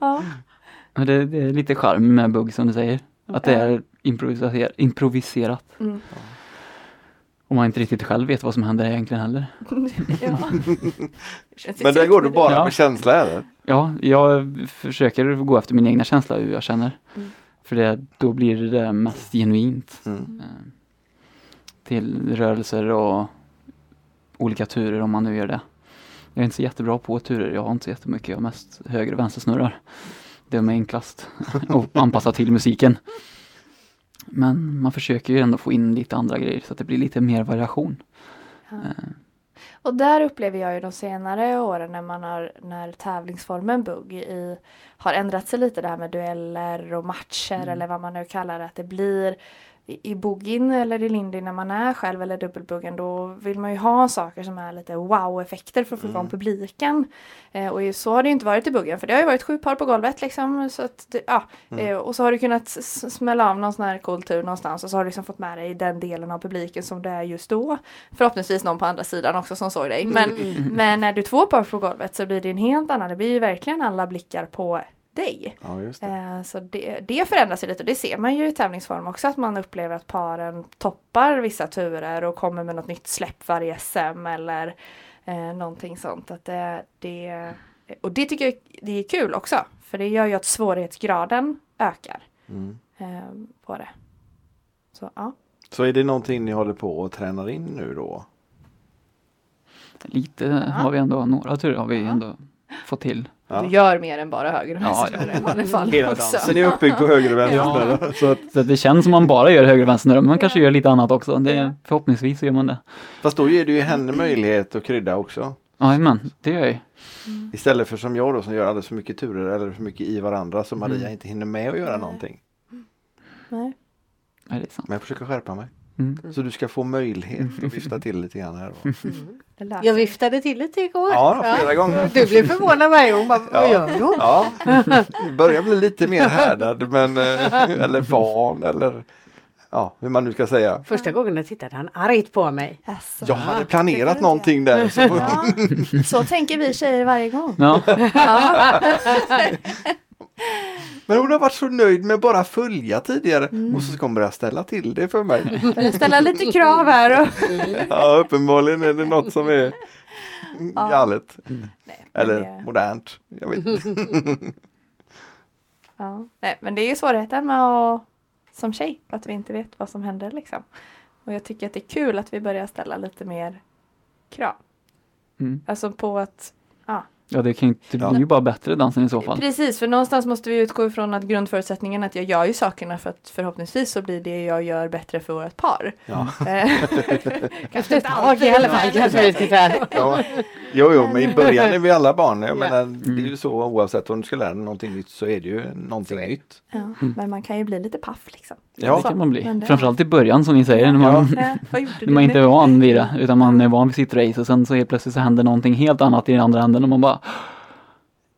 [SPEAKER 3] Ja.
[SPEAKER 4] Men Det, det är lite charm med bugg som du säger. Att det är improviser- improviserat.
[SPEAKER 3] Mm.
[SPEAKER 4] Och man inte riktigt själv vet vad som händer egentligen heller.
[SPEAKER 3] Ja. Känns ju
[SPEAKER 2] Men där
[SPEAKER 3] tryggt
[SPEAKER 2] går du
[SPEAKER 3] med
[SPEAKER 2] bara
[SPEAKER 4] Ja.
[SPEAKER 2] på känsla eller?
[SPEAKER 4] Ja, jag försöker gå efter min egna känsla hur jag känner.
[SPEAKER 3] Mm.
[SPEAKER 4] För det, då blir det mest genuint.
[SPEAKER 2] Mm.
[SPEAKER 4] Eh, Till rörelser och olika turer om man nu gör det. Jag är inte så jättebra på turer, jag har inte så jättemycket, jag har mest höger och vänstersnurrar. Det är enklast att anpassa till musiken. Men man försöker ju ändå få in lite andra grejer så att det blir lite mer variation.
[SPEAKER 3] Och där upplever jag ju de senare åren när man har när tävlingsformen bugg i, har ändrat sig lite det här med dueller och matcher eller vad man nu kallar det. Att det blir i i boogien eller i lindy när man är själv eller dubbelbuggen då vill man ju ha saker som är lite wow-effekter för att få igång publiken. Eh, och ju- så har det ju inte varit i buggen för det har ju varit sju par på golvet liksom. Så att det, ja, eh, och så har du kunnat s- s- smälla av någon sån här cool tur någonstans och så har du liksom fått med dig den delen av publiken som det är just då. Förhoppningsvis någon på andra sidan också som såg dig. Men, men när du är två par på golvet så blir det en helt annan, det blir ju verkligen alla blickar på dig.
[SPEAKER 2] Ja, just det.
[SPEAKER 3] Eh, Så det, det förändras ju lite och det ser man ju i tävlingsform också att man upplever att paren toppar vissa turer och kommer med något nytt släpp varje SM eller eh, någonting sånt. Att det, det, och det tycker jag det är kul också för det gör ju att svårighetsgraden ökar
[SPEAKER 2] Mm.
[SPEAKER 3] eh, på det. Så ja.
[SPEAKER 2] Så är det någonting ni håller på och tränar in nu då?
[SPEAKER 4] Lite har vi ändå, några turer har vi ändå fått till.
[SPEAKER 2] Ja.
[SPEAKER 3] Du gör mer än bara höger och
[SPEAKER 4] Ja,
[SPEAKER 3] vänster i vanliga fall
[SPEAKER 2] Hela
[SPEAKER 3] också.
[SPEAKER 2] dansen är uppbyggd på höger och vänster. eller? Så att,
[SPEAKER 4] Så att det känns som man bara gör höger och vänster, men man kanske gör lite annat också. Det, förhoppningsvis så gör man det.
[SPEAKER 2] fast då ger du ju henne möjlighet att krydda också.
[SPEAKER 4] Jajamän, det gör jag ju.
[SPEAKER 2] Istället för som jag då som gör alldeles för mycket turer eller för mycket i varandra så Maria
[SPEAKER 4] Mm.
[SPEAKER 2] inte hinner med att göra någonting.
[SPEAKER 3] Nej.
[SPEAKER 4] Ja, det är sant.
[SPEAKER 2] Men jag försöker skärpa mig.
[SPEAKER 4] Mm.
[SPEAKER 2] Så du ska få möjlighet att vifta till lite grann här. Då.
[SPEAKER 3] det lär
[SPEAKER 1] Jag
[SPEAKER 3] sig.
[SPEAKER 1] viftade till lite igår.
[SPEAKER 2] Ja, då, flera gånger.
[SPEAKER 1] Du blev förvånad varje gång. Bara,
[SPEAKER 2] Ja.
[SPEAKER 1] Vad gör du?
[SPEAKER 2] Ja, jag börjar bli lite mer härdad men eh, eller van eller ja, hur man nu ska säga.
[SPEAKER 1] Första gången jag tittade han argt på mig.
[SPEAKER 3] Alltså.
[SPEAKER 2] Jag hade planerat någonting där. Så,
[SPEAKER 3] Ja, så tänker vi tjejer varje gång.
[SPEAKER 4] Ja,
[SPEAKER 2] men hon har varit så nöjd med att bara följa tidigare och så ska hon börja ställa till det för mig.
[SPEAKER 3] Börjar ställa lite krav här. Och...
[SPEAKER 2] Ja, uppenbarligen är det något som är galet.
[SPEAKER 3] Nej, men
[SPEAKER 2] Eller
[SPEAKER 3] det-
[SPEAKER 2] modernt. Jag vet. inte.
[SPEAKER 3] Ja. Nej, men det är ju svårigheten med att som tjej, att vi inte vet vad som händer liksom. Och jag tycker att det är kul att vi börjar ställa lite mer krav.
[SPEAKER 4] Mm.
[SPEAKER 3] Alltså på att,
[SPEAKER 4] ja det, kan ju, det blir ju bara bättre dansen i så fall.
[SPEAKER 3] precis för någonstans måste vi utgå ifrån att grundförutsättningen är att jag gör ju sakerna för att förhoppningsvis så blir det jag gör bättre för vårt par.
[SPEAKER 2] Ja.
[SPEAKER 3] Eh, Kanske inte alltid
[SPEAKER 1] I alla fall kanske vi tittar.
[SPEAKER 2] Ja. Jo, jo, men i början är vi alla barn. Jag menar, det är ju så oavsett om du ska lära dig någonting nytt så är det ju någonting nytt.
[SPEAKER 3] Ja, men man kan ju bli lite paff liksom.
[SPEAKER 2] Ja.
[SPEAKER 4] det kan man
[SPEAKER 3] Men
[SPEAKER 4] bli.
[SPEAKER 3] det-
[SPEAKER 4] Framförallt i början som ni säger, när man,
[SPEAKER 3] Eh, vad gjorde
[SPEAKER 4] när man
[SPEAKER 3] du
[SPEAKER 4] inte
[SPEAKER 3] nu?
[SPEAKER 4] är van vid det. Utan man är van vid sitt race och sen så helt plötsligt så händer någonting helt annat i den andra änden och man bara "Ah,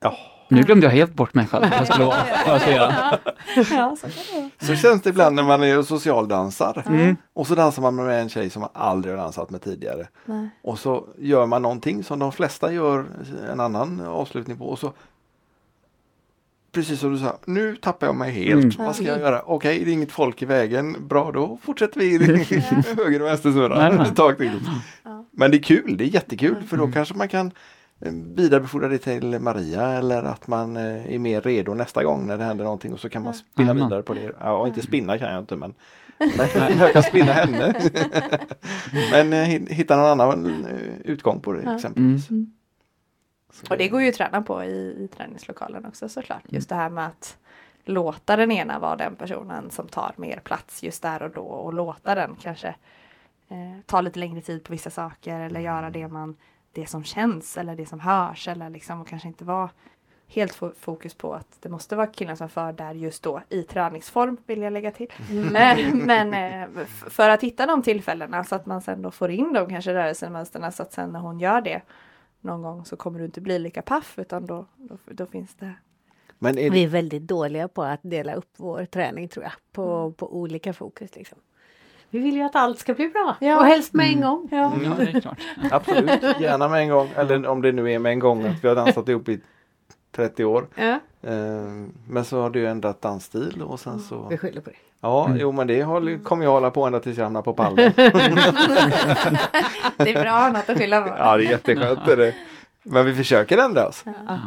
[SPEAKER 2] Ja.
[SPEAKER 4] Nu glömde jag helt bort mig själv. vad Jag skulle vara, vad jag ska göra.
[SPEAKER 3] Ja, så kan det vara.
[SPEAKER 2] Så känns det ibland när man är och socialdansar. Och så dansar man med en tjej som man aldrig har dansat med tidigare.
[SPEAKER 3] Nej.
[SPEAKER 2] Och så gör man någonting som de flesta gör en annan avslutning på. Och så Precis som du sa, nu tappar jag mig helt.
[SPEAKER 4] Mm.
[SPEAKER 2] Vad ska jag göra? Okej, det är inget folk i vägen. Bra, då fortsätter vi i höger och
[SPEAKER 4] Nej, Mm.
[SPEAKER 2] vänstersnurra
[SPEAKER 4] nej.
[SPEAKER 2] ett tag till. Men det är kul, det är jättekul för då kanske man kan eh, vidarebefordra det till Maria eller att man eh, är mer redo nästa gång när det händer någonting och så kan man
[SPEAKER 4] Mm.
[SPEAKER 2] spinna
[SPEAKER 4] Jajamän.
[SPEAKER 2] vidare på det. Ja,
[SPEAKER 4] Mm.
[SPEAKER 2] inte spinna kan jag inte men men jag kan spinna henne. men eh, hi- hitta någon annan eh, utgång på det exempelvis.
[SPEAKER 1] Mm.
[SPEAKER 2] Så
[SPEAKER 3] Och det går ju att träna på i, i träningslokalen också såklart. Just det här med att låta den ena vara den personen som tar mer plats just där och då och låta den kanske eh, ta lite längre tid på vissa saker eller göra det man det som känns eller det som hörs eller liksom och kanske inte vara helt fo- fokus på att det måste vara killen som för där just då i träningsform vill jag lägga till. Eh, Men eh, f- för att hitta de tillfällena så att man sen då får in de kanske rörelsemönsterna så att sen när hon gör det någon gång så kommer du inte bli lika paff utan då, då, då finns det
[SPEAKER 2] Men är
[SPEAKER 7] Vi är väldigt dåliga på att dela upp vår träning tror jag,
[SPEAKER 3] Mm.
[SPEAKER 7] på, på olika fokus. Liksom.
[SPEAKER 1] Vi vill ju att allt ska bli bra.
[SPEAKER 3] Ja.
[SPEAKER 1] Och helst med en
[SPEAKER 4] Mm.
[SPEAKER 1] gång.
[SPEAKER 4] Ja, det är klart.
[SPEAKER 2] Absolut, gärna med en gång. Eller om det nu är med en gång att vi har dansat ihop i 30 år.
[SPEAKER 1] Ja.
[SPEAKER 2] Eh, Men så har du ändrat dansstil och sen så...
[SPEAKER 1] Vi skyller på det.
[SPEAKER 2] Ja, jo men det håller- kommer jag hålla på ända tills jag hamnar på pallen.
[SPEAKER 3] Det är bra att ha något att skylla på.
[SPEAKER 2] Ja, det är jätteskönt. Är det. Men vi försöker ändra oss.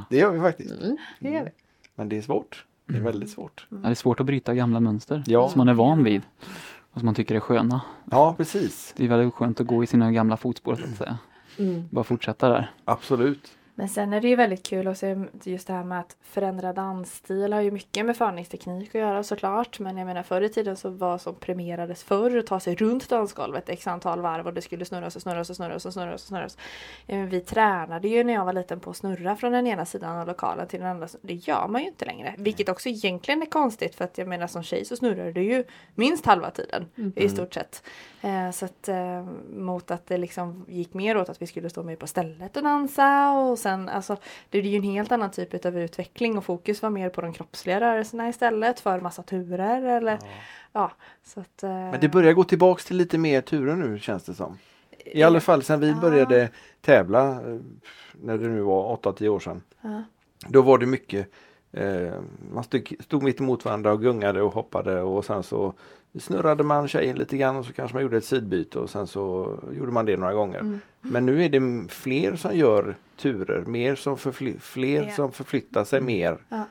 [SPEAKER 2] Det gör vi faktiskt.
[SPEAKER 1] Mm.
[SPEAKER 2] Mm.
[SPEAKER 1] Det gör vi. Mm.
[SPEAKER 2] Men det är svårt. Det är väldigt svårt.
[SPEAKER 4] Ja, Det är svårt att bryta gamla mönster
[SPEAKER 2] Ja.
[SPEAKER 4] som man är van vid och som man tycker är sköna.
[SPEAKER 2] Ja, precis.
[SPEAKER 4] Det är väldigt skönt att gå i sina gamla fotspår så att säga. Bara fortsätta där.
[SPEAKER 2] Absolut.
[SPEAKER 3] Men sen är det ju väldigt kul att se just det här med att förändra dansstil har ju mycket med förningsteknik att göra såklart. Men jag menar förr i tiden så var som premierades förr att ta sig runt dansgolvet x antal varv och det skulle snurras och snurras och snurras och snurras och snurras. Eh, Vi tränade ju när jag var liten på att snurra från den ena sidan av lokalen till den andra. Det gör man ju inte längre. Vilket också egentligen är konstigt för att jag menar som tjej så snurrar du ju minst halva tiden
[SPEAKER 2] Mm.
[SPEAKER 3] i stort sett. Eh, så att eh, mot att det liksom gick mer åt att vi skulle stå mer på stället och dansa och sen alltså det är ju en helt annan typ av utveckling och fokus var mer på de kroppsliga rörelserna istället för massa turer eller ja. så att, eh,
[SPEAKER 2] Men det börjar gå tillbaks till lite mer turer nu känns det som. I
[SPEAKER 3] Eh,
[SPEAKER 2] alla fall sen vi började tävla, eh, när det nu var 8-10 år sedan.
[SPEAKER 3] Ja.
[SPEAKER 2] Då var det mycket, eh, man stod, stod mitt emot varandra och gungade och hoppade och sen så snurrade man tjejen lite grann och så kanske man gjorde ett sidbyte och sen så gjorde man det några gånger.
[SPEAKER 3] Mm.
[SPEAKER 2] Men nu är det m- fler som gör turer, mer som förfly- fler
[SPEAKER 3] Ja. Mm.
[SPEAKER 2] som förflyttar sig mer.
[SPEAKER 3] Ja.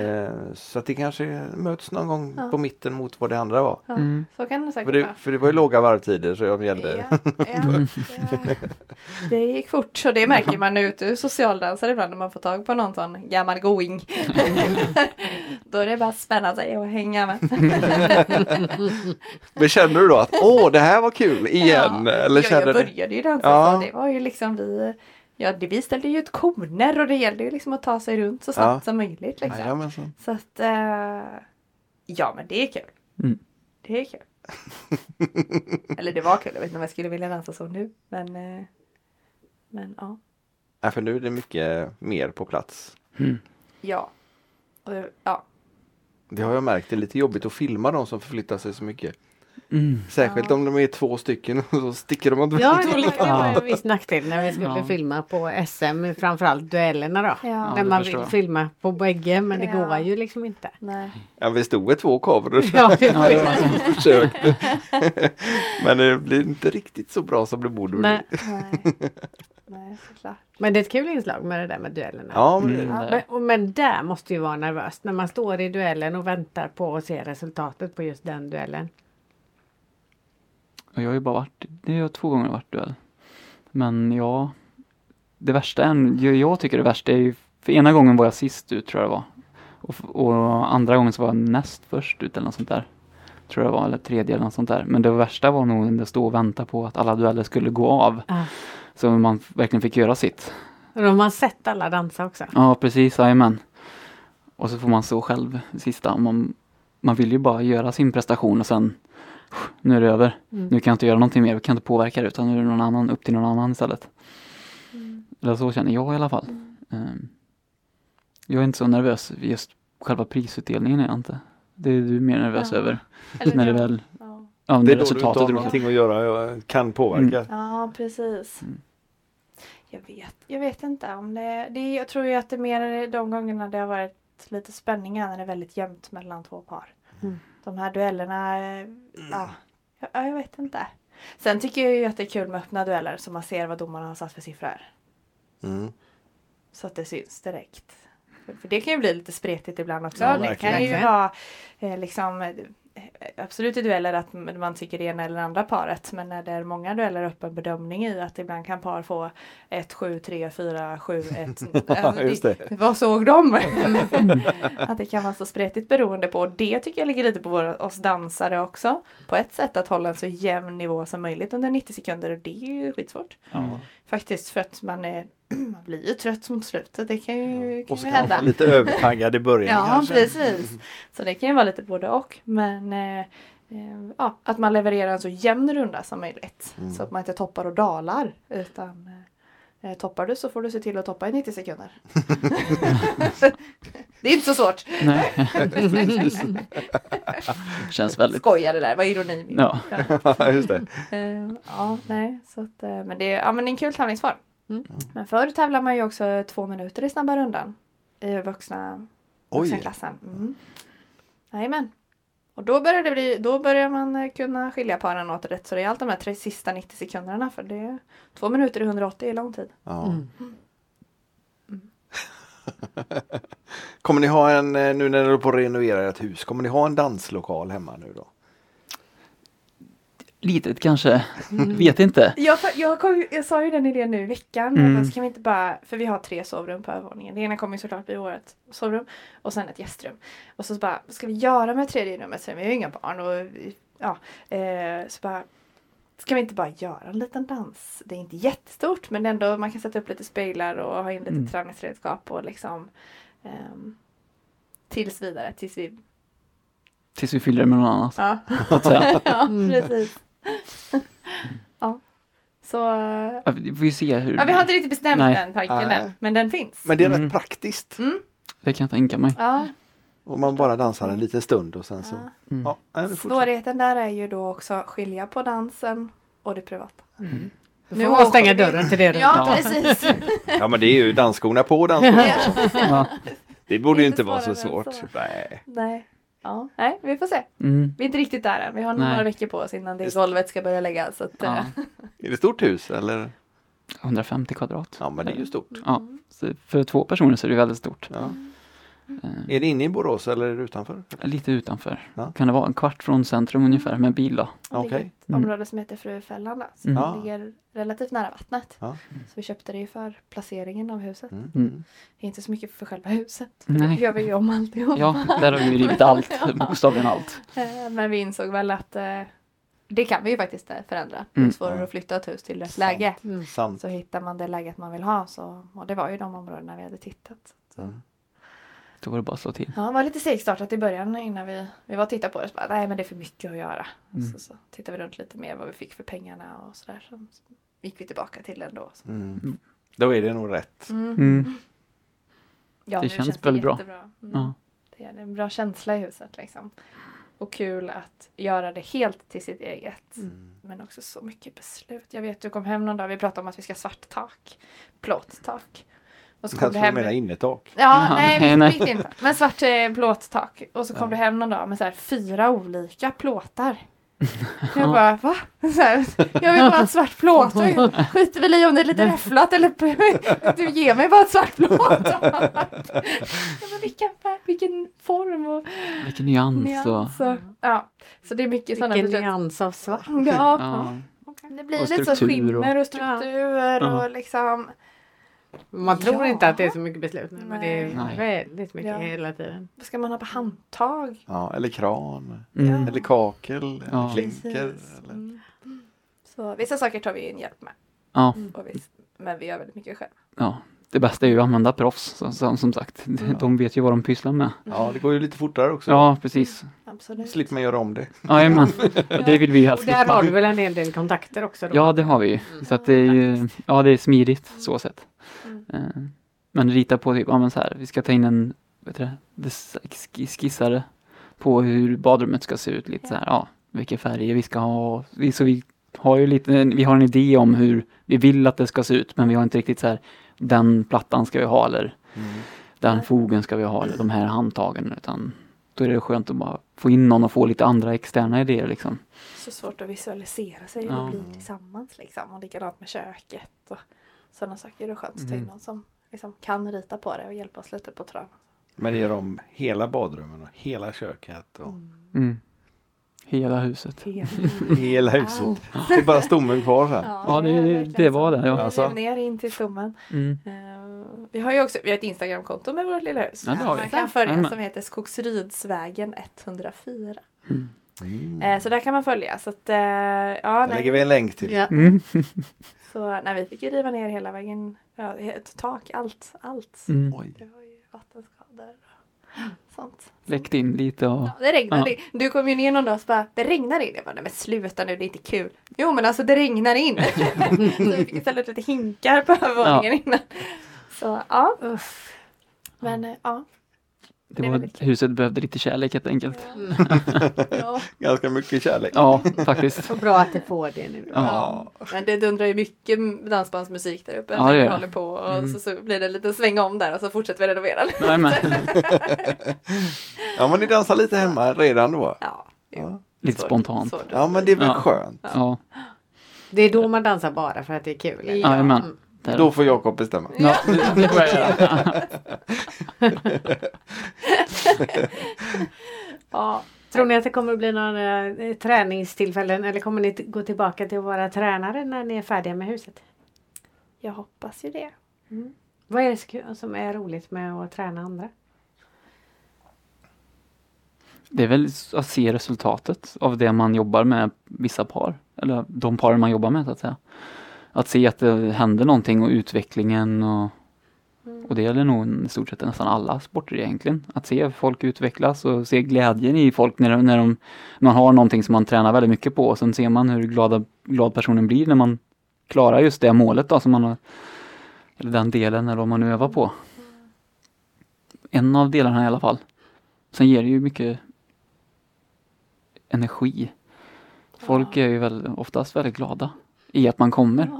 [SPEAKER 2] Eh, så att det kanske möts någon gång
[SPEAKER 3] Ja.
[SPEAKER 2] på mitten mot vad det andra var.
[SPEAKER 3] ja, så kan det säkert
[SPEAKER 2] För Mm. det,
[SPEAKER 3] vara.
[SPEAKER 2] för det var ju låga varvtider så de gällde.
[SPEAKER 3] Ja, ja, ja. Det gick fort och det märker man ut ur socialdansare ibland när man får tag på någon sån gammal going. Då är det bara att spänna sig och hänga med.
[SPEAKER 2] Men kände du då att åh det här var kul igen?
[SPEAKER 3] Ja,
[SPEAKER 2] Eller
[SPEAKER 3] jag,
[SPEAKER 2] kände
[SPEAKER 3] jag
[SPEAKER 2] du?
[SPEAKER 3] började ju dansa
[SPEAKER 2] Ja.
[SPEAKER 3] så det var ju liksom vi Ja, det, vi ställde ju ut koner och det gällde ju liksom att ta sig runt så snabbt
[SPEAKER 2] Ja.
[SPEAKER 3] som möjligt. Liksom.
[SPEAKER 2] Jajamensan.
[SPEAKER 3] Så att, eh, ja men det är kul.
[SPEAKER 4] Mm.
[SPEAKER 3] Det är kul. Eller det var kul, jag vet inte om jag skulle vilja dansa så nu. Men, eh, men ja.
[SPEAKER 2] Nej, för nu är det mycket mer på plats.
[SPEAKER 3] Ja. Och, ja.
[SPEAKER 2] Det har jag märkt, det är lite jobbigt att filma de som förflyttar sig så mycket.
[SPEAKER 4] Mm.
[SPEAKER 2] Särskilt om de är två stycken och så sticker de åt
[SPEAKER 1] Ja, det var- det var en viss nackdel när vi skulle filma på SM, framförallt duellerna då.
[SPEAKER 3] Ja.
[SPEAKER 1] När
[SPEAKER 4] det
[SPEAKER 1] man
[SPEAKER 4] förstår
[SPEAKER 1] vill
[SPEAKER 4] jag.
[SPEAKER 1] filma på bägge men det
[SPEAKER 3] Ja.
[SPEAKER 1] går ju liksom inte.
[SPEAKER 3] Nej.
[SPEAKER 2] ja, vi stod i två kameror
[SPEAKER 1] Ja, det var
[SPEAKER 2] och försökte. Men det blir inte riktigt så bra som det borde bli.
[SPEAKER 1] Nej.
[SPEAKER 3] Nej. Nej, såklart.
[SPEAKER 1] Men det är ett kul inslag med det där med duellerna.
[SPEAKER 2] Ja, men
[SPEAKER 4] Mm.
[SPEAKER 1] Ja, men, och, men där måste ju vara nervöst när man står i duellen och väntar på att se resultatet på just den duellen.
[SPEAKER 4] Och jag har ju bara varit, det har jag två gånger varit duell. Men ja, det värsta, än- jag, jag tycker det värsta är ju, för ena gången var jag sist ut tror jag det var. Och, f- och andra gången så var jag näst först ut eller något sånt där. Tror jag det var, eller tredje eller något sånt där. Men det värsta var nog när jag stod och väntade på att alla dueller skulle gå av.
[SPEAKER 1] Ah.
[SPEAKER 4] Så man f- verkligen fick göra sitt.
[SPEAKER 1] Och då har man sett alla dansa också.
[SPEAKER 4] Ja, precis, jajamän. Och så får man stå själv sista. och Man, man vill ju bara göra sin prestation och sen nu är det över.
[SPEAKER 3] Mm.
[SPEAKER 4] Nu kan jag inte göra någonting mer, jag kan inte påverka det utan nu är det någon annan, upp till någon annan istället.
[SPEAKER 3] Mm.
[SPEAKER 4] Eller så känner jag i alla fall. Ehm, Jag är inte så nervös vid just själva prisutdelningen är jag inte. Det är du mer nervös
[SPEAKER 3] Ja.
[SPEAKER 4] över.
[SPEAKER 3] Eller
[SPEAKER 4] när det
[SPEAKER 3] då-
[SPEAKER 4] väl,
[SPEAKER 3] Ja.
[SPEAKER 4] ja,
[SPEAKER 2] det är
[SPEAKER 4] när
[SPEAKER 2] då du inte
[SPEAKER 4] resultatet
[SPEAKER 2] har
[SPEAKER 4] är roligt.
[SPEAKER 2] någonting att göra, jag kan påverka.
[SPEAKER 3] Ja, precis.
[SPEAKER 4] Mm.
[SPEAKER 3] Jag, vet, jag vet inte om det, det... Jag tror ju att det är mer de gångerna det har varit lite spänningar när det är väldigt jämnt mellan två par.
[SPEAKER 4] Mm.
[SPEAKER 3] De här duellerna... eh, Ja, ja, jag vet inte. Sen tycker jag ju att det är kul med öppna dueller så man ser vad domarna har satt för siffror.
[SPEAKER 2] Mm.
[SPEAKER 3] Så att det syns direkt. För- För det kan ju bli lite spretigt ibland också.
[SPEAKER 2] Ja,
[SPEAKER 3] det kan ju
[SPEAKER 1] verkligen.
[SPEAKER 3] vara eh, liksom eh, absolut i dueller att m- man tycker det ena eller andra paret. Men när det är många dueller öppen bedömning i att ibland kan par få 1, 7, 3, 4, 7, 1.
[SPEAKER 2] Ja, just det.
[SPEAKER 3] Vad såg de? att det kan vara så spretigt beroende på. Och det tycker jag ligger lite på våra, oss dansare också. På ett sätt att hålla en så jämn nivå som möjligt under 90 sekunder och det är ju skitsvårt.
[SPEAKER 4] Ja.
[SPEAKER 3] Faktiskt för att man är man blir ju trött mot slutet. Det kan ju, kan
[SPEAKER 2] Och
[SPEAKER 3] ju
[SPEAKER 2] så kan man
[SPEAKER 3] hända.
[SPEAKER 2] vara lite övertaggad i början
[SPEAKER 3] Ja,
[SPEAKER 2] kanske.
[SPEAKER 3] precis. Så det kan ju vara lite både och. Men eh, eh, ja, att man levererar en så jämn runda som möjligt.
[SPEAKER 2] Mm.
[SPEAKER 3] Så att man inte toppar och dalar. Utan eh, toppar du så får du se till att toppa i 90 sekunder. det är inte så svårt.
[SPEAKER 4] Nej,
[SPEAKER 2] Precis.
[SPEAKER 4] känns väldigt...
[SPEAKER 3] Skoja det där, vad ironi. min.
[SPEAKER 4] Ja,
[SPEAKER 2] Ja, just det.
[SPEAKER 3] Eh, ja, nej. Så att, eh, men det, är- ja, men det är en kul tävlingsform. Men förr tävlar man ju också två minuter i snabba rundan. I vuxna, vuxna
[SPEAKER 2] Oj,
[SPEAKER 3] klassen. Mm. Jajamän. Och då börjar, det bli, då börjar man eh, kunna skilja paren åt rätt så det är allt de här tre sista 90 sekunderna. För det är två minuter i 180 är lång tid.
[SPEAKER 2] Ja. Kommer ni ha en, eh, nu när ni är på att renovera ert hus, kommer ni ha en danslokal hemma nu då?
[SPEAKER 4] litet kanske.
[SPEAKER 3] Mm.
[SPEAKER 4] Vet inte.
[SPEAKER 3] Jag, jag, kom, ju- jag sa ju den idén nu i veckan.
[SPEAKER 4] Mm.
[SPEAKER 3] Mm. Kan vi inte bara, för vi har tre sovrum på övervåningen. Det ena kommer ju såklart bli vårt sovrum och sen ett gästrum. Och så bara, vad ska vi göra med tredje rummet? Så vi har ju inga barn och vi- ja, eh, så bara Ska vi inte bara göra en liten dans? Det är inte jättestort men ändå man kan sätta upp lite speglar och ha in lite
[SPEAKER 4] Mm.
[SPEAKER 3] träningsredskap och liksom ehm, Tills vidare, tills vi...
[SPEAKER 4] Tills vi fyller det med något annat.
[SPEAKER 3] Ja.
[SPEAKER 4] Så att säga.
[SPEAKER 3] Ja, precis. ja. Så... eh,
[SPEAKER 4] Ja, Vi får ju se hur...
[SPEAKER 3] Ja, vi har inte riktigt bestämt
[SPEAKER 4] Nej.
[SPEAKER 3] den tanken
[SPEAKER 2] Nej.
[SPEAKER 3] än, men den finns.
[SPEAKER 2] Men det är
[SPEAKER 4] Mm.
[SPEAKER 2] rätt praktiskt.
[SPEAKER 4] Det kan jag tänka mig.
[SPEAKER 3] Ja,
[SPEAKER 2] Om man bara dansar en liten stund och sen så...
[SPEAKER 3] Ja.
[SPEAKER 4] Mm.
[SPEAKER 2] Ja, nej, nu fortsätter.
[SPEAKER 3] svårigheten där är ju då också att skilja på dansen och det privata.
[SPEAKER 1] Då
[SPEAKER 3] Nu
[SPEAKER 1] får man stänga
[SPEAKER 3] åker vi.
[SPEAKER 1] dörren till det rummet.
[SPEAKER 3] Ja,
[SPEAKER 4] Ja.
[SPEAKER 3] precis.
[SPEAKER 2] ja men det är ju dansskorna på dansskorna.
[SPEAKER 4] Ja.
[SPEAKER 2] Det borde ju
[SPEAKER 3] Inte
[SPEAKER 2] inte vara så
[SPEAKER 3] svårare än
[SPEAKER 2] svårt.
[SPEAKER 3] så.
[SPEAKER 2] Nej.
[SPEAKER 3] Nej. Ja, nej, vi får se.
[SPEAKER 4] Mm.
[SPEAKER 3] Vi är inte riktigt där än. Vi har
[SPEAKER 4] Nej.
[SPEAKER 3] några veckor på oss innan det
[SPEAKER 2] Just-
[SPEAKER 3] golvet ska börja läggas. Så att, eh,
[SPEAKER 4] Ja.
[SPEAKER 2] Är det stort hus eller?
[SPEAKER 4] 150 kvadrat.
[SPEAKER 2] Ja men det är ju stort.
[SPEAKER 4] Ja, så för två personer så är det väldigt stort.
[SPEAKER 2] Ja.
[SPEAKER 4] Eh,
[SPEAKER 2] Är det inne i Borås eller är det utanför?
[SPEAKER 4] Lite utanför.
[SPEAKER 2] Ja.
[SPEAKER 4] Kan det vara en kvart från centrum ungefär med bil då?
[SPEAKER 3] och det är
[SPEAKER 2] Okej.
[SPEAKER 3] ett område som heter Frufällan. då, Som
[SPEAKER 4] Mm.
[SPEAKER 2] Ja.
[SPEAKER 3] ligger relativt nära vattnet.
[SPEAKER 2] Ja.
[SPEAKER 3] Så vi köpte det ju för placeringen av huset.
[SPEAKER 2] Mm.
[SPEAKER 4] Mm.
[SPEAKER 3] Inte så mycket för själva huset. för Det
[SPEAKER 4] Nej.
[SPEAKER 3] gör vi ju om alltihop.
[SPEAKER 4] Ja, där har vi ju rivit allt, bokstavligen allt.
[SPEAKER 3] Eh, Men vi insåg väl att eh, det kan vi ju faktiskt eh, förändra. Det är
[SPEAKER 4] Mm.
[SPEAKER 3] svårare
[SPEAKER 2] Ja.
[SPEAKER 3] att flytta ett hus till rätt
[SPEAKER 2] Sant.
[SPEAKER 3] läge.
[SPEAKER 2] Sant.
[SPEAKER 3] Så hittar man det läget man vill ha. Så, och det var ju de områdena vi hade tittat.
[SPEAKER 2] Mm.
[SPEAKER 4] Då var det bara att slå till.
[SPEAKER 3] Ja, det var lite segstartat i början innan vi, vi var och tittade på det. Så bara, nej men det är för mycket att göra.
[SPEAKER 4] Mm.
[SPEAKER 3] Så, så tittade vi runt lite mer vad vi fick för pengarna och sådär. Så gick vi tillbaka till den då. Så.
[SPEAKER 2] Mm. Då är det nog rätt.
[SPEAKER 3] Mm.
[SPEAKER 4] Mm.
[SPEAKER 3] Ja,
[SPEAKER 4] Det
[SPEAKER 3] nu
[SPEAKER 4] känns väldigt bra.
[SPEAKER 3] jättebra. Mm.
[SPEAKER 4] Ja.
[SPEAKER 3] Det är en bra känsla i huset liksom. Och kul att göra det helt till sitt eget.
[SPEAKER 4] Mm.
[SPEAKER 3] Men också så mycket beslut. Jag vet, du kom hem någon dag vi pratade om att vi ska ha svart tak. Plåttak. Och så
[SPEAKER 2] Jag
[SPEAKER 3] kom
[SPEAKER 2] tror
[SPEAKER 3] du
[SPEAKER 2] du
[SPEAKER 3] hem...
[SPEAKER 2] menar innertak.
[SPEAKER 3] Ja,
[SPEAKER 4] Ja,
[SPEAKER 3] nej,
[SPEAKER 4] nej, nej.
[SPEAKER 3] mitt inte. Men svart eh, plåttak. Och så kom du hem någon dag med så här fyra olika plåtar. Jag bara, va? Så här, jag vill bara ha ett svart plåt. Jag skiter väl i om det är lite räfflat eller du ger mig bara ett svart plåt. Ja, men vilken färg, vilken form och
[SPEAKER 4] Vilken nyans och...
[SPEAKER 3] nyans. Och, ja. Så det är mycket sådana
[SPEAKER 1] Vilken
[SPEAKER 3] beslut.
[SPEAKER 1] nyans av svart.
[SPEAKER 3] Ja,
[SPEAKER 4] Ja.
[SPEAKER 3] Det blir
[SPEAKER 4] Och
[SPEAKER 3] lite så
[SPEAKER 4] struktur och-
[SPEAKER 3] skimmer och struktur
[SPEAKER 4] Ja.
[SPEAKER 3] och liksom.
[SPEAKER 1] Man tror
[SPEAKER 3] Ja.
[SPEAKER 1] inte att det är så mycket beslut nu, men det är
[SPEAKER 4] Nej.
[SPEAKER 1] väldigt mycket
[SPEAKER 3] Ja.
[SPEAKER 1] hela tiden.
[SPEAKER 3] Vad ska man ha på handtag?
[SPEAKER 2] Ja, eller kran.
[SPEAKER 4] Mm.
[SPEAKER 2] Eller kakel.
[SPEAKER 4] Ja.
[SPEAKER 2] Eller klinker. Eller...
[SPEAKER 3] Mm. Så vissa saker tar vi in hjälp med.
[SPEAKER 4] Ja.
[SPEAKER 3] Och vi, men vi gör väldigt mycket själv.
[SPEAKER 4] ja. Det bästa är ju att använda proffs, så, som, som sagt. De vet ju vad de pysslar med.
[SPEAKER 2] Ja, det går ju lite fortare också.
[SPEAKER 4] Ja, precis.
[SPEAKER 3] Absolut.
[SPEAKER 2] Slipper man göra om det.
[SPEAKER 4] Jajamän. Det vill vi ju helst
[SPEAKER 1] Och där
[SPEAKER 4] slippa.
[SPEAKER 1] har du väl en hel del kontakter också? Då?
[SPEAKER 4] Ja, det har vi ju. Så att det är ju, ja det är smidigt så sett.
[SPEAKER 3] Mm.
[SPEAKER 4] Eh, Men rita på typ, ja men så här, vi ska ta in en, vad heter det, dess- ski- skissare på hur badrummet ska se ut lite så här, ja, vilka färger vi ska ha. Vi, så vi har ju lite, vi har en idé om hur vi vill att det ska se ut, men vi har inte riktigt så här, den plattan ska vi ha eller den fogen ska vi ha eller de här handtagen, utan då är det skönt att bara få in någon och få lite andra externa idéer liksom.
[SPEAKER 3] Så svårt att visualisera sig
[SPEAKER 4] Ja.
[SPEAKER 3] och bli tillsammans liksom. Och likadant med köket och sådana saker. Det är skönt att ta in
[SPEAKER 4] Mm.
[SPEAKER 3] någon som liksom kan rita på det och hjälpa oss lite på traven.
[SPEAKER 2] Men det gör om hela badrummen och hela köket och
[SPEAKER 4] Mm. Hela huset.
[SPEAKER 3] Mm.
[SPEAKER 2] hela huset. Det är bara stommen kvar här.
[SPEAKER 4] Ja, det, det, det var det. Ja.
[SPEAKER 2] Alltså.
[SPEAKER 3] Alltså. ner in till stommen.
[SPEAKER 4] Mm.
[SPEAKER 3] Eh, vi har ju också vi har ett Instagramkonto med vårt lilla hus.
[SPEAKER 4] Ja, det har vi.
[SPEAKER 3] Man kan följa
[SPEAKER 4] Jajamän.
[SPEAKER 3] som heter Skogsrydsvägen 104.
[SPEAKER 4] Mm.
[SPEAKER 3] Eh, så där kan man följa. Så att, eh, ja,
[SPEAKER 2] Mm. Där
[SPEAKER 3] nej.
[SPEAKER 2] lägger vi en länk till.
[SPEAKER 1] Ja.
[SPEAKER 4] Mm.
[SPEAKER 3] Så, nej, vi fick ju riva ner hela vägen. Ja, ett tak, allt, allt.
[SPEAKER 4] Mm.
[SPEAKER 2] Oj.
[SPEAKER 3] Det var ju vattenskador och sånt.
[SPEAKER 4] Läckt in lite och...
[SPEAKER 3] Ja, det regnade.
[SPEAKER 4] Ja.
[SPEAKER 3] Du kom ju ner någon dag och så bara, det regnar in. Jag bara, nej men sluta nu, det är inte kul. Jo men alltså det regnar in. så vi fick istället lite hinkar på övervåningen innan. Så ja. Men eh, ja.
[SPEAKER 4] Det var, huset behövde lite kärlek helt enkelt.
[SPEAKER 3] ja.
[SPEAKER 2] Ganska mycket kärlek.
[SPEAKER 4] Ja, faktiskt.
[SPEAKER 1] Så bra att det får det nu.
[SPEAKER 4] Ja.
[SPEAKER 3] Men det dundrar ju mycket dansbandsmusik där uppe.
[SPEAKER 4] Ja,
[SPEAKER 3] när
[SPEAKER 4] det
[SPEAKER 3] vi
[SPEAKER 4] gör
[SPEAKER 3] håller på och
[SPEAKER 4] Mm.
[SPEAKER 3] så, så blir det lite sväng om där och så fortsätter vi renovera.
[SPEAKER 4] Nej, men,
[SPEAKER 2] Ja men ni dansar lite hemma redan då?
[SPEAKER 3] Ja. jo.
[SPEAKER 4] lite
[SPEAKER 3] Så-
[SPEAKER 4] spontant.
[SPEAKER 3] så dumt.
[SPEAKER 2] Ja men det är väl
[SPEAKER 4] Ja.
[SPEAKER 2] skönt.
[SPEAKER 4] Ja,
[SPEAKER 1] Det är då man dansar bara för att det är kul. eller? Mm.
[SPEAKER 4] jajamän. Där.
[SPEAKER 2] Då får Jakob bestämma.
[SPEAKER 4] Ja, nu, nu får jag göra.
[SPEAKER 3] Ja.
[SPEAKER 1] Tror ni att det kommer att bli några eh, träningstillfällen eller kommer ni t- gå tillbaka till att vara tränare när ni är färdiga med huset?
[SPEAKER 3] Jag hoppas ju det.
[SPEAKER 1] Vad är det sku- som är roligt med att träna andra?
[SPEAKER 4] Det är väl s- att se resultatet av det man jobbar med vissa par. Eller de par man jobbar med så att säga. Att se att det händer någonting och utvecklingen och, och det gäller nog i stort sett nästan alla sporter egentligen. Att se folk utvecklas och se glädjen i folk när, de- när de, man har någonting som man tränar väldigt mycket på och sen ser man hur glada, glad personen blir när man klarar just det målet då som man har, eller den delen eller vad man nu övar på. En av delarna i alla fall. Sen ger det ju mycket energi. Folk är ju väl, oftast väldigt glada i att man kommer.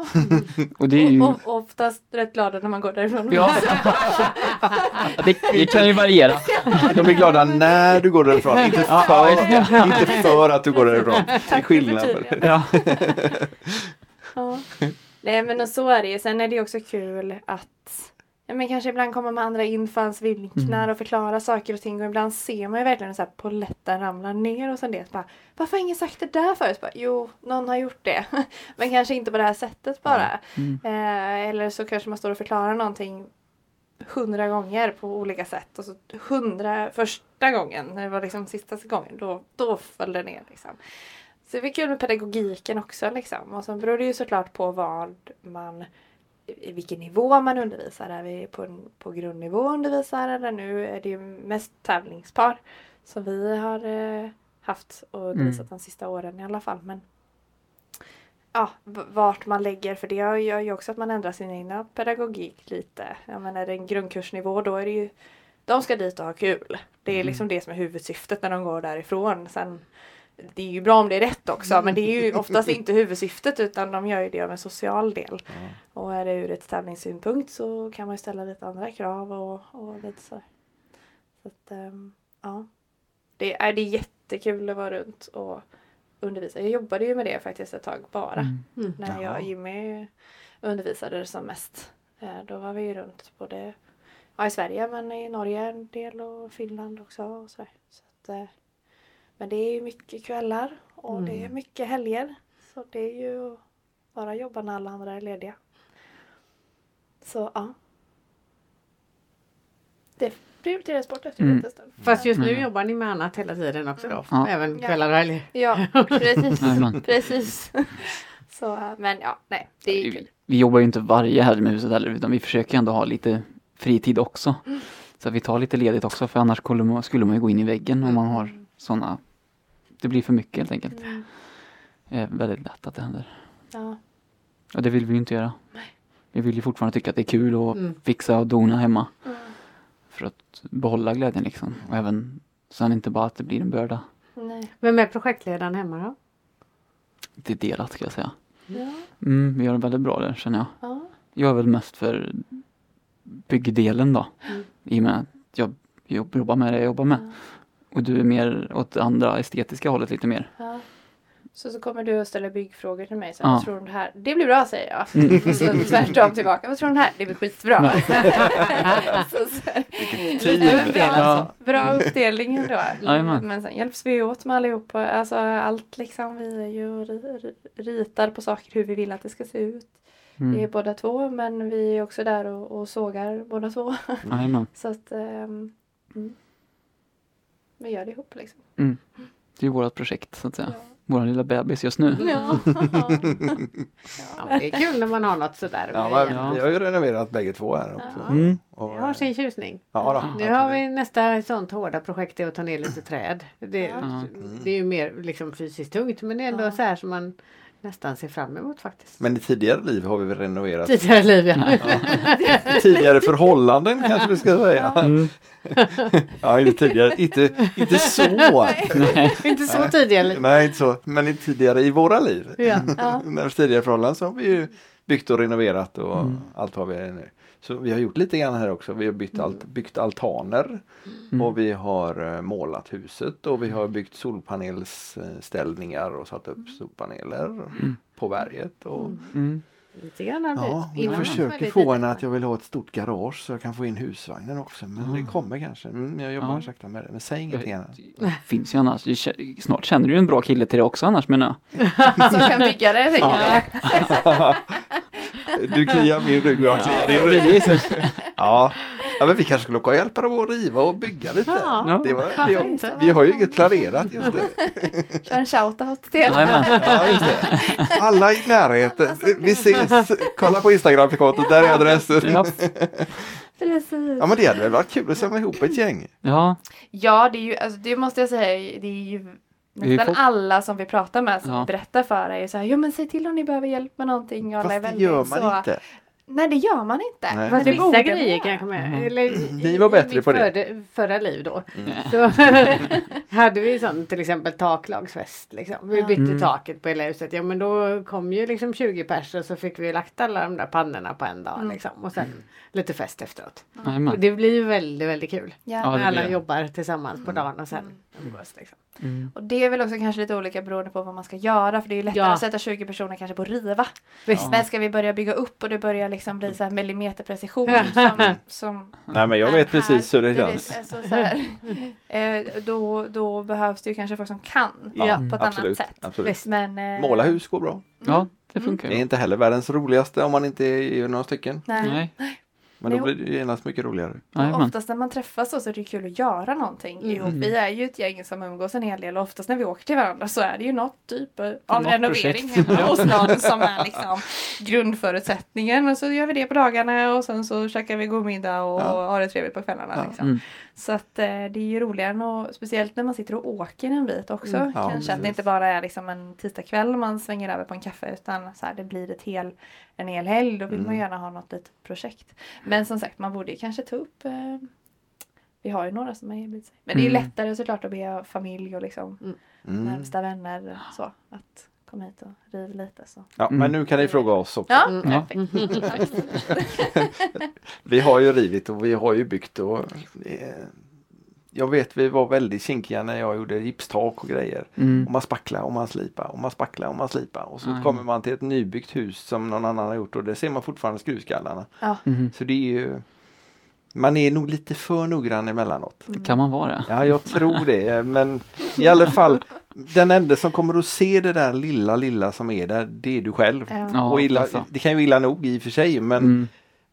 [SPEAKER 4] Och det är ju...
[SPEAKER 3] Och, och oftast rätt glada när man går därifrån.
[SPEAKER 4] Ja. Det, det kan ju variera.
[SPEAKER 2] De blir glada när du går därifrån. Inte för, inte för att du går därifrån. Det är
[SPEAKER 3] Tack för
[SPEAKER 2] skillnad.
[SPEAKER 3] förtydligandet.
[SPEAKER 4] Ja.
[SPEAKER 3] Ja. Nej men och så är det ju. Sen är det ju också kul att ja, men kanske ibland kommer med andra infallsvinklar och förklara saker och ting. Och ibland ser man ju verkligen så här polletten ramla ner och sen det. Bara, Varför har ingen sagt det där förut? Bara, jo, någon har gjort det. men kanske inte på det här sättet bara.
[SPEAKER 4] Mm.
[SPEAKER 3] Eh, eller så kanske man står och förklarar någonting hundra gånger på olika sätt. Och så hundra första gången, när det var liksom sista gången, då, då föll det ner. Liksom. Så det är kul med pedagogiken också. Liksom. Och sen beror det ju såklart på vad man i vilken nivå man undervisar. Är vi på, en- på grundnivå och undervisar eller nu är det ju mest tävlingspar som vi har eh, haft och undervisat de sista åren i alla fall. Men ja, v- vart man lägger för det gör ju också att man ändrar sin egna pedagogik lite. Jag menar, är det en grundkursnivå då är det ju de ska dit och ha kul. Det är liksom det som är huvudsyftet när de går därifrån. Sen, det är ju bra om det är rätt också men det är ju oftast inte huvudsyftet utan de gör ju det av en social del. Och är det ur ett tävlingssynpunkt så kan man ju ställa lite andra krav och, och lite så. så att, ehm, ja. det, är, det är jättekul att vara runt och undervisa. Jag jobbade ju med det faktiskt ett tag bara. När jag och Jimmy undervisade som mest. Eh, Då var vi ju runt både ja, i Sverige men i Norge en del och Finland också. Och sådär. Så att, eh, men det är ju mycket kvällar och det är mycket helger. Så det är ju att bara jobba när alla andra är lediga. Så ja. Det prioriteras bort efter
[SPEAKER 4] Mm.
[SPEAKER 3] mm. stund.
[SPEAKER 1] Fast just nu jobbar ni med annat hela tiden också då?
[SPEAKER 4] Ja.
[SPEAKER 1] Även
[SPEAKER 3] Ja.
[SPEAKER 1] kvällar och helger?
[SPEAKER 3] Ja, precis.
[SPEAKER 4] Ja, ibland.
[SPEAKER 3] precis. Så, eh, men ja, nej, det är ju kul.
[SPEAKER 4] Vi jobbar ju inte varje helg med huset heller utan vi försöker ändå ha lite fritid också. Så att vi tar lite ledigt också för annars skulle man, skulle man ju gå in i väggen om man har sådana... Det blir för mycket helt enkelt. Eh, väldigt lätt att det händer.
[SPEAKER 3] Ja.
[SPEAKER 4] Och det vill vi ju inte göra. Vi vill ju fortfarande tycka att det är kul att fixa och dona hemma. För att behålla glädjen liksom. Och även sen inte bara att det blir en börda.
[SPEAKER 3] Nej.
[SPEAKER 1] Vem är projektledaren hemma då?
[SPEAKER 4] Det är delat ska jag säga.
[SPEAKER 3] Ja.
[SPEAKER 4] Mm, vi gör det väldigt bra där känner jag.
[SPEAKER 3] Ja.
[SPEAKER 4] Jag är väl mest för byggdelen då. I och med att jag jobb- jobbar med det jag jobbar med. Och du är mer åt det andra estetiska hållet lite mer.
[SPEAKER 3] Ja. Så, så kommer du att ställa byggfrågor till mig. Så
[SPEAKER 4] Ja. Mm.
[SPEAKER 3] Vad tror du om det här? Det blir bra säger jag. Så tvärtom tillbaka. Vad tror du om det här? Det blir skitbra. så, så, här.
[SPEAKER 2] Typ.
[SPEAKER 3] bra,
[SPEAKER 4] Ja.
[SPEAKER 3] bra uppdelning ändå.
[SPEAKER 4] Jajamän.
[SPEAKER 3] Men sen hjälps vi ju åt med allihopa. Alltså allt liksom. Vi är ju och ri- ri- ritar på saker hur vi vill att det ska se ut. Vi är
[SPEAKER 4] Mm.
[SPEAKER 3] båda två men vi är också där och, och sågar båda två.
[SPEAKER 4] Jajamän.
[SPEAKER 3] Så att ehm, mm. vi gör det ihop liksom.
[SPEAKER 4] Det är ju vårt projekt så att säga. Vår lilla bebis just nu.
[SPEAKER 3] Ja.
[SPEAKER 1] Ja, men det är kul när man har något sådär.
[SPEAKER 2] Ja,
[SPEAKER 1] med-
[SPEAKER 2] men vi har ju renoverat bägge två här också.
[SPEAKER 4] Mm.
[SPEAKER 2] Och,
[SPEAKER 1] Det har sin tjusning.
[SPEAKER 2] ja, då,
[SPEAKER 1] Nu har vi nästa sånt hårda projekt det är att ta ner lite träd. Det,
[SPEAKER 2] Mm.
[SPEAKER 1] det är ju mer liksom fysiskt tungt men det är ändå så här som man nästan ser fram emot faktiskt.
[SPEAKER 2] Men i tidigare liv har vi väl renoverat.
[SPEAKER 1] Tidigare liv ja.
[SPEAKER 2] Tidigare förhållanden kanske vi ska säga. Ja, inte tidigare. Inte, inte så.
[SPEAKER 1] Inte så tidigare liv.
[SPEAKER 2] Nej, inte så. Men i tidigare i våra liv.
[SPEAKER 1] Ja.
[SPEAKER 2] Men tidigare förhållanden så har vi ju byggt och renoverat och
[SPEAKER 1] Mm.
[SPEAKER 2] allt vad vi är nu. Så vi har gjort lite grann här också. Vi har byggt, alt, byggt altaner
[SPEAKER 4] Mm.
[SPEAKER 2] och vi har eh, målat huset och vi har byggt solpanelsställningar och satt upp solpaneler på berget. Och,
[SPEAKER 4] Mm.
[SPEAKER 1] Lite grann har det
[SPEAKER 2] Mm. Ja,
[SPEAKER 1] blivit.
[SPEAKER 2] jag
[SPEAKER 1] Innan var
[SPEAKER 2] försöker
[SPEAKER 1] det
[SPEAKER 2] få
[SPEAKER 1] lite-
[SPEAKER 2] henne att jag vill ha ett stort garage så jag kan få in husvagnen också. Men det kommer kanske. Mm, jag jobbar
[SPEAKER 4] Ja.
[SPEAKER 2] sakta med det. Men säg inget till henne.
[SPEAKER 4] Det finns ju annars. Snart känner du ju en bra kille till det också annars menar jag.
[SPEAKER 3] Som kan bygga det. tänker jag.
[SPEAKER 2] Du kliar min rygg och jag kliar din rygg. Ja. ja, men vi kanske skulle åka och hjälpa dem att riva och bygga lite.
[SPEAKER 4] Ja.
[SPEAKER 2] Det var, vi, vi har ju inget planerat just nu.
[SPEAKER 3] Kör en shoutout till er.
[SPEAKER 4] Jajamän.
[SPEAKER 2] Ja, just det. Alla i närheten.
[SPEAKER 3] Alltså,
[SPEAKER 2] Vi ses. Kolla på Instagram-kontot, där är adressen.
[SPEAKER 4] Ja.
[SPEAKER 3] Precis.
[SPEAKER 2] Ja, men det hade väl varit kul att samla ihop ett gäng.
[SPEAKER 4] ja,
[SPEAKER 3] Ja, det är ju, alltså, det måste jag säga, det är ju
[SPEAKER 4] är ju
[SPEAKER 3] nästan
[SPEAKER 4] folk-
[SPEAKER 3] alla som vi pratar med som
[SPEAKER 4] Ja.
[SPEAKER 3] berättar för dig så här, ja men säg till om ni behöver hjälp med någonting. Och alla är
[SPEAKER 2] Fast det
[SPEAKER 3] väldigt
[SPEAKER 2] gör
[SPEAKER 3] så,
[SPEAKER 2] man inte.
[SPEAKER 3] Nej, det gör man inte.
[SPEAKER 2] Nej.
[SPEAKER 3] Men
[SPEAKER 1] Fast vissa
[SPEAKER 3] borde
[SPEAKER 1] grejer
[SPEAKER 3] man.
[SPEAKER 1] kanske med. Eller,
[SPEAKER 2] Ni
[SPEAKER 1] i-
[SPEAKER 2] var
[SPEAKER 1] i
[SPEAKER 2] bättre
[SPEAKER 1] mitt
[SPEAKER 2] på det. Mm.
[SPEAKER 1] förde- förra liv då. Så hade vi sånt till exempel taklagsfest. Liksom. Vi bytte
[SPEAKER 2] Mm.
[SPEAKER 1] taket på hela huset. Ja men då kom ju liksom 20 personer så fick vi lagt alla de där pannorna på en dag. Liksom. Och sen
[SPEAKER 2] Mm.
[SPEAKER 1] lite fest efteråt. Och
[SPEAKER 4] jajamän.
[SPEAKER 1] det blir ju väldigt väldigt kul.
[SPEAKER 3] Ja.
[SPEAKER 1] När
[SPEAKER 4] Ja, det Mm. blir
[SPEAKER 1] alla
[SPEAKER 4] det.
[SPEAKER 1] jobbar tillsammans på dagen och sen umgås. Liksom.
[SPEAKER 3] Och det är väl också kanske lite olika beroende på vad man ska göra för det är ju lättare
[SPEAKER 1] Ja.
[SPEAKER 3] att sätta 20 personer kanske på att riva.
[SPEAKER 1] Visst.
[SPEAKER 3] Men ska vi börja bygga upp och det börjar liksom
[SPEAKER 2] Mm.
[SPEAKER 3] bli så här millimeterprecision som, som
[SPEAKER 2] Nej, men jag
[SPEAKER 3] är här, precis, alltså så här, eh, då, då behövs det ju kanske folk som kan
[SPEAKER 2] Ja,
[SPEAKER 3] på ett
[SPEAKER 2] absolut,
[SPEAKER 3] annat sätt.
[SPEAKER 4] Mm.
[SPEAKER 2] absolut.
[SPEAKER 3] Men, eh,
[SPEAKER 2] Måla hus går bra.
[SPEAKER 4] Ja, det funkar
[SPEAKER 2] Det är
[SPEAKER 4] ju.
[SPEAKER 2] inte heller världens roligaste om man inte är några stycken.
[SPEAKER 3] Nej.
[SPEAKER 4] Nej,
[SPEAKER 2] Men då blir det ju genast mycket roligare.
[SPEAKER 3] Och
[SPEAKER 4] jajamän.
[SPEAKER 3] Oftast när man träffas så, så är det ju kul att göra någonting
[SPEAKER 2] Mm.
[SPEAKER 3] ihop. Vi är ju ett gäng som umgås en hel del och oftast när vi åker till varandra så är det ju något typ av
[SPEAKER 4] Något
[SPEAKER 3] renovering
[SPEAKER 4] projekt.
[SPEAKER 3] hemma hos någon som är liksom grundförutsättningen. Och så gör vi det på dagarna och sen så käkar vi god middag och
[SPEAKER 2] Ja.
[SPEAKER 3] har det trevligt på kvällarna.
[SPEAKER 2] Ja.
[SPEAKER 3] Liksom.
[SPEAKER 4] Mm.
[SPEAKER 3] Så att eh, det är ju roligare än att, speciellt när man sitter och åker en bit också.
[SPEAKER 2] Mm. Ja,
[SPEAKER 3] Kanske att
[SPEAKER 2] precis.
[SPEAKER 3] det inte bara är liksom en tisdagkväll man svänger över på en kaffe utan så här, det blir ett hel, en hel helg. Då vill man
[SPEAKER 2] Mm.
[SPEAKER 3] gärna ha något litet projekt. Men som sagt, man borde ju kanske ta upp eh, vi har ju några som har erbjudit sig. Men det är ju
[SPEAKER 4] Mm.
[SPEAKER 3] lättare såklart att be familj och liksom
[SPEAKER 2] Mm.
[SPEAKER 3] närmsta vänner så att komma hit och riva lite. Så.
[SPEAKER 2] Ja,
[SPEAKER 4] Mm.
[SPEAKER 2] Men nu kan ni fråga oss också.
[SPEAKER 3] Ja,
[SPEAKER 4] Ja.
[SPEAKER 3] perfekt. perfekt.
[SPEAKER 2] Vi har ju rivit och vi har ju byggt och eh, jag vet vi var väldigt kinkiga när jag gjorde gipstak och grejer.
[SPEAKER 4] Mm.
[SPEAKER 2] Och man spacklar och man slipar och man spacklar och man slipar och så
[SPEAKER 4] Mm.
[SPEAKER 2] kommer man till ett nybyggt hus som någon annan har gjort och det ser man fortfarande skruvskallarna.
[SPEAKER 3] Ja.
[SPEAKER 4] Mhm.
[SPEAKER 2] Så det är ju man är nog lite för noggrann emellanåt.
[SPEAKER 4] Det kan man vara.
[SPEAKER 2] Ja, jag tror det. Men i alla fall, den enda som kommer att se det där lilla, lilla som är där, det är du själv.
[SPEAKER 3] Ja.
[SPEAKER 4] Ja,
[SPEAKER 2] och illa,
[SPEAKER 4] alltså.
[SPEAKER 2] Det kan ju illa nog i och för sig, men
[SPEAKER 4] Mm.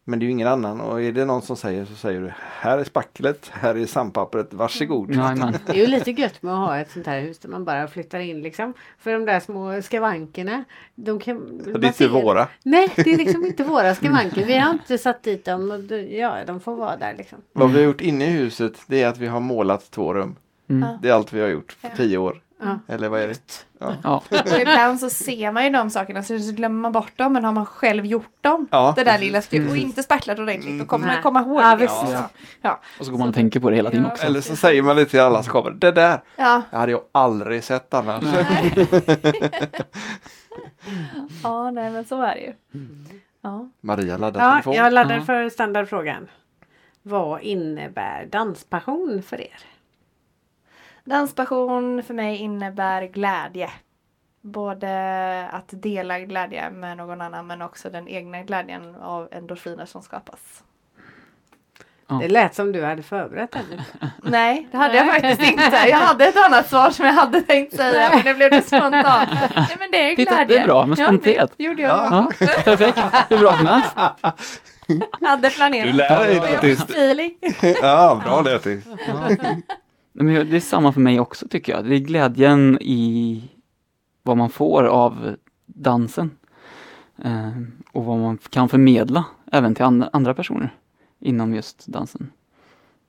[SPEAKER 2] men det är ju ingen annan och är det någon som säger så säger du här är spacklet, här är sandpappret, varsågod.
[SPEAKER 4] Jajamän.
[SPEAKER 1] Det är ju lite gött med att ha ett sånt här hus där man bara flyttar in liksom. För de där små skavankerna. De kan,
[SPEAKER 2] Det är inte våra.
[SPEAKER 1] Nej, det är liksom inte våra skavanker. Vi har inte satt dit dem. Och då- ja, de får vara där liksom.
[SPEAKER 2] Vad vi har gjort inne i huset det är att vi har målat två rum.
[SPEAKER 4] Mm.
[SPEAKER 2] Det är allt vi har gjort på tio år.
[SPEAKER 1] Ja.
[SPEAKER 2] Eller vad är det? Ja,
[SPEAKER 4] Ja,
[SPEAKER 3] Och ibland så ser man ju de sakerna så så glömmer man bort dem men har man själv gjort dem,
[SPEAKER 2] Ja,
[SPEAKER 3] det där lilla skruvet och inte spacklat ordentligt då kommer man
[SPEAKER 1] Nej.
[SPEAKER 3] komma ihåg
[SPEAKER 1] Ja,
[SPEAKER 3] det.
[SPEAKER 1] visst.
[SPEAKER 3] också. Ja.
[SPEAKER 4] och så går man och tänker på det hela tiden också.
[SPEAKER 2] eller så säger man det till alla som kommer. Det där
[SPEAKER 3] Ja.
[SPEAKER 2] det hade jag aldrig sett annars.
[SPEAKER 3] ja, nej men så är det ju. Ja.
[SPEAKER 2] Maria laddar
[SPEAKER 1] Ja,
[SPEAKER 2] telefon.
[SPEAKER 1] jag laddar
[SPEAKER 4] Ja.
[SPEAKER 1] för standardfrågan. Vad innebär danspassion för er?
[SPEAKER 3] Danspassion för mig innebär glädje. Både att dela glädje med någon annan men också den egna glädjen av endorfiner som skapas.
[SPEAKER 4] Ja.
[SPEAKER 1] Det lät som du hade förberett den.
[SPEAKER 3] Nej, det hade jag faktiskt inte. Jag hade ett annat svar som jag hade tänkt säga men det blev det spontant. Nej men det är
[SPEAKER 4] Titta,
[SPEAKER 3] glädje.
[SPEAKER 4] det är bra med
[SPEAKER 3] Ja,
[SPEAKER 4] spontant.
[SPEAKER 3] det gjorde jag.
[SPEAKER 4] Ja, perfekt. Hur bra som helst.
[SPEAKER 3] Jag hade planerat.
[SPEAKER 2] lär dig
[SPEAKER 3] Jag har feeling.
[SPEAKER 2] Ja, bra lät det.
[SPEAKER 4] Nej, men jag- det är samma för mig också tycker jag. Det är glädjen i vad man får av dansen. Eh, och vad man kan förmedla även till an- andra personer inom just dansen.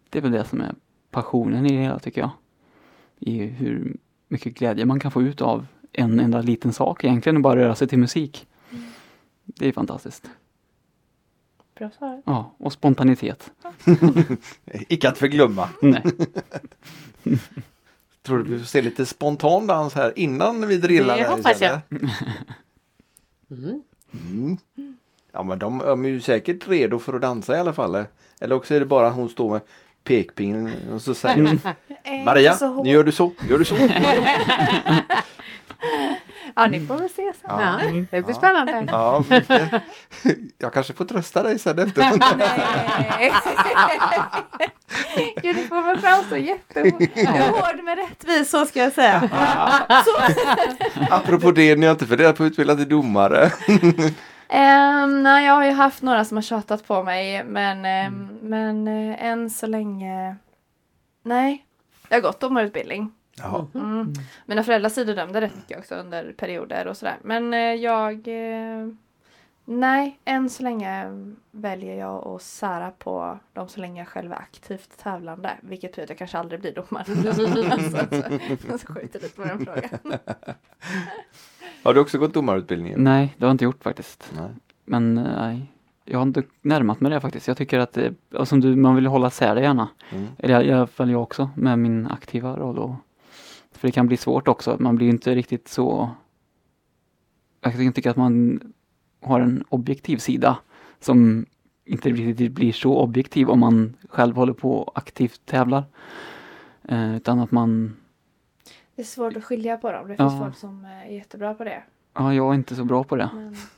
[SPEAKER 4] Det är väl det som är passionen i det hela tycker jag. I hur mycket glädje man kan få ut av en enda liten sak egentligen, och bara röra sig till musik. Det är fantastiskt.
[SPEAKER 3] Bra svar.
[SPEAKER 4] Ja, och spontanitet.
[SPEAKER 2] Icke att förglömma.
[SPEAKER 4] Nej.
[SPEAKER 2] Tror du vi får se lite spontan dans här innan vi drillar?
[SPEAKER 1] Det
[SPEAKER 2] här
[SPEAKER 1] hoppas
[SPEAKER 2] istället?
[SPEAKER 1] Mm.
[SPEAKER 2] Mm. Ja men de de är ju säkert redo för att dansa i alla fall. eh? Eller också är det bara hon står med pekpinnen och så säger
[SPEAKER 1] Mm.
[SPEAKER 2] hon,
[SPEAKER 3] Eh,
[SPEAKER 2] Maria, nu gör du så, gör du så.
[SPEAKER 3] Ja, ni får väl se sen.
[SPEAKER 2] Ja,
[SPEAKER 1] Ja, det blir spännande.
[SPEAKER 2] ja, mycket. jag kanske får trösta dig sen efteråt.
[SPEAKER 3] Nej. Gud, du får väl framstå jättehård med rättvis, så ska jag säga.
[SPEAKER 2] Apropå det, ni har inte funderat på att utbilda till domare.
[SPEAKER 3] Ehm, nej, jag har ju haft några som har tjatat på mig, men, ehm, men eh, än så länge... Nej, jag har gått domarutbildning.
[SPEAKER 2] Ja.
[SPEAKER 3] Mm. Mina föräldrar sidodömde rätt mycket också under perioder och sådär. Men eh, jag... Eh, nej, än så länge väljer jag att sära på dem så länge jag själv är aktivt tävlande. Vilket betyder att jag kanske aldrig blir domare. så, så, så skjuter jag lite på den frågan.
[SPEAKER 2] Har du också gått domarutbildningen?
[SPEAKER 4] Nej, det har jag inte gjort faktiskt.
[SPEAKER 2] Nej.
[SPEAKER 4] Men eh, nej, jag har inte närmat mig det faktiskt. Jag tycker att det, ja, som du, man vill hålla isär det gärna.
[SPEAKER 2] Mm.
[SPEAKER 4] Eller i alla fall jag också med min aktiva roll. Och, för det kan bli svårt också. Man blir ju inte riktigt så... Jag kan tycka att man har en objektiv sida som inte riktigt blir så objektiv om man själv håller på och aktivt tävlar. Eh, utan att man...
[SPEAKER 3] Det är svårt att skilja på dem. Det
[SPEAKER 4] Ja.
[SPEAKER 3] finns folk som eh, är jättebra på det.
[SPEAKER 4] Ja, jag är inte så bra på det.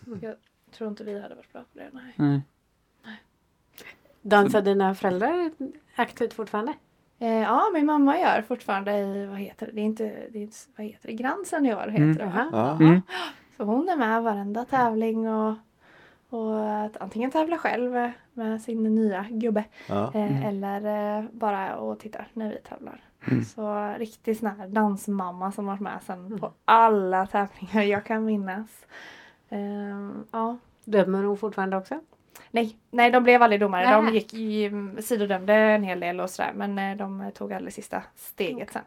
[SPEAKER 3] Men jag tror inte vi hade varit bra på det. Nej.
[SPEAKER 4] Nej.
[SPEAKER 1] Dansar dina föräldrar aktivt fortfarande?
[SPEAKER 3] Eh, ja, min mamma gör fortfarande i, vad heter det, det är inte, det är inte vad heter det, Grand Senior heter
[SPEAKER 4] Mm.
[SPEAKER 3] det va?
[SPEAKER 1] Jaha.
[SPEAKER 2] Ja.
[SPEAKER 4] Mm.
[SPEAKER 3] Så hon är med varenda tävling och, och att antingen tävla själv eh, med sin nya gubbe
[SPEAKER 2] Ja.
[SPEAKER 3] eh,
[SPEAKER 4] Mm.
[SPEAKER 3] eller eh, bara och titta när vi tävlar. Så riktigt sån här dansmamma som varit med sen
[SPEAKER 4] Mm.
[SPEAKER 3] på alla tävlingar jag kan minnas. Ehm, ja,
[SPEAKER 1] Dömer hon fortfarande också?
[SPEAKER 3] Nej, nej de blev aldrig domare. De
[SPEAKER 1] Nej.
[SPEAKER 3] gick i, mm, sidodömde en hel del och sådär. Men eh, de tog aldrig sista steget sen.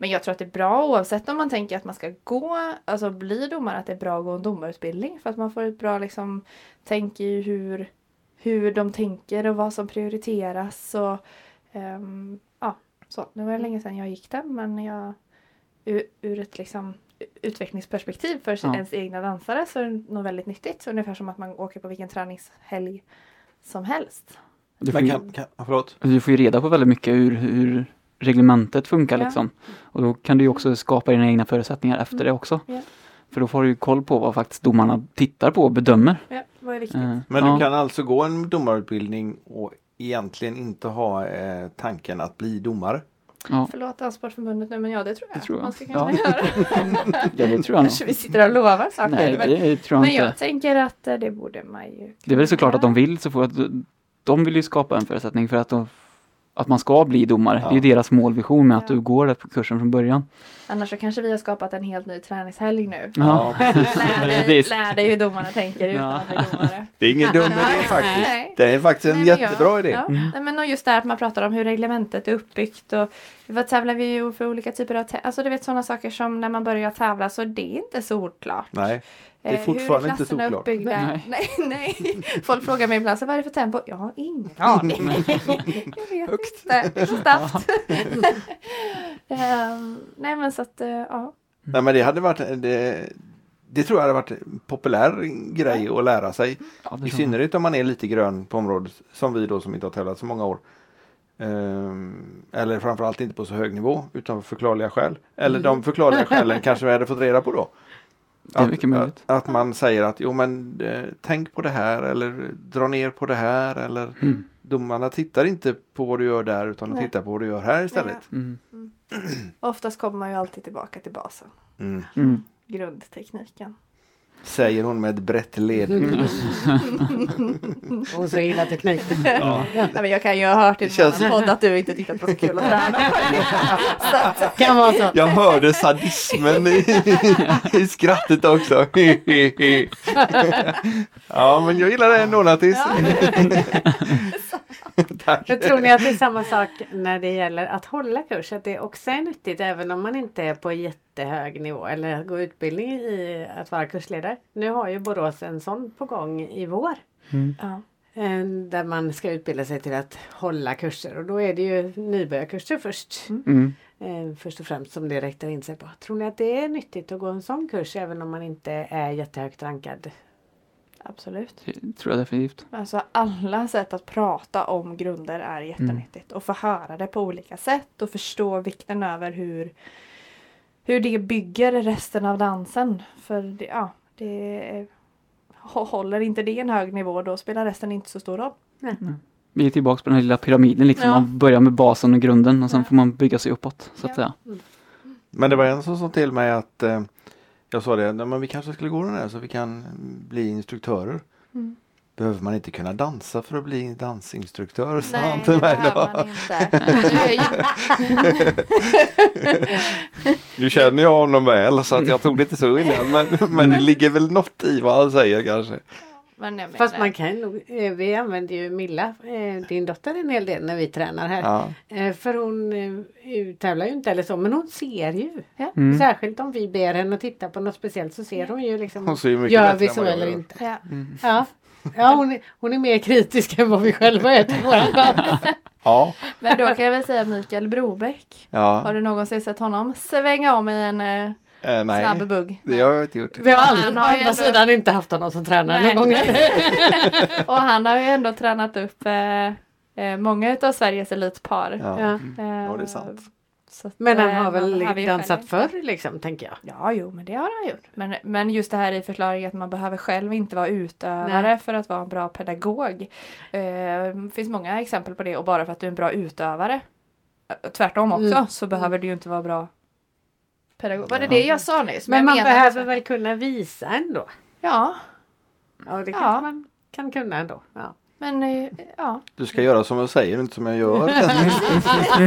[SPEAKER 3] Men jag tror att det är bra oavsett om man tänker att man ska gå, alltså bli domare, att det är bra att gå en domarutbildning. För att man får ett bra liksom, tänk i hur, hur de tänker och vad som prioriteras. Och, ehm, ja, så. Det var ju länge sedan jag gick den men jag, ur, ur ett liksom utvecklingsperspektiv för
[SPEAKER 4] Ja.
[SPEAKER 3] ens egna dansare så är det nog väldigt nyttigt. Ungefär som att man åker på vilken träningshelg som helst.
[SPEAKER 4] Du får
[SPEAKER 2] Men
[SPEAKER 4] ju-
[SPEAKER 2] kan, kan, ja, förlåt.
[SPEAKER 4] Du Alltså, får ju reda på väldigt mycket hur, hur reglementet funkar
[SPEAKER 3] Ja.
[SPEAKER 4] liksom. Och då kan du ju också skapa dina egna förutsättningar efter det också.
[SPEAKER 3] Mm. Ja.
[SPEAKER 4] För då får du ju koll på vad faktiskt domarna tittar på och bedömer.
[SPEAKER 3] Ja, det var ju viktigt.
[SPEAKER 4] Eh,
[SPEAKER 2] Men
[SPEAKER 4] ja.
[SPEAKER 2] du kan alltså gå en domarutbildning och egentligen inte ha eh, tanken att bli domare?
[SPEAKER 3] Förlåt Danssportförbundet nu men ja det tror jag.
[SPEAKER 4] Det tror jag.
[SPEAKER 3] Man ska
[SPEAKER 4] Ja.
[SPEAKER 3] kanske göra.
[SPEAKER 4] Ja, det tror jag nog.
[SPEAKER 3] Kanske vi sitter här och lovar saker.
[SPEAKER 4] Nej,
[SPEAKER 3] men,
[SPEAKER 4] det tror jag
[SPEAKER 3] men
[SPEAKER 4] inte.
[SPEAKER 3] jag tänker att eh, det borde man ju.
[SPEAKER 4] Det är väl såklart att de vill så får att de vill ju skapa en förutsättning för att, de, att man ska bli domare. Det är ju deras målvision med att
[SPEAKER 3] Ja.
[SPEAKER 4] du går där på kursen från början.
[SPEAKER 3] Annars så kanske vi har skapat en helt ny träningshelg nu.
[SPEAKER 4] Ja.
[SPEAKER 3] Lär dig,
[SPEAKER 4] precis.
[SPEAKER 3] lär dig hur domarna tänker utan
[SPEAKER 4] Ja.
[SPEAKER 3] att bli domare.
[SPEAKER 2] Det är ingen dum idé faktiskt.
[SPEAKER 3] Nej.
[SPEAKER 2] Det är faktiskt en
[SPEAKER 3] Nej, men
[SPEAKER 2] jättebra
[SPEAKER 3] ja,
[SPEAKER 2] idé.
[SPEAKER 3] Ja. Nej, men och just det här att man pratar om hur reglementet är uppbyggt och vad tävlar vi ju för olika typer av tä- Alltså du vet sådana saker som när man börjar tävla så det är inte solklart.
[SPEAKER 2] Nej, det är
[SPEAKER 3] Eh,
[SPEAKER 2] fortfarande
[SPEAKER 3] hur
[SPEAKER 2] inte
[SPEAKER 3] klasserna är
[SPEAKER 2] solklart.
[SPEAKER 3] Uppbyggda.
[SPEAKER 4] Nej.
[SPEAKER 3] Nej. nej, Folk frågar mig ibland så vad är det för tempo? Jag har ingen aning.
[SPEAKER 2] Mm.
[SPEAKER 3] jag vet inte. Det är så snabbt. Ehm, nej men så att, eh, ja.
[SPEAKER 2] Nej, men det hade varit... eh, Det, det tror jag hade varit en populär grej att lära sig.
[SPEAKER 4] Ja, det
[SPEAKER 2] I
[SPEAKER 4] tror jag.
[SPEAKER 2] synnerhet om man är lite grön på området, som vi då som inte har tävlat så många år. Ehm, eller framförallt inte på så hög nivå, utan av förklarliga skäl. Eller de förklarliga skälen kanske vi hade fått reda på då.
[SPEAKER 4] Mm. Det är mycket möjligt.
[SPEAKER 2] Att, att man säger att jo men eh, tänk på det här eller dra ner på det här eller
[SPEAKER 4] Mm.
[SPEAKER 2] domarna tittar inte på vad du gör där utan de
[SPEAKER 3] Nej.
[SPEAKER 2] tittar på vad du gör här istället.
[SPEAKER 4] Mm.
[SPEAKER 3] Oftast kommer man ju alltid tillbaka till basen.
[SPEAKER 2] Mm.
[SPEAKER 4] Mm.
[SPEAKER 3] Grundtekniken.
[SPEAKER 2] Säger hon med ett brett leende.
[SPEAKER 8] Och så gillar teknik.
[SPEAKER 3] Nej, men jag kan ju ha hört i
[SPEAKER 2] Det känns-
[SPEAKER 3] någon podd att du inte tittat på så kul att träna. Så att-
[SPEAKER 8] Kan vara så.
[SPEAKER 2] Jag hörde sadismen i, i skrattet också. ja, men jag gillar det ändå Nattis. Tack.
[SPEAKER 1] Men tror ni att det är samma sak när det gäller att hålla kurs? Att det också är nyttigt även om man inte är på jättehög nivå eller att gå utbildning i att vara kursledare? Nu har ju Borås en sån på gång i vår.
[SPEAKER 3] Ja.
[SPEAKER 1] Eh, Där man ska utbilda sig till att hålla kurser och då är det ju nybörjarkurser först.
[SPEAKER 4] Mm.
[SPEAKER 1] Eh, Först och främst som det räknar in sig på. Tror ni att det är nyttigt att gå en sån kurs även om man inte är jättehögt rankad?
[SPEAKER 3] Absolut.
[SPEAKER 4] Det tror jag definitivt.
[SPEAKER 3] Alltså alla sätt att prata om grunder är jättenyttigt. Och få höra det på olika sätt och förstå vikten över hur, hur det bygger resten av dansen. För det, ja, det är- hå- håller inte det en hög nivå då spelar resten inte så stor roll.
[SPEAKER 4] Vi är tillbaka på den här lilla pyramiden liksom.
[SPEAKER 3] Ja.
[SPEAKER 4] Man börjar med basen och grunden och sen får man bygga sig uppåt. Så att
[SPEAKER 3] Ja.
[SPEAKER 4] säga.
[SPEAKER 2] Men det var en som sa till mig att eh, jag sa det, "Nej, men vi kanske skulle gå den här så vi kan mm, bli instruktörer.
[SPEAKER 3] Mm.
[SPEAKER 2] Behöver man inte kunna dansa för att bli dansinstruktör? sa han
[SPEAKER 3] Nej,
[SPEAKER 2] till
[SPEAKER 3] det
[SPEAKER 2] mig
[SPEAKER 3] behöver
[SPEAKER 2] då.
[SPEAKER 3] man inte. Du är ju-
[SPEAKER 2] Nu känner jag honom väl så att jag tog det inte så illa. Men, men det ligger väl något i vad han säger kanske.
[SPEAKER 3] Men jag menar,
[SPEAKER 1] Fast man kan nog, eh, vi använder ju Milla, eh, din dotter en hel del när vi tränar här.
[SPEAKER 2] Ja.
[SPEAKER 1] Eh, För hon eh, tävlar ju inte eller så men hon ser ju.
[SPEAKER 3] Ja.
[SPEAKER 4] Mm.
[SPEAKER 1] Särskilt om vi ber henne att titta på något speciellt så ser hon ju liksom.
[SPEAKER 2] Hon ser ju mycket
[SPEAKER 1] gör
[SPEAKER 2] bättre
[SPEAKER 1] vi
[SPEAKER 2] än
[SPEAKER 1] så
[SPEAKER 2] vad jag
[SPEAKER 1] eller
[SPEAKER 2] gör.
[SPEAKER 1] inte?
[SPEAKER 3] Ja.
[SPEAKER 2] Mm.
[SPEAKER 1] Ja, ja hon, är, hon är mer kritisk än vad vi själva är till våra dans.
[SPEAKER 2] Ja.
[SPEAKER 3] Men då kan jag väl säga Mikael Brobeck. Har
[SPEAKER 2] ja.
[SPEAKER 3] du någonsin sett honom svänga om i en eh,
[SPEAKER 2] Eh, nej,
[SPEAKER 3] snabb bugg?
[SPEAKER 2] det har jag inte gjort.
[SPEAKER 1] Vi har aldrig,
[SPEAKER 3] Han
[SPEAKER 1] å
[SPEAKER 3] har Alltså, ju
[SPEAKER 1] andra
[SPEAKER 3] ändå-
[SPEAKER 1] sidan inte haft någon som tränar
[SPEAKER 3] Nej.
[SPEAKER 1] någon gång.
[SPEAKER 3] Och han har ju ändå tränat upp eh, eh, många av Sveriges elitpar. Eh,
[SPEAKER 2] Ja.
[SPEAKER 1] Ja.
[SPEAKER 2] Ja, det är sant.
[SPEAKER 3] Så att,
[SPEAKER 1] Men han
[SPEAKER 3] eh,
[SPEAKER 1] har väl
[SPEAKER 3] hade ju
[SPEAKER 1] dansat
[SPEAKER 3] själv-
[SPEAKER 1] förr liksom tänker jag.
[SPEAKER 3] Ja, jo, men det har han gjort. Men, men just det här i förklaringen att man behöver själv inte vara utövare
[SPEAKER 1] Nej.
[SPEAKER 3] för att vara en bra pedagog. Eh, Det finns många exempel på det och bara för att du är en bra utövare eh, tvärtom också
[SPEAKER 1] Mm.
[SPEAKER 3] så behöver du ju inte vara bra pedagog. Var det det jag sa nyss?
[SPEAKER 1] Men
[SPEAKER 3] jag
[SPEAKER 1] man
[SPEAKER 3] menar- alltså-
[SPEAKER 1] behöver väl kunna visa ändå.
[SPEAKER 3] Ja,
[SPEAKER 1] Ja, det
[SPEAKER 3] Ja.
[SPEAKER 1] kanske man kan kunna ändå. Ja.
[SPEAKER 3] men eh, ja.
[SPEAKER 2] Du ska göra som jag säger, inte som jag gör.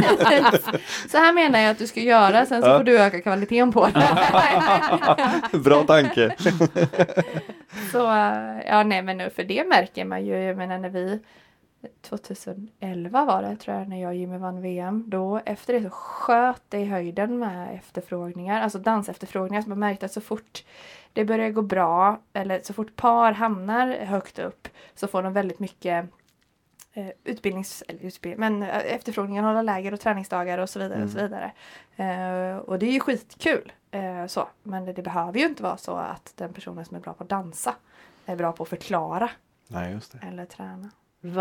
[SPEAKER 3] Så här menar jag att du ska göra sen så
[SPEAKER 2] Ja.
[SPEAKER 3] får du öka kvaliteten på det.
[SPEAKER 2] Bra tanke.
[SPEAKER 3] Så eh, ja, nej men nu- för det märker man ju, jag menar när vi 2011 var det tror jag när jag och Jimmy vann VM. Då efter det så sköt det i höjden med efterfrågningar, alltså dansefterfrågningar. Så man märkte att så fort det börjar gå bra eller så fort par hamnar högt upp så får de väldigt mycket eh, utbildnings, eller utbildning, men eh, efterfrågningar, hålla läger och träningsdagar och så vidare. Och, så vidare. Eh, och det är ju skitkul. Eh, så. Men det, det behöver ju inte vara så att den personen som är bra på att dansa är bra på att förklara
[SPEAKER 2] Nej, just det.
[SPEAKER 3] eller träna.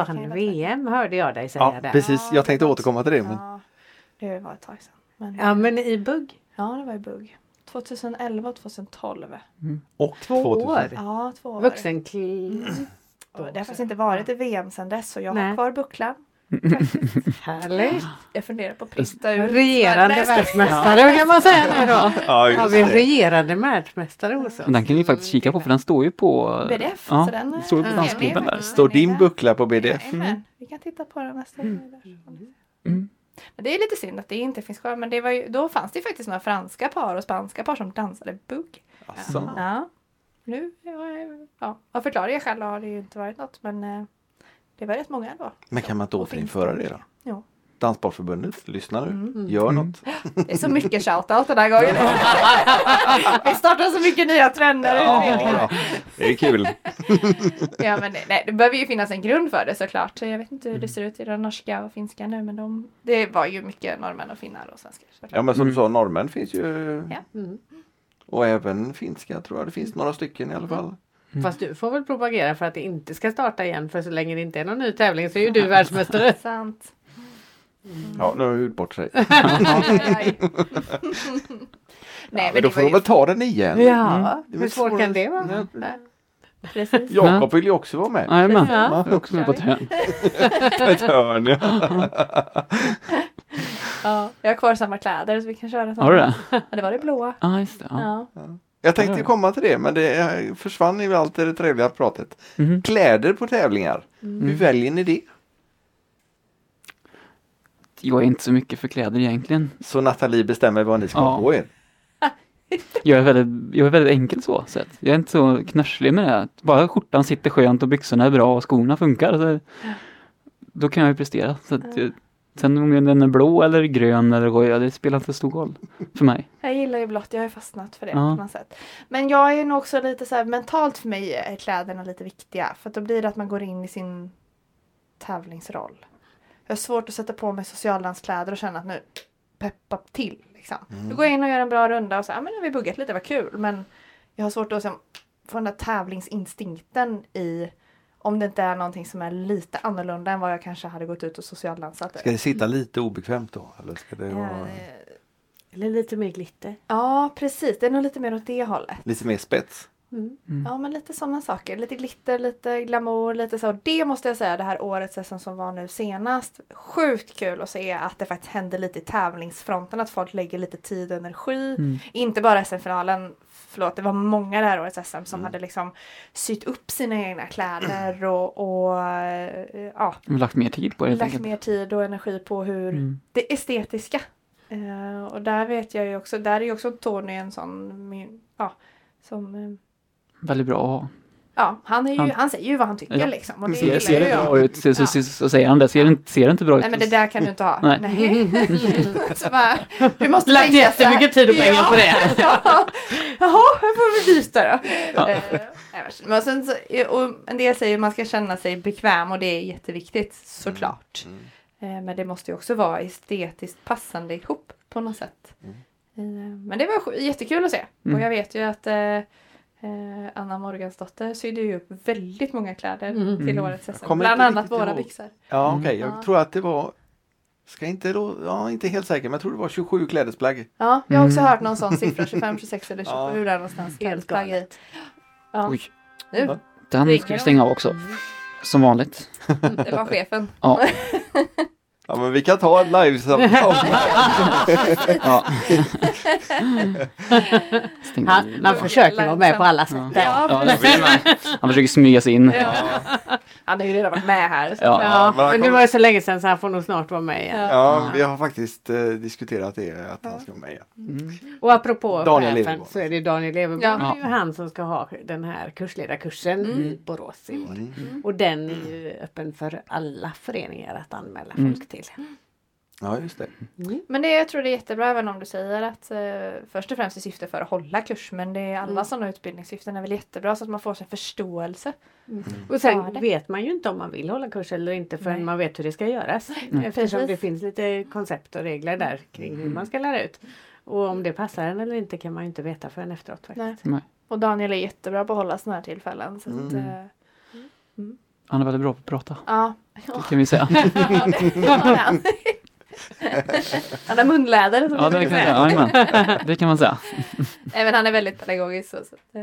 [SPEAKER 3] kan ju
[SPEAKER 1] Vann
[SPEAKER 3] vara
[SPEAKER 1] VM hörde jag dig säga
[SPEAKER 2] Ja,
[SPEAKER 1] där.
[SPEAKER 2] precis. Jag tänkte återkomma till det. Men...
[SPEAKER 3] Ja, det var ett tag sedan. Men, ja.
[SPEAKER 1] Ja men i bugg.
[SPEAKER 3] det var ju bugg. 2011 och 2012.
[SPEAKER 2] Och
[SPEAKER 1] Två
[SPEAKER 2] 2000.
[SPEAKER 1] år.
[SPEAKER 3] Ja, två år.
[SPEAKER 1] Vuxen kl-
[SPEAKER 3] Och Det har faktiskt inte varit i VM sedan dess så jag har
[SPEAKER 1] Nej.
[SPEAKER 3] kvar bucklan.
[SPEAKER 1] Härligt.
[SPEAKER 3] Jag funderar på att prista ur.
[SPEAKER 1] Regerande
[SPEAKER 3] Nej,
[SPEAKER 1] världsmästare kan man säga nu då.
[SPEAKER 2] Ja,
[SPEAKER 1] Har
[SPEAKER 2] just
[SPEAKER 1] vi en
[SPEAKER 2] det.
[SPEAKER 1] regerande världsmästare hos oss?
[SPEAKER 4] Men den kan vi faktiskt kika på för den står ju på...
[SPEAKER 3] BDF. Så den, eh,
[SPEAKER 4] står ju på
[SPEAKER 3] den
[SPEAKER 4] dansklubben
[SPEAKER 3] är
[SPEAKER 4] där.
[SPEAKER 3] faktiskt-
[SPEAKER 2] Står din buckla på BDF?
[SPEAKER 3] Jajamän, vi kan titta på den nästa gång. vi hörs.
[SPEAKER 4] Mm.
[SPEAKER 3] Men det är lite synd att det inte finns kvar. Men det var ju, då fanns det ju faktiskt några franska par och spanska par som dansade bugg.
[SPEAKER 2] Alltså.
[SPEAKER 3] Ja. Nu ja, ja, av förklarliga skäl har det ju inte varit något. Men eh, det var rätt många då.
[SPEAKER 2] Men kan man inte
[SPEAKER 3] Och finns
[SPEAKER 2] återinföra
[SPEAKER 3] det?
[SPEAKER 2] det då?
[SPEAKER 3] Jo.
[SPEAKER 2] Danssportförbundet, lyssna nu.
[SPEAKER 1] Mm.
[SPEAKER 2] Gör något.
[SPEAKER 3] Det är så mycket shoutout den här gången. vi startar så mycket nya trender.
[SPEAKER 2] Ja, det är kul.
[SPEAKER 3] Ja, men det, nej, det behöver ju finnas en grund för det såklart. Så Jag vet inte hur
[SPEAKER 2] Mm.
[SPEAKER 3] det ser ut i den norska och finska nu men de, det var ju mycket norrmän och finnar och svenskar. såklart.
[SPEAKER 2] Ja men som du sa, norrmän finns ju.
[SPEAKER 3] Ja.
[SPEAKER 1] Mm.
[SPEAKER 2] Och även finska tror jag. Det finns några stycken i alla fall.
[SPEAKER 1] Mm. Fast du får väl propagera för att det inte ska starta igen för så länge det inte är någon ny tävling så är ju du världsmästare.
[SPEAKER 3] Sant.
[SPEAKER 2] Ja, nu har jag gjort bort sig.
[SPEAKER 3] Aj, aj. nej
[SPEAKER 2] Men då
[SPEAKER 3] men det
[SPEAKER 2] får
[SPEAKER 3] var
[SPEAKER 2] de
[SPEAKER 3] ju Mm.
[SPEAKER 2] väl ta den igen.
[SPEAKER 1] Ja,
[SPEAKER 2] Det är
[SPEAKER 1] Mm. hur
[SPEAKER 2] väl
[SPEAKER 1] svårt
[SPEAKER 2] svårare-
[SPEAKER 1] kan det vara?
[SPEAKER 2] Nej.
[SPEAKER 1] Nej.
[SPEAKER 3] precis.
[SPEAKER 2] Jakob vill ju också vara med.
[SPEAKER 4] Jajamän,
[SPEAKER 1] Ja.
[SPEAKER 4] jag är också med på ett hörn.
[SPEAKER 2] Ett hörn ja.
[SPEAKER 3] Ja, jag har kvar samma kläder så vi kan köra samma.
[SPEAKER 4] Har du det?
[SPEAKER 3] Ja, det var det blåa.
[SPEAKER 4] Ja, just det. Ja.
[SPEAKER 3] Ja.
[SPEAKER 2] Jag tänkte ju komma till det men det eh, försvann ju allt det trevliga pratet.
[SPEAKER 4] Mhm.
[SPEAKER 2] Kläder på tävlingar. Hur väljer ni det?
[SPEAKER 4] Jag är inte så mycket för kläder egentligen.
[SPEAKER 2] Så Nathalie bestämmer vad ni ska
[SPEAKER 4] Ja.
[SPEAKER 2] ha på er.
[SPEAKER 4] Jag är väldigt, jag är väldigt enkel så sett. Jag är inte så knörslig med det. här. Bara skjortan sitter skönt och byxorna är bra och skorna funkar. Så då kan jag ju prestera. Så att, jag- sen om den är blå eller grön eller roja, det spelar inte så stor roll för mig.
[SPEAKER 3] Jag gillar ju blått, jag har ju fastnat för det
[SPEAKER 4] Ja.
[SPEAKER 3] på något sätt. Men jag är nog också lite så här mentalt för mig är kläderna lite viktiga. För att då blir det att man går in i sin tävlingsroll. Jag har svårt att sätta på mig socialdanskläder och känna att nu peppa till. Liksom. Då går jag in och gör en bra runda och så här, "Ah, men nu har vi buggat lite, vad kul. Men jag har svårt att liksom, få den där tävlingsinstinkten i om det inte är någonting som är lite annorlunda än vad jag kanske hade gått ut och socialdansat. i.
[SPEAKER 2] Ska det sitta lite obekvämt då? Eller ska det vara
[SPEAKER 3] Eh.
[SPEAKER 9] Eh, Eller lite mer glitter.
[SPEAKER 3] Ja, precis. Det är nog lite mer åt det hållet.
[SPEAKER 2] lite mer spets?
[SPEAKER 3] Ja men lite sådana saker. Lite glitter, lite glamour, lite så. Det måste jag säga det här året som, som var nu senast. Sjukt kul att se att det faktiskt händer lite i tävlingsfronten. Att folk lägger lite tid och energi.
[SPEAKER 9] Mm.
[SPEAKER 3] Inte bara SM-finalen. Förlåt, det var många det här årets SM
[SPEAKER 9] Mm.
[SPEAKER 3] som hade liksom sytt upp sina egna kläder och, och eh, ja,
[SPEAKER 4] Jag har lagt mer tid på det helt
[SPEAKER 3] lagt
[SPEAKER 4] enkelt.
[SPEAKER 3] mer tid och energi på hur
[SPEAKER 4] Mm.
[SPEAKER 3] det estetiska. Eh, och där vet jag ju också, där är ju också Tony en sån, min, ja, som eh,
[SPEAKER 4] Väldigt bra att ha.
[SPEAKER 3] Mm. Ja, han, är ju,
[SPEAKER 4] Han-
[SPEAKER 3] han, säger ju vad han tycker
[SPEAKER 4] Ja.
[SPEAKER 3] liksom. Och det
[SPEAKER 4] Ser, ser
[SPEAKER 3] gillar
[SPEAKER 4] det
[SPEAKER 3] ju jag.
[SPEAKER 4] bra ut så, så, så, så säger han det. Ser det, inte- ser det inte bra ut
[SPEAKER 3] Nej men det där kan du inte ha. Nej.
[SPEAKER 4] Nej.
[SPEAKER 3] Så bara, du måste
[SPEAKER 1] Lagt
[SPEAKER 3] tänka så här.
[SPEAKER 1] jättemycket tid och pengar
[SPEAKER 3] ja.
[SPEAKER 1] på det.
[SPEAKER 3] Ja. Jaha, här får vi byta då. Eh, nej, men- Men sen så, och en del säger att man ska känna sig bekväm och det är jätteviktigt såklart.
[SPEAKER 2] Mm.
[SPEAKER 3] Eh, Men det måste ju också vara estetiskt passande ihop på något sätt.
[SPEAKER 2] Mm.
[SPEAKER 3] Eh, Men det var sk- jättekul att se. Och
[SPEAKER 4] Mm.
[SPEAKER 3] jag vet ju att eh, eh, Anna Morgansdotter sydde ju upp väldigt många kläder
[SPEAKER 1] Mm.
[SPEAKER 3] till årets SM.
[SPEAKER 2] kommer
[SPEAKER 3] Bland
[SPEAKER 2] inte
[SPEAKER 3] annat
[SPEAKER 2] riktigt
[SPEAKER 3] våra
[SPEAKER 2] ihåg.
[SPEAKER 3] byxor.
[SPEAKER 2] Ja okej, jag
[SPEAKER 3] Ja.
[SPEAKER 2] tror att det var Ska inte då, ja inte helt säker men jag tror det var 27 klädesplagg.
[SPEAKER 3] Ja, jag har också
[SPEAKER 4] Mm.
[SPEAKER 3] hört någon sån siffra, 25, 26 eller 27
[SPEAKER 2] Ja.
[SPEAKER 3] där någonstans.
[SPEAKER 1] Helt
[SPEAKER 3] Plagg i. Ja.
[SPEAKER 4] Oj.
[SPEAKER 3] Nu.
[SPEAKER 4] Den ska vi stänga av också. Som vanligt.
[SPEAKER 3] Det var chefen.
[SPEAKER 4] Ja.
[SPEAKER 2] Ja men vi kan ta ett livesamtal.
[SPEAKER 4] ja. Stäng av.
[SPEAKER 1] Han, han försöker vara med på alla sätt. där.
[SPEAKER 3] Ja,
[SPEAKER 4] Ja,
[SPEAKER 3] precis.
[SPEAKER 4] Han försöker smyga sig in.
[SPEAKER 3] Han har ju redan varit med här. Så.
[SPEAKER 4] Ja.
[SPEAKER 9] Ja,
[SPEAKER 2] men han
[SPEAKER 9] men det
[SPEAKER 2] kommer-
[SPEAKER 9] var ju så länge sedan så han får nog snart vara med igen.
[SPEAKER 2] Ja, vi har faktiskt eh, diskuterat det att han ska vara med igen.
[SPEAKER 4] Mm.
[SPEAKER 1] Och apropå
[SPEAKER 2] Daniel
[SPEAKER 1] chefen
[SPEAKER 2] Leverborg.
[SPEAKER 1] så är det Daniel Leverborg.
[SPEAKER 3] Ja.
[SPEAKER 1] Det är ju han som ska ha den här kursledarkursen i Borås i år.
[SPEAKER 2] Mm.
[SPEAKER 1] Och den är ju öppen för alla föreningar att anmäla folk till.
[SPEAKER 2] Ja just det.
[SPEAKER 3] Men det, jag tror det är jättebra även om du säger att eh, först och främst i syfte för att hålla kurs men det är alla sådana utbildningssyften är väl jättebra så att man får sin förståelse.
[SPEAKER 1] Och
[SPEAKER 3] Ja,
[SPEAKER 1] sen
[SPEAKER 3] det.
[SPEAKER 1] vet man ju inte om man vill hålla kurs eller inte förrän man vet hur det ska göras. Eftersom
[SPEAKER 3] Precis.
[SPEAKER 1] det finns lite koncept och regler där kring hur man ska lära ut. Och om det passar en eller inte kan man ju inte veta förrän efteråt. Faktiskt.
[SPEAKER 3] Nej.
[SPEAKER 4] Nej. Mm.
[SPEAKER 3] Och Daniel är jättebra på att hålla sådana här tillfällen. Så att, eh,
[SPEAKER 4] Han är väldigt bra på att prata.
[SPEAKER 3] ja.
[SPEAKER 4] Det kan vi säga.
[SPEAKER 3] Ja, det- ja, han. Han har munläder. som
[SPEAKER 4] Ja,
[SPEAKER 3] vi
[SPEAKER 4] det kan,
[SPEAKER 3] brukar
[SPEAKER 4] jag
[SPEAKER 3] säga.
[SPEAKER 4] säga. Jajamän. det kan man säga.
[SPEAKER 3] Nej, men han är väldigt pedagogisk. Så, så att, eh,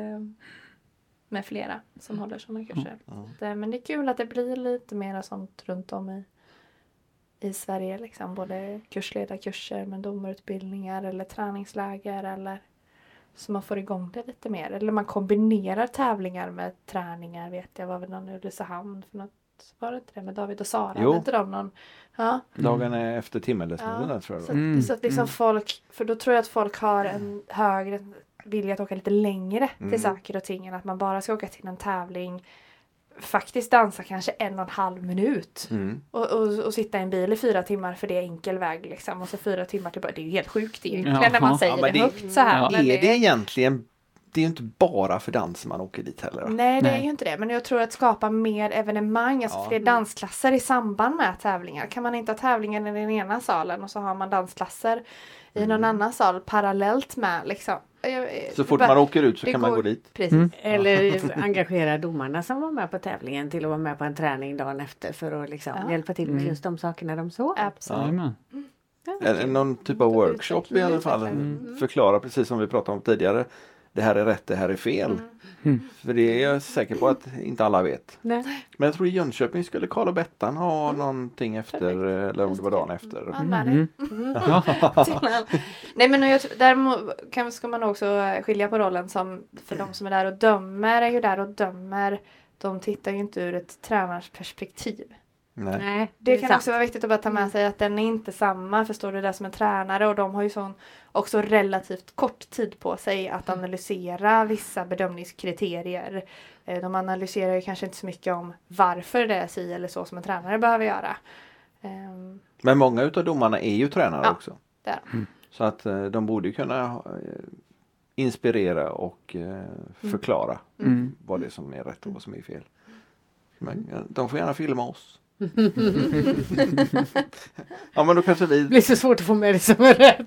[SPEAKER 3] med flera som håller sådana kurser. Så att, eh, men det är kul att det blir lite mera sånt runt om i, i Sverige. Liksom. Både kursledarkurser men domarutbildningar eller träningsläger. Eller, så man får igång det lite mer. Eller man kombinerar tävlingar med träningar. Vet jag var väl någon i Ulricehamn för något var det inte det med David och Sara?
[SPEAKER 2] Jo.
[SPEAKER 3] Hade inte de någon? Ja.
[SPEAKER 2] Dagen är efter timmerlesningen där, tror jag.
[SPEAKER 3] Så,
[SPEAKER 2] det var.
[SPEAKER 3] att-
[SPEAKER 4] Mm,
[SPEAKER 3] så att liksom folk, för då tror jag att folk har en högre vilja att åka lite längre
[SPEAKER 2] Mm.
[SPEAKER 3] till saker och ting än att man bara ska åka till en tävling. Faktiskt dansa kanske en och en halv minut
[SPEAKER 2] Mm.
[SPEAKER 3] och, och, och sitta i en bil i fyra timmar för det är enkel väg liksom och så fyra timmar tillbaka. Det är ju helt sjukt egentligen när man
[SPEAKER 4] Ja.
[SPEAKER 3] säger
[SPEAKER 2] Ja, men
[SPEAKER 3] det
[SPEAKER 2] det-
[SPEAKER 3] högt så här.
[SPEAKER 4] Ja.
[SPEAKER 3] men
[SPEAKER 2] Är det egentligen, det är ju inte bara för dans man åker dit heller. va?
[SPEAKER 3] Nej, det är
[SPEAKER 4] Nej.
[SPEAKER 3] ju inte det. Men jag tror att skapa mer evenemang, alltså
[SPEAKER 2] Ja.
[SPEAKER 3] fler dansklasser i samband med tävlingar. Kan man inte ha tävlingen i den ena salen och så har man dansklasser i någon annan sal parallellt med liksom. Jag-
[SPEAKER 2] Mm. Så
[SPEAKER 3] det
[SPEAKER 2] fort
[SPEAKER 3] bara-
[SPEAKER 2] man åker ut så
[SPEAKER 3] det
[SPEAKER 2] kan man
[SPEAKER 3] går-
[SPEAKER 2] gå dit.
[SPEAKER 3] Precis.
[SPEAKER 4] Mm.
[SPEAKER 1] Eller engagera domarna som var med på tävlingen till att vara med på en träning dagen efter för att liksom
[SPEAKER 3] Ja.
[SPEAKER 1] hjälpa till med just de sakerna de såg.
[SPEAKER 3] Absolut.
[SPEAKER 4] Jajamän.
[SPEAKER 2] Eller någon typ av
[SPEAKER 3] Mm. Mm.
[SPEAKER 2] workshop i alla fall. Förklara precis som vi pratade om tidigare. Det här är rätt, det här är fel. För det är jag säker på att inte alla vet.
[SPEAKER 10] Nej.
[SPEAKER 2] Men jag tror i Jönköping skulle Karl och Bettan ha
[SPEAKER 3] Mm.
[SPEAKER 2] någonting efter, eller om det var dagen efter.
[SPEAKER 3] Anmäl dig.
[SPEAKER 4] Mm.
[SPEAKER 3] till- Nej men jag, tror- däremot kan, ska man också skilja på rollen som för de som är där och dömer är ju där och dömer. De tittar ju inte ur ett tränarperspektiv.
[SPEAKER 2] Nej.
[SPEAKER 10] Nej,
[SPEAKER 3] Det kan också vara viktigt att bara ta med sig att den är inte samma. Förstår du det som en tränare och de har ju sån också relativt kort tid på sig att analysera vissa bedömningskriterier. Eh, De analyserar ju kanske inte så mycket om varför det är si eller så som en tränare behöver göra. Ehm,
[SPEAKER 2] Men många utav domarna är ju tränare
[SPEAKER 3] Ja.
[SPEAKER 2] också.
[SPEAKER 3] det är de.
[SPEAKER 2] Så att eh, de borde ju kunna ha, eh, inspirera och eh, förklara
[SPEAKER 4] Mm.
[SPEAKER 2] vad det är som är rätt och vad som är fel. Men eh, de får gärna filma oss. ja men då kanske
[SPEAKER 1] Det
[SPEAKER 2] vi...
[SPEAKER 1] blir så svårt att få med det som är rätt.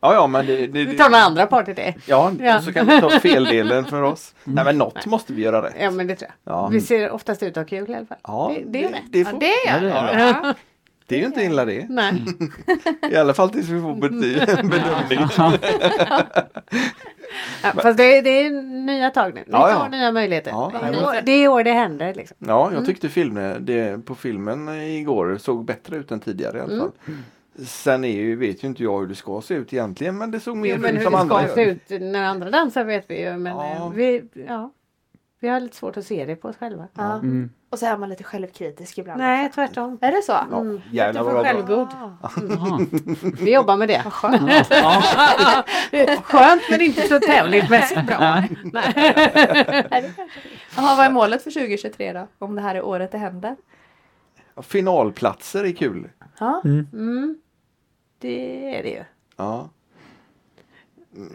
[SPEAKER 2] Ja ja men det... det,
[SPEAKER 1] Vi
[SPEAKER 2] det
[SPEAKER 1] tar den andra part i det.
[SPEAKER 2] ja,
[SPEAKER 1] Ja. Mm.
[SPEAKER 2] så kan vi ta feldelen för oss. Nej men något måste vi göra rätt.
[SPEAKER 1] Ja, men det tror jag.
[SPEAKER 2] Ja.
[SPEAKER 1] Vi ser oftast ut att ha kul i alla fall.
[SPEAKER 2] Ja,
[SPEAKER 1] det, det är rätt.
[SPEAKER 2] Det,
[SPEAKER 3] Ja,
[SPEAKER 2] får,
[SPEAKER 3] det gör
[SPEAKER 4] det
[SPEAKER 3] de.
[SPEAKER 4] gör
[SPEAKER 3] Ja.
[SPEAKER 2] det är ju inte illa det.
[SPEAKER 1] Nej.
[SPEAKER 2] I alla fall tills vi får bety- bedömning.
[SPEAKER 1] Ja, fast det, det är nya tag nu. Nytt
[SPEAKER 2] Ja, ja.
[SPEAKER 1] år, nya möjligheter.
[SPEAKER 2] Ja,
[SPEAKER 1] det,
[SPEAKER 2] jajamän.
[SPEAKER 1] är år, det är år det händer. Liksom.
[SPEAKER 2] Ja, jag tyckte filmen, det, på filmen igår såg bättre ut än tidigare i alla
[SPEAKER 1] Mm.
[SPEAKER 2] fall. Sen är ju, vet ju inte jag hur det ska se ut egentligen men det såg mer
[SPEAKER 1] Jo, men
[SPEAKER 2] ut
[SPEAKER 1] hur
[SPEAKER 2] som
[SPEAKER 1] det
[SPEAKER 2] andra
[SPEAKER 1] ska se
[SPEAKER 2] gör.
[SPEAKER 1] ut när andra dansar vet vi ju. Men
[SPEAKER 2] Ja.
[SPEAKER 1] eh, Vi, ja, vi har lite svårt att se det på oss själva.
[SPEAKER 3] Ja.
[SPEAKER 4] Mm.
[SPEAKER 3] Och så är man lite självkritisk ibland.
[SPEAKER 1] Nej,
[SPEAKER 3] också.
[SPEAKER 1] tvärtom.
[SPEAKER 3] Är det så?
[SPEAKER 2] Ja,
[SPEAKER 1] Mm.
[SPEAKER 2] jävlar
[SPEAKER 1] Du
[SPEAKER 2] vad
[SPEAKER 1] får
[SPEAKER 2] bra.
[SPEAKER 1] självgod.
[SPEAKER 4] Jaha.
[SPEAKER 1] Vi jobbar med det.
[SPEAKER 4] Ja.
[SPEAKER 1] Skönt men inte så tävlingsmässigt bra.
[SPEAKER 3] Är det kanske? Jaha, vad är målet för 2023 då? Om det här är året det händer?
[SPEAKER 2] Finalplatser är kul.
[SPEAKER 3] Ja.
[SPEAKER 1] Mm. Det är det ju.
[SPEAKER 2] Ja.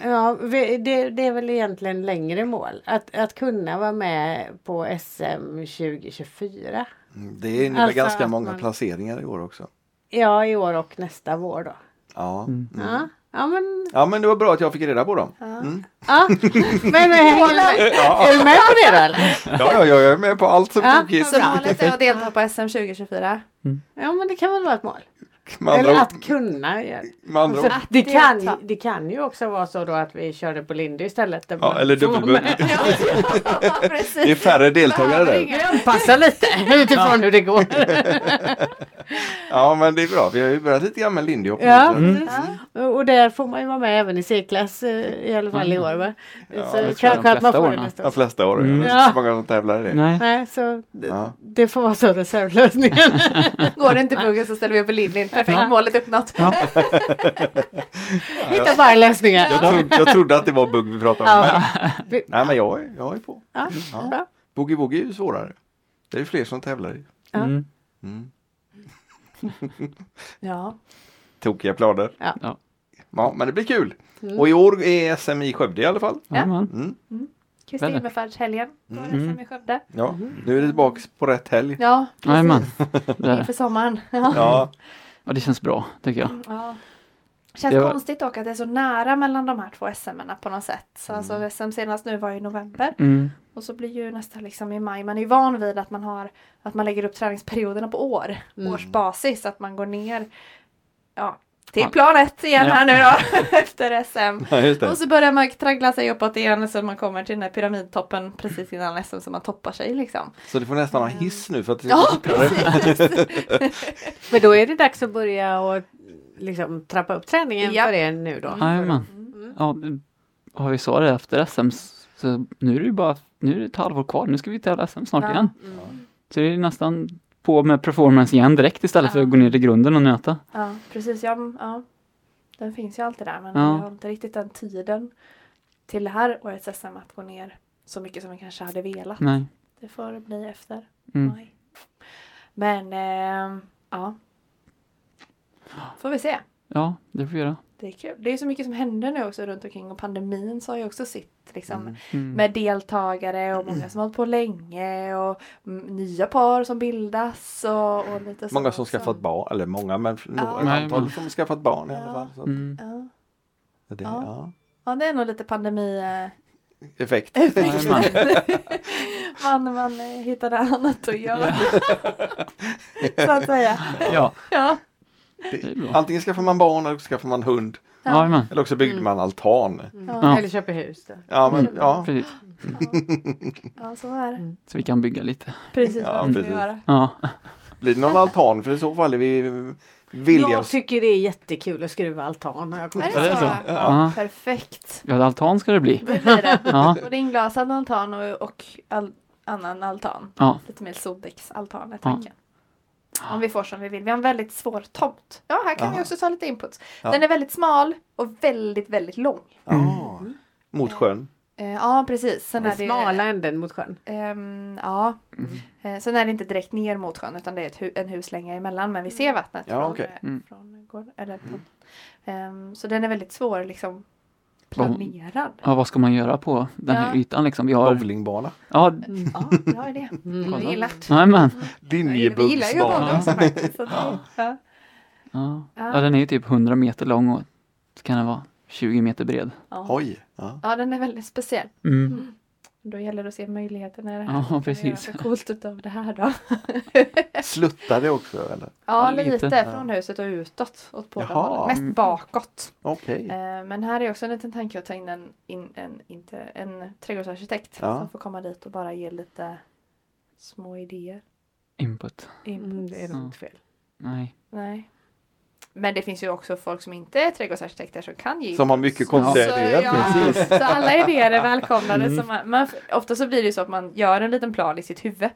[SPEAKER 1] Ja, vi- det, det är väl egentligen längre mål. Att, att kunna vara med på SM 2024.
[SPEAKER 2] Mm, Det innebär
[SPEAKER 1] Alltså
[SPEAKER 2] ganska
[SPEAKER 1] att
[SPEAKER 2] många
[SPEAKER 1] man-
[SPEAKER 2] placeringar i år också.
[SPEAKER 1] Ja, i år och nästa vår då.
[SPEAKER 2] Ja. Mm.
[SPEAKER 1] Ja, ja men...
[SPEAKER 2] ja men det var bra att jag fick reda på dem.
[SPEAKER 1] Ja. men hänger du med? Är du med på det då eller?
[SPEAKER 2] Ja, ja, jag är med på allt som
[SPEAKER 1] Ja.
[SPEAKER 2] tokigt.
[SPEAKER 3] Så målet är att delta på SM 2024?
[SPEAKER 1] Ja, men det kan väl vara ett mål.
[SPEAKER 2] Med
[SPEAKER 1] Eller
[SPEAKER 2] andra,
[SPEAKER 1] att kunna. göra det.
[SPEAKER 2] med andra ord.
[SPEAKER 1] För det,
[SPEAKER 3] det
[SPEAKER 1] kan,
[SPEAKER 3] ta-
[SPEAKER 1] det kan ju också vara så då att vi körde på Lindy istället. där
[SPEAKER 2] Ja,
[SPEAKER 1] man
[SPEAKER 2] eller
[SPEAKER 1] får vara med.
[SPEAKER 2] dubbelbund.
[SPEAKER 3] Ja,
[SPEAKER 2] Det är
[SPEAKER 3] precis.
[SPEAKER 2] färre deltagare där.
[SPEAKER 1] Vi anpassar lite utifrån hur det går.
[SPEAKER 2] Ja men det är bra. Vi har ju börjat lite grann med Lindhop.
[SPEAKER 1] Ja,
[SPEAKER 2] Mm.
[SPEAKER 1] precis. Och och där får man ju vara med även i C-klass eh, i alla fall i år. Va?
[SPEAKER 2] Mm. Ja,
[SPEAKER 1] så
[SPEAKER 2] det tror jag
[SPEAKER 4] de
[SPEAKER 1] kanske att man
[SPEAKER 4] flesta
[SPEAKER 1] får det
[SPEAKER 4] åren.
[SPEAKER 1] nästa
[SPEAKER 2] De
[SPEAKER 1] år.
[SPEAKER 2] flesta år.
[SPEAKER 4] Mm.
[SPEAKER 2] Det är inte så många som tävlar i det.
[SPEAKER 4] Nej.
[SPEAKER 1] Nej, så d-
[SPEAKER 2] Ja.
[SPEAKER 1] det får vara så reservlösningen.
[SPEAKER 3] Går det inte pluggen så ställer vi upp på linjen. Perfekt, målet uppnått.
[SPEAKER 1] Hitta bara lösningar.
[SPEAKER 2] Jag, trodde, jag trodde att det var bugg vi pratade om.
[SPEAKER 1] Ja.
[SPEAKER 2] Men, nej men jag är, jag är på.
[SPEAKER 1] Ja,
[SPEAKER 2] Ja.
[SPEAKER 1] bra.
[SPEAKER 2] Boogie Woogie är ju svårare. Det är fler som tävlar i.
[SPEAKER 1] Ja.
[SPEAKER 4] Mm.
[SPEAKER 2] Mm.
[SPEAKER 3] Ja.
[SPEAKER 2] Tokiga planer.
[SPEAKER 1] Ja.
[SPEAKER 4] Ja.
[SPEAKER 2] Ja, men det blir kul. Och i år är SM i Skövde i alla fall.
[SPEAKER 4] Jajamän.
[SPEAKER 2] Mm.
[SPEAKER 3] Kristi Himmelfärdshelgen. Då är det SM i Skövde.
[SPEAKER 2] Ja. Nu är det tillbaka på rätt helg.
[SPEAKER 3] Ja,
[SPEAKER 4] Jajamän. Där.
[SPEAKER 3] inför sommaren. Ja.
[SPEAKER 2] Ja,
[SPEAKER 4] Ja, det känns bra tycker jag.
[SPEAKER 3] Ja. Känns
[SPEAKER 4] Det var-
[SPEAKER 3] konstigt dock att det är så nära mellan de här två SM-erna på något sätt. Så alltså SM senast nu var i november.
[SPEAKER 4] Mm.
[SPEAKER 3] Och så blir ju nästa liksom i maj. Man är ju van vid att man har att man lägger upp träningsperioderna på år. Årsbasis. Att man går ner ja, till
[SPEAKER 4] Ja.
[SPEAKER 3] plan ett igen
[SPEAKER 4] Ja.
[SPEAKER 3] här nu då. efter SM.
[SPEAKER 2] ja just det.
[SPEAKER 3] Och så börjar man traggla sig uppåt igen så man kommer till den här pyramidtoppen precis innan SM så man toppar sig liksom.
[SPEAKER 2] Så du får nästan ha hiss nu för att det
[SPEAKER 3] Ja,
[SPEAKER 2] ska Mm.
[SPEAKER 3] precis!
[SPEAKER 1] Men då är det dags att börja och liksom trappa upp träningen
[SPEAKER 3] Japp.
[SPEAKER 1] för er nu då.
[SPEAKER 4] Jajamän.
[SPEAKER 3] Mm.
[SPEAKER 4] Ja, det- har vi sa det efter SM så nu är det ju bara nu är det ett halvår kvar. Nu ska vi tävla SM snart
[SPEAKER 1] Ja.
[SPEAKER 4] igen.
[SPEAKER 3] Mm.
[SPEAKER 4] Så det är nästan på med performance igen direkt istället för att gå ner i grunden och nöta.
[SPEAKER 3] Ja, precis. Ja, m- ja. Den finns ju alltid där men
[SPEAKER 4] Ja.
[SPEAKER 3] jag har inte riktigt den tiden till det här årets SM att gå ner så mycket som vi kanske hade velat.
[SPEAKER 4] Nej.
[SPEAKER 3] Det får bli efter
[SPEAKER 4] Mm.
[SPEAKER 3] maj. Men eh, ja. Får vi se.
[SPEAKER 4] Ja, det får vi göra.
[SPEAKER 3] Det är kul. Det är så mycket som händer nu också runt omkring och pandemin sa ju också sitt liksom.
[SPEAKER 4] Mm.
[SPEAKER 3] Med deltagare och många som har hållit på länge och mm, nya par som bildas och, och lite så.
[SPEAKER 2] Många som
[SPEAKER 3] också.
[SPEAKER 2] skaffat barn, eller många men några
[SPEAKER 3] Ja.
[SPEAKER 2] ett
[SPEAKER 4] Nej,
[SPEAKER 2] antal
[SPEAKER 4] men-
[SPEAKER 2] som skaffat barn i alla
[SPEAKER 3] Ja.
[SPEAKER 2] fall. Så
[SPEAKER 4] Mm.
[SPEAKER 3] Ja.
[SPEAKER 2] att det,
[SPEAKER 3] Ja.
[SPEAKER 2] ja.
[SPEAKER 3] ja, det är nog lite pandemi. Eh,
[SPEAKER 2] Effekt.
[SPEAKER 4] Jajamän.
[SPEAKER 3] man, man eh, hittade annat att göra. så att säga.
[SPEAKER 4] Ja,
[SPEAKER 3] Ja.
[SPEAKER 4] det är bra.
[SPEAKER 2] Antingen skaffar man barn eller skaffar man hund.
[SPEAKER 4] Jajamän,
[SPEAKER 2] Eller också byggde man altan.
[SPEAKER 4] Ja.
[SPEAKER 1] Eller köper hus. Då.
[SPEAKER 2] Ja, men, ja.
[SPEAKER 4] precis.
[SPEAKER 3] Ja, så är det.
[SPEAKER 4] Så vi kan bygga lite.
[SPEAKER 3] Precis
[SPEAKER 2] Ja,
[SPEAKER 3] vad man ska
[SPEAKER 2] precis.
[SPEAKER 3] göra.
[SPEAKER 4] Ja,
[SPEAKER 2] Blir det någon altan? För i så fall är vi villiga
[SPEAKER 1] Jag
[SPEAKER 2] att...
[SPEAKER 1] tycker det är jättekul att skruva altan. Jag kommer-
[SPEAKER 3] Är det så?
[SPEAKER 4] ja.
[SPEAKER 3] Perfekt.
[SPEAKER 4] ja altan ska det bli.
[SPEAKER 3] Då blir det.
[SPEAKER 4] Ja,
[SPEAKER 3] Både inglasad altan och, och all, annan altan.
[SPEAKER 4] ja.
[SPEAKER 3] Lite mer soldäcksaltan är tanken. Om vi får som vi vill. Vi har en väldigt svår tomt. Ja, här kan vi
[SPEAKER 2] Ja.
[SPEAKER 3] också ta lite input.
[SPEAKER 2] Ja.
[SPEAKER 3] Den är väldigt smal och väldigt, väldigt lång.
[SPEAKER 2] Ja. Ah, Mot sjön.
[SPEAKER 3] Eh, ja, precis. Sen
[SPEAKER 1] Den
[SPEAKER 3] är det,
[SPEAKER 1] smala änden mot sjön.
[SPEAKER 3] ehm, ja.
[SPEAKER 2] Mm.
[SPEAKER 3] Eh, sen är det inte direkt ner mot sjön utan det är ett hu- en huslänga emellan men vi ser vattnet
[SPEAKER 2] Ja,
[SPEAKER 3] från,
[SPEAKER 2] okej. Mm.
[SPEAKER 3] eh,
[SPEAKER 4] Mm.
[SPEAKER 3] från gården. Eller, från- Ehm, så den är väldigt svår liksom
[SPEAKER 4] Vad-
[SPEAKER 3] planerad.
[SPEAKER 4] ja, vad ska man göra på den här
[SPEAKER 3] Ja.
[SPEAKER 4] ytan liksom? Vi har...
[SPEAKER 2] Bowlingbana.
[SPEAKER 4] Ja,
[SPEAKER 3] Ja, bra idé. Mm.
[SPEAKER 4] Kolla.
[SPEAKER 3] Gillar.
[SPEAKER 4] jajamän.
[SPEAKER 3] Vi gillar ju båda
[SPEAKER 2] Linjebuggsbana.
[SPEAKER 3] också faktiskt. så det- Ja.
[SPEAKER 4] Ja.
[SPEAKER 3] Ja.
[SPEAKER 4] ja, den är ju typ 100 meter lång och så kan den vara 20 meter bred.
[SPEAKER 2] Oj. Ja.
[SPEAKER 3] ja, den är väldigt speciell.
[SPEAKER 4] Mm.
[SPEAKER 3] Då gäller det att se möjligheterna i det här.
[SPEAKER 4] Ja,
[SPEAKER 3] Vad kan vi
[SPEAKER 4] precis.
[SPEAKER 3] göra för coolt utav det här då.
[SPEAKER 2] Sluttar det också eller?
[SPEAKER 3] Ja,
[SPEAKER 4] lite.
[SPEAKER 3] lite, från huset och utåt. Åt båda
[SPEAKER 2] Jaha.
[SPEAKER 3] hållen. Mest bakåt.
[SPEAKER 2] Okej.
[SPEAKER 3] Eh, Men här är också en liten tanke att ta in en, in, en, inte, en trädgårdsarkitekt
[SPEAKER 2] Ja.
[SPEAKER 3] som får komma dit och bara ge lite små idéer.
[SPEAKER 4] Input.
[SPEAKER 3] Input.
[SPEAKER 1] Mm, det är
[SPEAKER 4] Ja.
[SPEAKER 1] nog inte fel.
[SPEAKER 4] Nej.
[SPEAKER 3] Nej. Men det finns ju också folk som inte är trädgårdsarkitekter som kan ge
[SPEAKER 2] Som har mycket konstiga
[SPEAKER 3] Så,
[SPEAKER 2] idéer.
[SPEAKER 3] ja, så alla idéer är välkomnade. Så man, man, ofta så blir det ju så att man gör en liten plan i sitt huvud.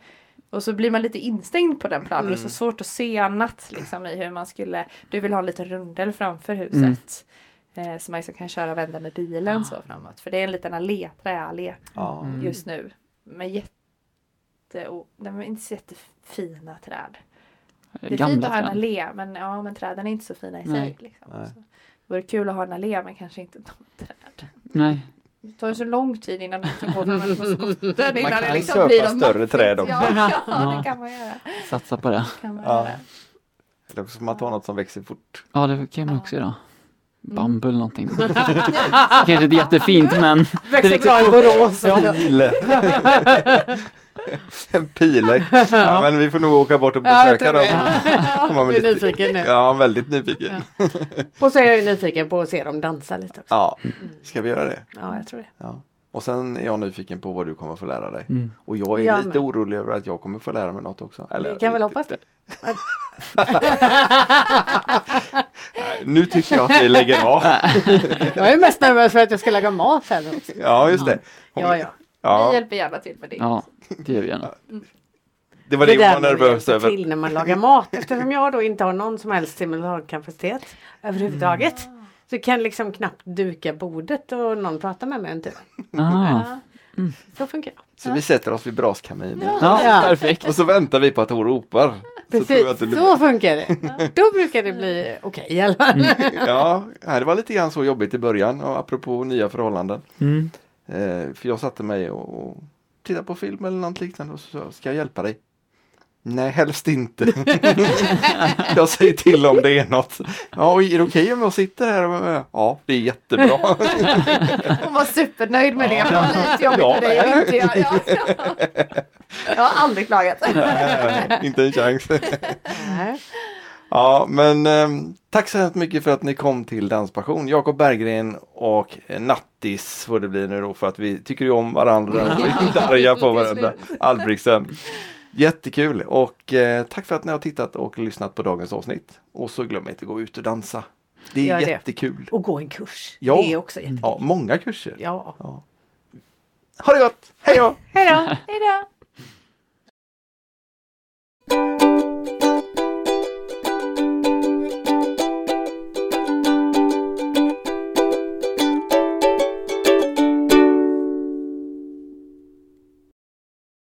[SPEAKER 3] Och så blir man lite instängd på den planen. Det är så svårt att se annat liksom, i hur man skulle... Du vill ha en liten rundel framför huset. Eh, så man liksom kan köra och vända med bilen så framåt. För det är en liten allé, träallé
[SPEAKER 2] Ja.
[SPEAKER 3] just nu. Med jätte... Och, de är inte så jättefina träd. Det är fint
[SPEAKER 4] Gamla
[SPEAKER 3] att ha en
[SPEAKER 4] träd.
[SPEAKER 3] allé men, ja, men träden är inte så fina i sig.
[SPEAKER 4] Nej.
[SPEAKER 3] Liksom.
[SPEAKER 2] Nej.
[SPEAKER 3] Så, det vore kul att ha en allé men kanske inte de träden.
[SPEAKER 4] Nej.
[SPEAKER 3] Det tar ju så lång tid innan de kan gå fram och få skotten. innan
[SPEAKER 2] kan
[SPEAKER 3] det
[SPEAKER 2] köpa
[SPEAKER 3] liksom blir något
[SPEAKER 2] större
[SPEAKER 3] maffigt.
[SPEAKER 2] träd också.
[SPEAKER 3] Ja, ja,
[SPEAKER 4] Ja.
[SPEAKER 3] det kan man göra.
[SPEAKER 4] Satsa på det.
[SPEAKER 3] Kan man
[SPEAKER 2] Ja.
[SPEAKER 3] göra.
[SPEAKER 2] Eller också får man ta något som växer fort.
[SPEAKER 4] Ja, det kan man också göra.
[SPEAKER 3] Mm.
[SPEAKER 4] Bambu eller någonting. Kanske inte jättefint men det växer bra i Borås. Ja.
[SPEAKER 2] Pil! en pil. Ja, men vi får nog åka bort och
[SPEAKER 1] Ja, jag
[SPEAKER 2] besöka
[SPEAKER 1] tror
[SPEAKER 2] dem.
[SPEAKER 1] det.
[SPEAKER 2] Komma med
[SPEAKER 1] Du är
[SPEAKER 2] lite-
[SPEAKER 1] nyfiken nu.
[SPEAKER 2] Ja, väldigt nyfiken.
[SPEAKER 1] Och så är jag ju nyfiken på att se dem dansa lite också.
[SPEAKER 2] Ja, ska vi göra det?
[SPEAKER 1] Ja, jag tror det.
[SPEAKER 2] Ja. Och sen är jag nyfiken på vad du kommer få lära dig.
[SPEAKER 4] Mm.
[SPEAKER 2] Och jag är
[SPEAKER 1] Jag
[SPEAKER 2] lite
[SPEAKER 1] med.
[SPEAKER 2] orolig över att jag kommer få lära mig något också. Eller, eh,
[SPEAKER 1] Vi kan väl hoppas det.
[SPEAKER 2] Nu tycker jag att vi lägger av.
[SPEAKER 1] Jag är mest nervös för att jag ska laga mat här nu också.
[SPEAKER 2] Ja, just det. Hon-
[SPEAKER 1] Ja, ja.
[SPEAKER 3] Vi
[SPEAKER 2] ja.
[SPEAKER 3] hjälper gärna till med det.
[SPEAKER 4] ja, det gör vi gärna.
[SPEAKER 2] Det var det jag var
[SPEAKER 1] man
[SPEAKER 2] nervös
[SPEAKER 1] hjälper
[SPEAKER 2] över.
[SPEAKER 1] till när man lagar mat. Eftersom jag då inte har någon som helst simultankapacitet överhuvudtaget.
[SPEAKER 2] Mm.
[SPEAKER 1] Så kan liksom knappt duka bordet och någon pratar med mig en tur.
[SPEAKER 4] Ah,
[SPEAKER 1] Så funkar jag.
[SPEAKER 2] Så vi sätter oss vid braskaminen.
[SPEAKER 4] ja, perfekt.
[SPEAKER 2] Och så väntar vi på att hon ropar. Så tror jag
[SPEAKER 1] Precis,
[SPEAKER 2] att det
[SPEAKER 1] så,
[SPEAKER 2] blir-
[SPEAKER 1] funkar det. Då brukar det bli okej i alla fall.
[SPEAKER 2] Ja, nej, det var lite grann så jobbigt i början, och apropå nya förhållanden.
[SPEAKER 4] Mm.
[SPEAKER 2] Eh, för jag satte mig och, och tittade på film eller något liknande och så sa jag, ska jag hjälpa dig? Nej, helst inte. jag säger till om det är något. Ja, och är det okej om jag sitter här? och- Ja, det är jättebra.
[SPEAKER 3] Hon var supernöjd med det. Det var lite jobbigt för dig och
[SPEAKER 2] Mm.
[SPEAKER 3] inte jag. Ja, ja. Jag har aldrig klagat.
[SPEAKER 2] Eh, inte en chans.
[SPEAKER 1] Nej.
[SPEAKER 2] ja, men ehm, tack så hemskt mycket för att ni kom till Danspassion. Jakob Berggren och eh, Nattis får det bli nu då för att vi tycker ju om varandra och är inte arga på varandra. Albrektsen. Jättekul och eh, tack för att ni har tittat och lyssnat på dagens avsnitt. Och så glöm inte att gå ut och dansa. Det är
[SPEAKER 1] Gör det.
[SPEAKER 2] jättekul.
[SPEAKER 1] Och gå en kurs.
[SPEAKER 2] Ja.
[SPEAKER 1] Det är också jättekul.
[SPEAKER 2] Ja, många kurser.
[SPEAKER 1] Ja.
[SPEAKER 2] Ha det gott! Hej då!
[SPEAKER 3] Hej då! Hej då!